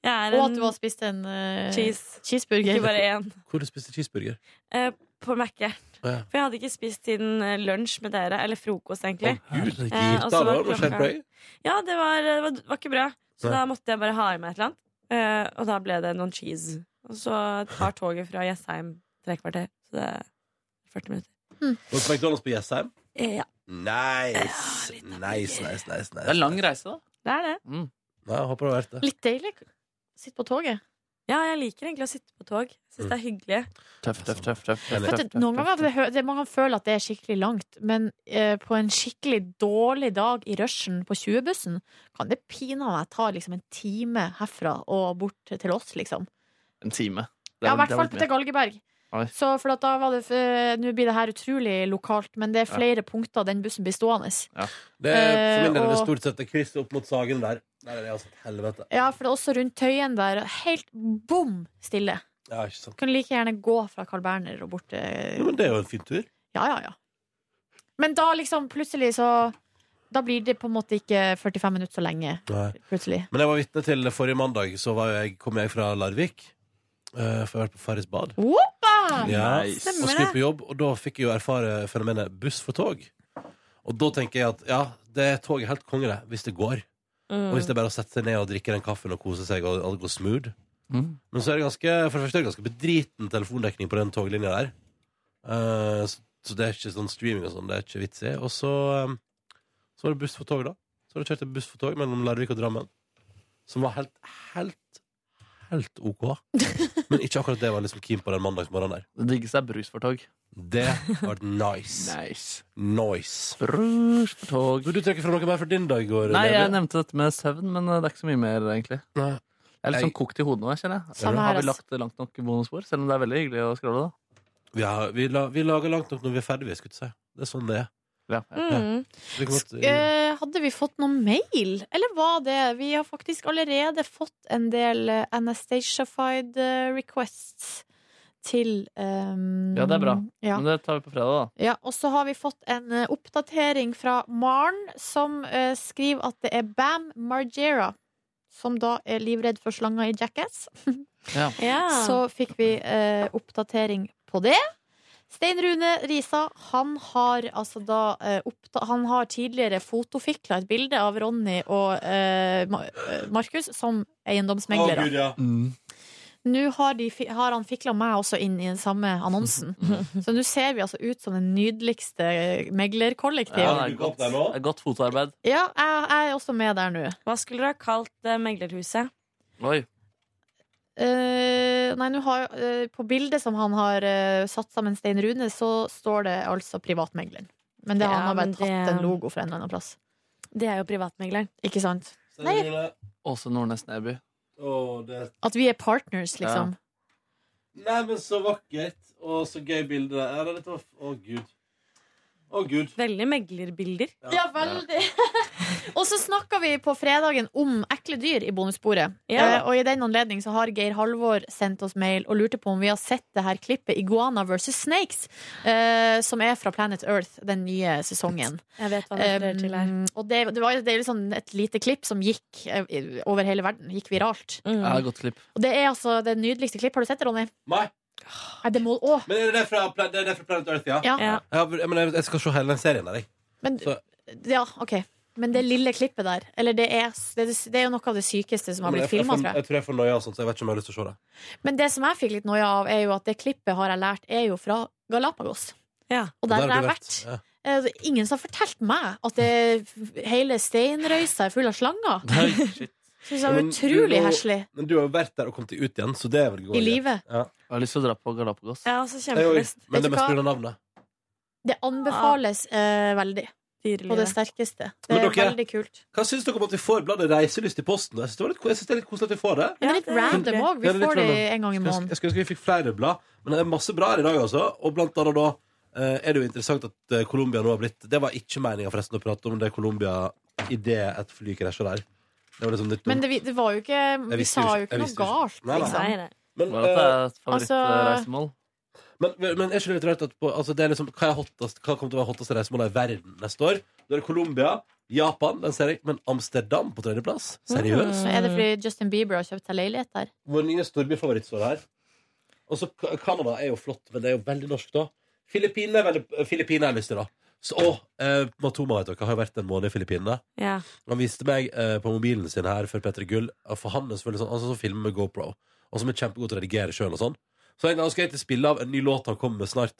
Jeg er
Og
en-
at du har spist en eh,
Cheese.
cheeseburger.
Ikke bare én.
Hvor du spiste cheeseburger?
Eh, på Mækkern.
Å, ja.
For jeg hadde ikke spist siden eh, lunsj med dere, eller frokost, egentlig.
Å, Gud, det gikk
Eh, og
da,
så
da. Hva skjedde på deg?
Ja, det var, det var, var ikke bra. Så
Nei.
da måtte jeg bare ha i meg et eller annet. Eh, og da ble det noen cheese. Og så tar toget fra Jessheim tre kvarter. Så det er 40 minutter.
Var du på McDonald's på Jessheim?
Eh, ja.
Nice. nice, nice, nice, nice.
Det er lang reise, da.
Det er det.
Nei, jeg håper det har vært det.
Litt deilig. Sitt på toget.
Ja, jeg liker egentlig å sitte på tog. Jeg syns det er hyggelig.
Tøff,
Sånn.
tøff, tøff. tøff, tøff,
Vet
tøff,
du, noen
tøff,
ganger det, hø- det, Man kan føle at det er skikkelig langt, men eh, på en skikkelig dårlig dag i rushen på 20-bussen kan det pinadø meg ta liksom en time herfra og bort til oss, liksom.
En time. Det er
Ja, i
vel-
hvert fall
det er
til
vel mye.
Galgeberg.
Oi.
Så for at da var det eh, Nå blir det her utrolig lokalt, men det er flere punkter den bussen blir stående.
Det er, for min del er det
Eh, og-
stort sett det krysset opp mot Sagen der. Der er det altså et helvete.
Ja, for det er også rundt Tøyen der. Helt bom stille.
Ja, ikke sant.
Kunne like gjerne gå fra Carl Berner og bort til
Jo, men det er jo en fin tur.
Ja, ja, ja. Men da liksom plutselig så Da blir det på en måte ikke 45 minutter så lenge.
Nei.
Plutselig.
Men jeg var vitne til forrige mandag, så var jeg, kom jeg fra Larvik. eh, for jeg har vært på Farris bad.
Woppa!
Ja,
Stemmer
og skulle
det.
på jobb, og da fikk jeg jo erfare fenomenet buss for tog. Og da tenker jeg at ja, det toget er helt konge, det, hvis det går.
Mm.
Og hvis det er bare å sette seg ned og drikke den kaffen og kose seg, og alt går smooth.
Mm.
Men så er det ganske, for det første er det ganske bedriten telefondekning på den toglinja der. Eh, så, så det er ikke sånn streaming og sånn, det er ikke vits i. Og så, eh, så var det buss for tog, da. Så har du kjørt en buss for tog mellom Larvik og Drammen. Som var helt, helt, helt OK. Men ikke akkurat det jeg var liksom keen på den mandagsmorgenen der.
Det diggeste er brus for tog.
Det har vært nice.
Nice.
Nice.
Brus for tog.
Vil du trekke fra noe mer for din dag i går?
Nei, jeg
Levi?
nevnte dette med søvn, men eh, det er ikke så mye mer, egentlig.
Nei.
Jeg er litt
Jeg-
sånn kokt i hodet nå, jeg kjenner jeg.
Samme her, altså.
Har vi
ass.
lagt langt nok bonusspor? Selv om det er veldig hyggelig å scrolle, da.
vi, har, vi, la, vi lager langt nok når vi er ferdige, skulle jeg si. Det er sånn det er.
Mm.
Det kan godt-
Eh, hadde vi fått noen mail, eller var det Vi har faktisk allerede fått en del eh, Anastacia-fied eh, requests til ehm,
Ja, det er bra.
Ja.
Men det tar vi på fredag, da.
Ja, og så har vi fått en eh, oppdatering fra Maren, som eh, skriver at det er Bam Margera, som da er livredd for slanger i Jackass.
Ja.
Så fikk vi eh, oppdatering på det. Stein Rune Risa han har, altså da, eh, oppda han har tidligere fotofikla et bilde av Ronny og eh, Ma eh, Markus som eiendomsmeglere.
Mm.
Nå har, de, fi- har han fikla meg også inn i den samme annonsen. Så nå ser vi altså ut som det nydeligste eh,
Ja, det
meglerkollektivet.
er godt, det er godt fotarbeid.
Ja, jeg, jeg er også med der nå.
Hva skulle du ha kalt eh, meglerhuset?
Oi.
Eh, nei, nå har eh, På bildet som han har eh, satt sammen Stein Rune, så står det altså privatmegleren. Men det,
Ja,
han har bare
men det-
tatt en logo fra en eller annen plass.
Det er jo privatmegleren.
Ikke sant?
Stein Rune.
Åse Nordnes Neby.
Å, det er-
At vi er partners, liksom.
Nei, men så vakkert, og så gøy bilde. Ja, det er litt off. Å, gud.
Veldig meglerbilder.
Ja, veldig. og så snakka vi på fredagen om ekle dyr i bonussporet.
Ja.
Eh, og i den anledning så har Geir Halvor sendt oss mail og lurte på om vi har sett det her klippet Iguana versus Snakes, eh, som er fra Planet Earth, den nye sesongen.
Jeg vet hva det refererer til her.
Um, og det, det, var, det er liksom et lite klipp som gikk eh, i- over hele verden. Gikk viralt.
Ja, godt klipp.
Og det er altså det nydeligste klipp. Har du sett det, Ronny?
Nei.
Nei, det må, å,
Men er det fra, Pla- det er fra Planet Earth, ja?
Ja. Ja.
men jeg, jeg skal se hele den serien der, jeg.
Men-
Så,
ja, OK. Men det lille klippet der, eller det er, det, det er jo noe av det sykeste som har
men
blitt
jeg, jeg,
filma,
får-
tror jeg.
jeg tror jeg får noia og sånt, så jeg vet ikke om jeg har lyst til å se det.
Men det som jeg fikk litt noia av, er jo at det klippet har jeg lært, er jo fra Galapagos. Og der har jeg vært.
Ja.
Eh, det er Ingen som har fortalt meg at det, hele steinrøysa er full av slanger. Syns jeg
Ja,
var
men du
utrolig
må-
heslig.
Men du har jo vært der og kommet deg ut igjen, så det er vel godt.
I livet.
Ja.
Jeg har lyst til å dra på Galapagos.
Jeg har også
Jeg òg,
kjempelyst.
men det er
Vet du
mest
hva?
pga. navnet.
Det anbefales eh, veldig. På det sterkeste. Det
Men
er
dere-
veldig kult.
Hva syns dere om at vi får bladet Reiselyst i posten? Jeg syns det, var litt- jeg synes det er litt koselig at vi får det.
Men det er litt random òg.
Ja,
Vi
det er litt
får det
random.
en gang i
Skulle ønske-
måneden.
Jeg skulle ønske vi fikk flere blad, men det er masse bra her i dag, altså. Og blant annet da eh, er det jo interessant at eh, Colombia nå har blitt Det var ikke meninga forresten å prate om det Colombia idet et fly krasja der. Det var liksom litt dumt.
Men det, vi- det var jo ikke
Jeg
Vi sa
visste jo
jo
ikke-
ikke
jeg
noe
visste jo
galt,
ikke. Nei, nei. Nei,
liksom.
nei. Men,
Hva er dette
eh,
Altså-
favorittreisemål?
Men, men er ikke det litt rart at på, altså det er liksom, hva, er hottest, hva kommer til å være hotteste reisemålet i verden neste år? Da er det Colombia, Japan, den ser jeg, men Amsterdam på tredjeplass? Seriøst?
Så er det fordi Justin Bieber har kjøpt seg leilighet der.
Vår nye storbyfavoritt står her. Og så Ka- Canada er jo flott, men det er jo veldig norsk, da. Filippinene er veldig Filippinene har jeg lyst til, da. Så, og eh, Matoma vet dere, har jo vært en måned i Filippinene.
Ja.
Han viste meg eh, på mobilen sin her før Petter Gull at For han er selvfølgelig sånn, han som filmer med GoPro, og som er kjempegod til å redigere sjøl og sånn. Så en gang skal jeg til spille av en ny låt han kommer med snart,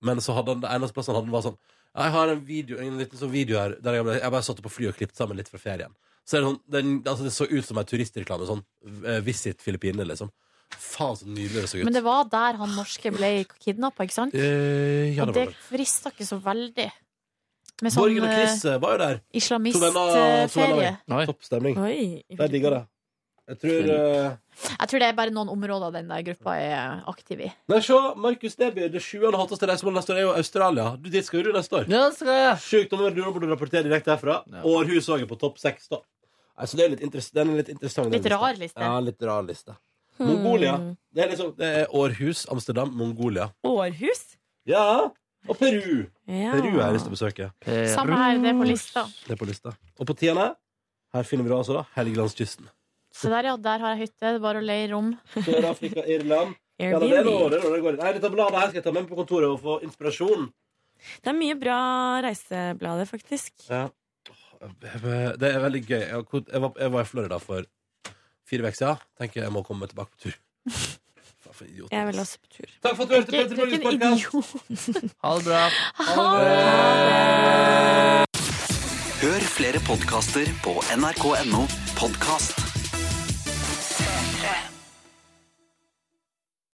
men så hadde han det eneste plassen han hadde, var sånn Jeg har en video, en liten sånn video her der jeg, ble, jeg bare satt opp på flyet og klippet sammen litt fra ferien. Så er det sånn, den, altså det så ut som en turistreklame. Sånn eh, Visit Filippinene, liksom. Faen, så nydelig det så ut.
Men det var der han norske ble kidnappa, ikke sant?
Eh, ja,
og
det var
det
det.
frista ikke så veldig. Med
Borgen
sånn
og Chris eh, var jo der. To venner- to venner av
islamistferie.
meg. Topp stemning. Jeg digger det. Jeg tror eh,
Jeg tror det er bare noen områder den der gruppa er aktiv i.
Nei, se, Markus Neby, det sjuende hotteste reisemålet neste år er jo Australia. Du, dit skal jo du neste år.
Ja, det skal jeg.
Sjukt område, du burde rapportere direkte herfra. Århus òg er på topp seks, da. Altså, det er litt interess- den er litt interessant. den
Litt
lista.
rar liste.
Ja, litt rar liste. Mongolia. Det er liksom det er Århus, Amsterdam, Mongolia.
Århus?
Ja. Og Peru.
Ja.
Peru har jeg lyst til å besøke.
Samme her, det er på lista.
Det er på lista. Og på tiende, her finner vi da altså da Helgelandskysten.
Så der, ja, der har jeg hytte. Det er bare å leie rom.
Sør-Afrika, Irland. Ja, det er
Airbnb.
nå, det er nå det går. Nei, dette bladet her skal jeg ta med meg på kontoret og få inspirasjon.
Det er mye bra reiseblader, faktisk.
Ja. Det er veldig gøy. Jeg var- Jeg var, jeg var i Florida for fire uker siden. Tenker jeg må komme tilbake på tur. Faen, for idiot.
Jeg vil også på tur.
Takk for at du hørte Petter Morgens podcast.
Ha det bra.
Hør flere podkaster på nrk.no podkast.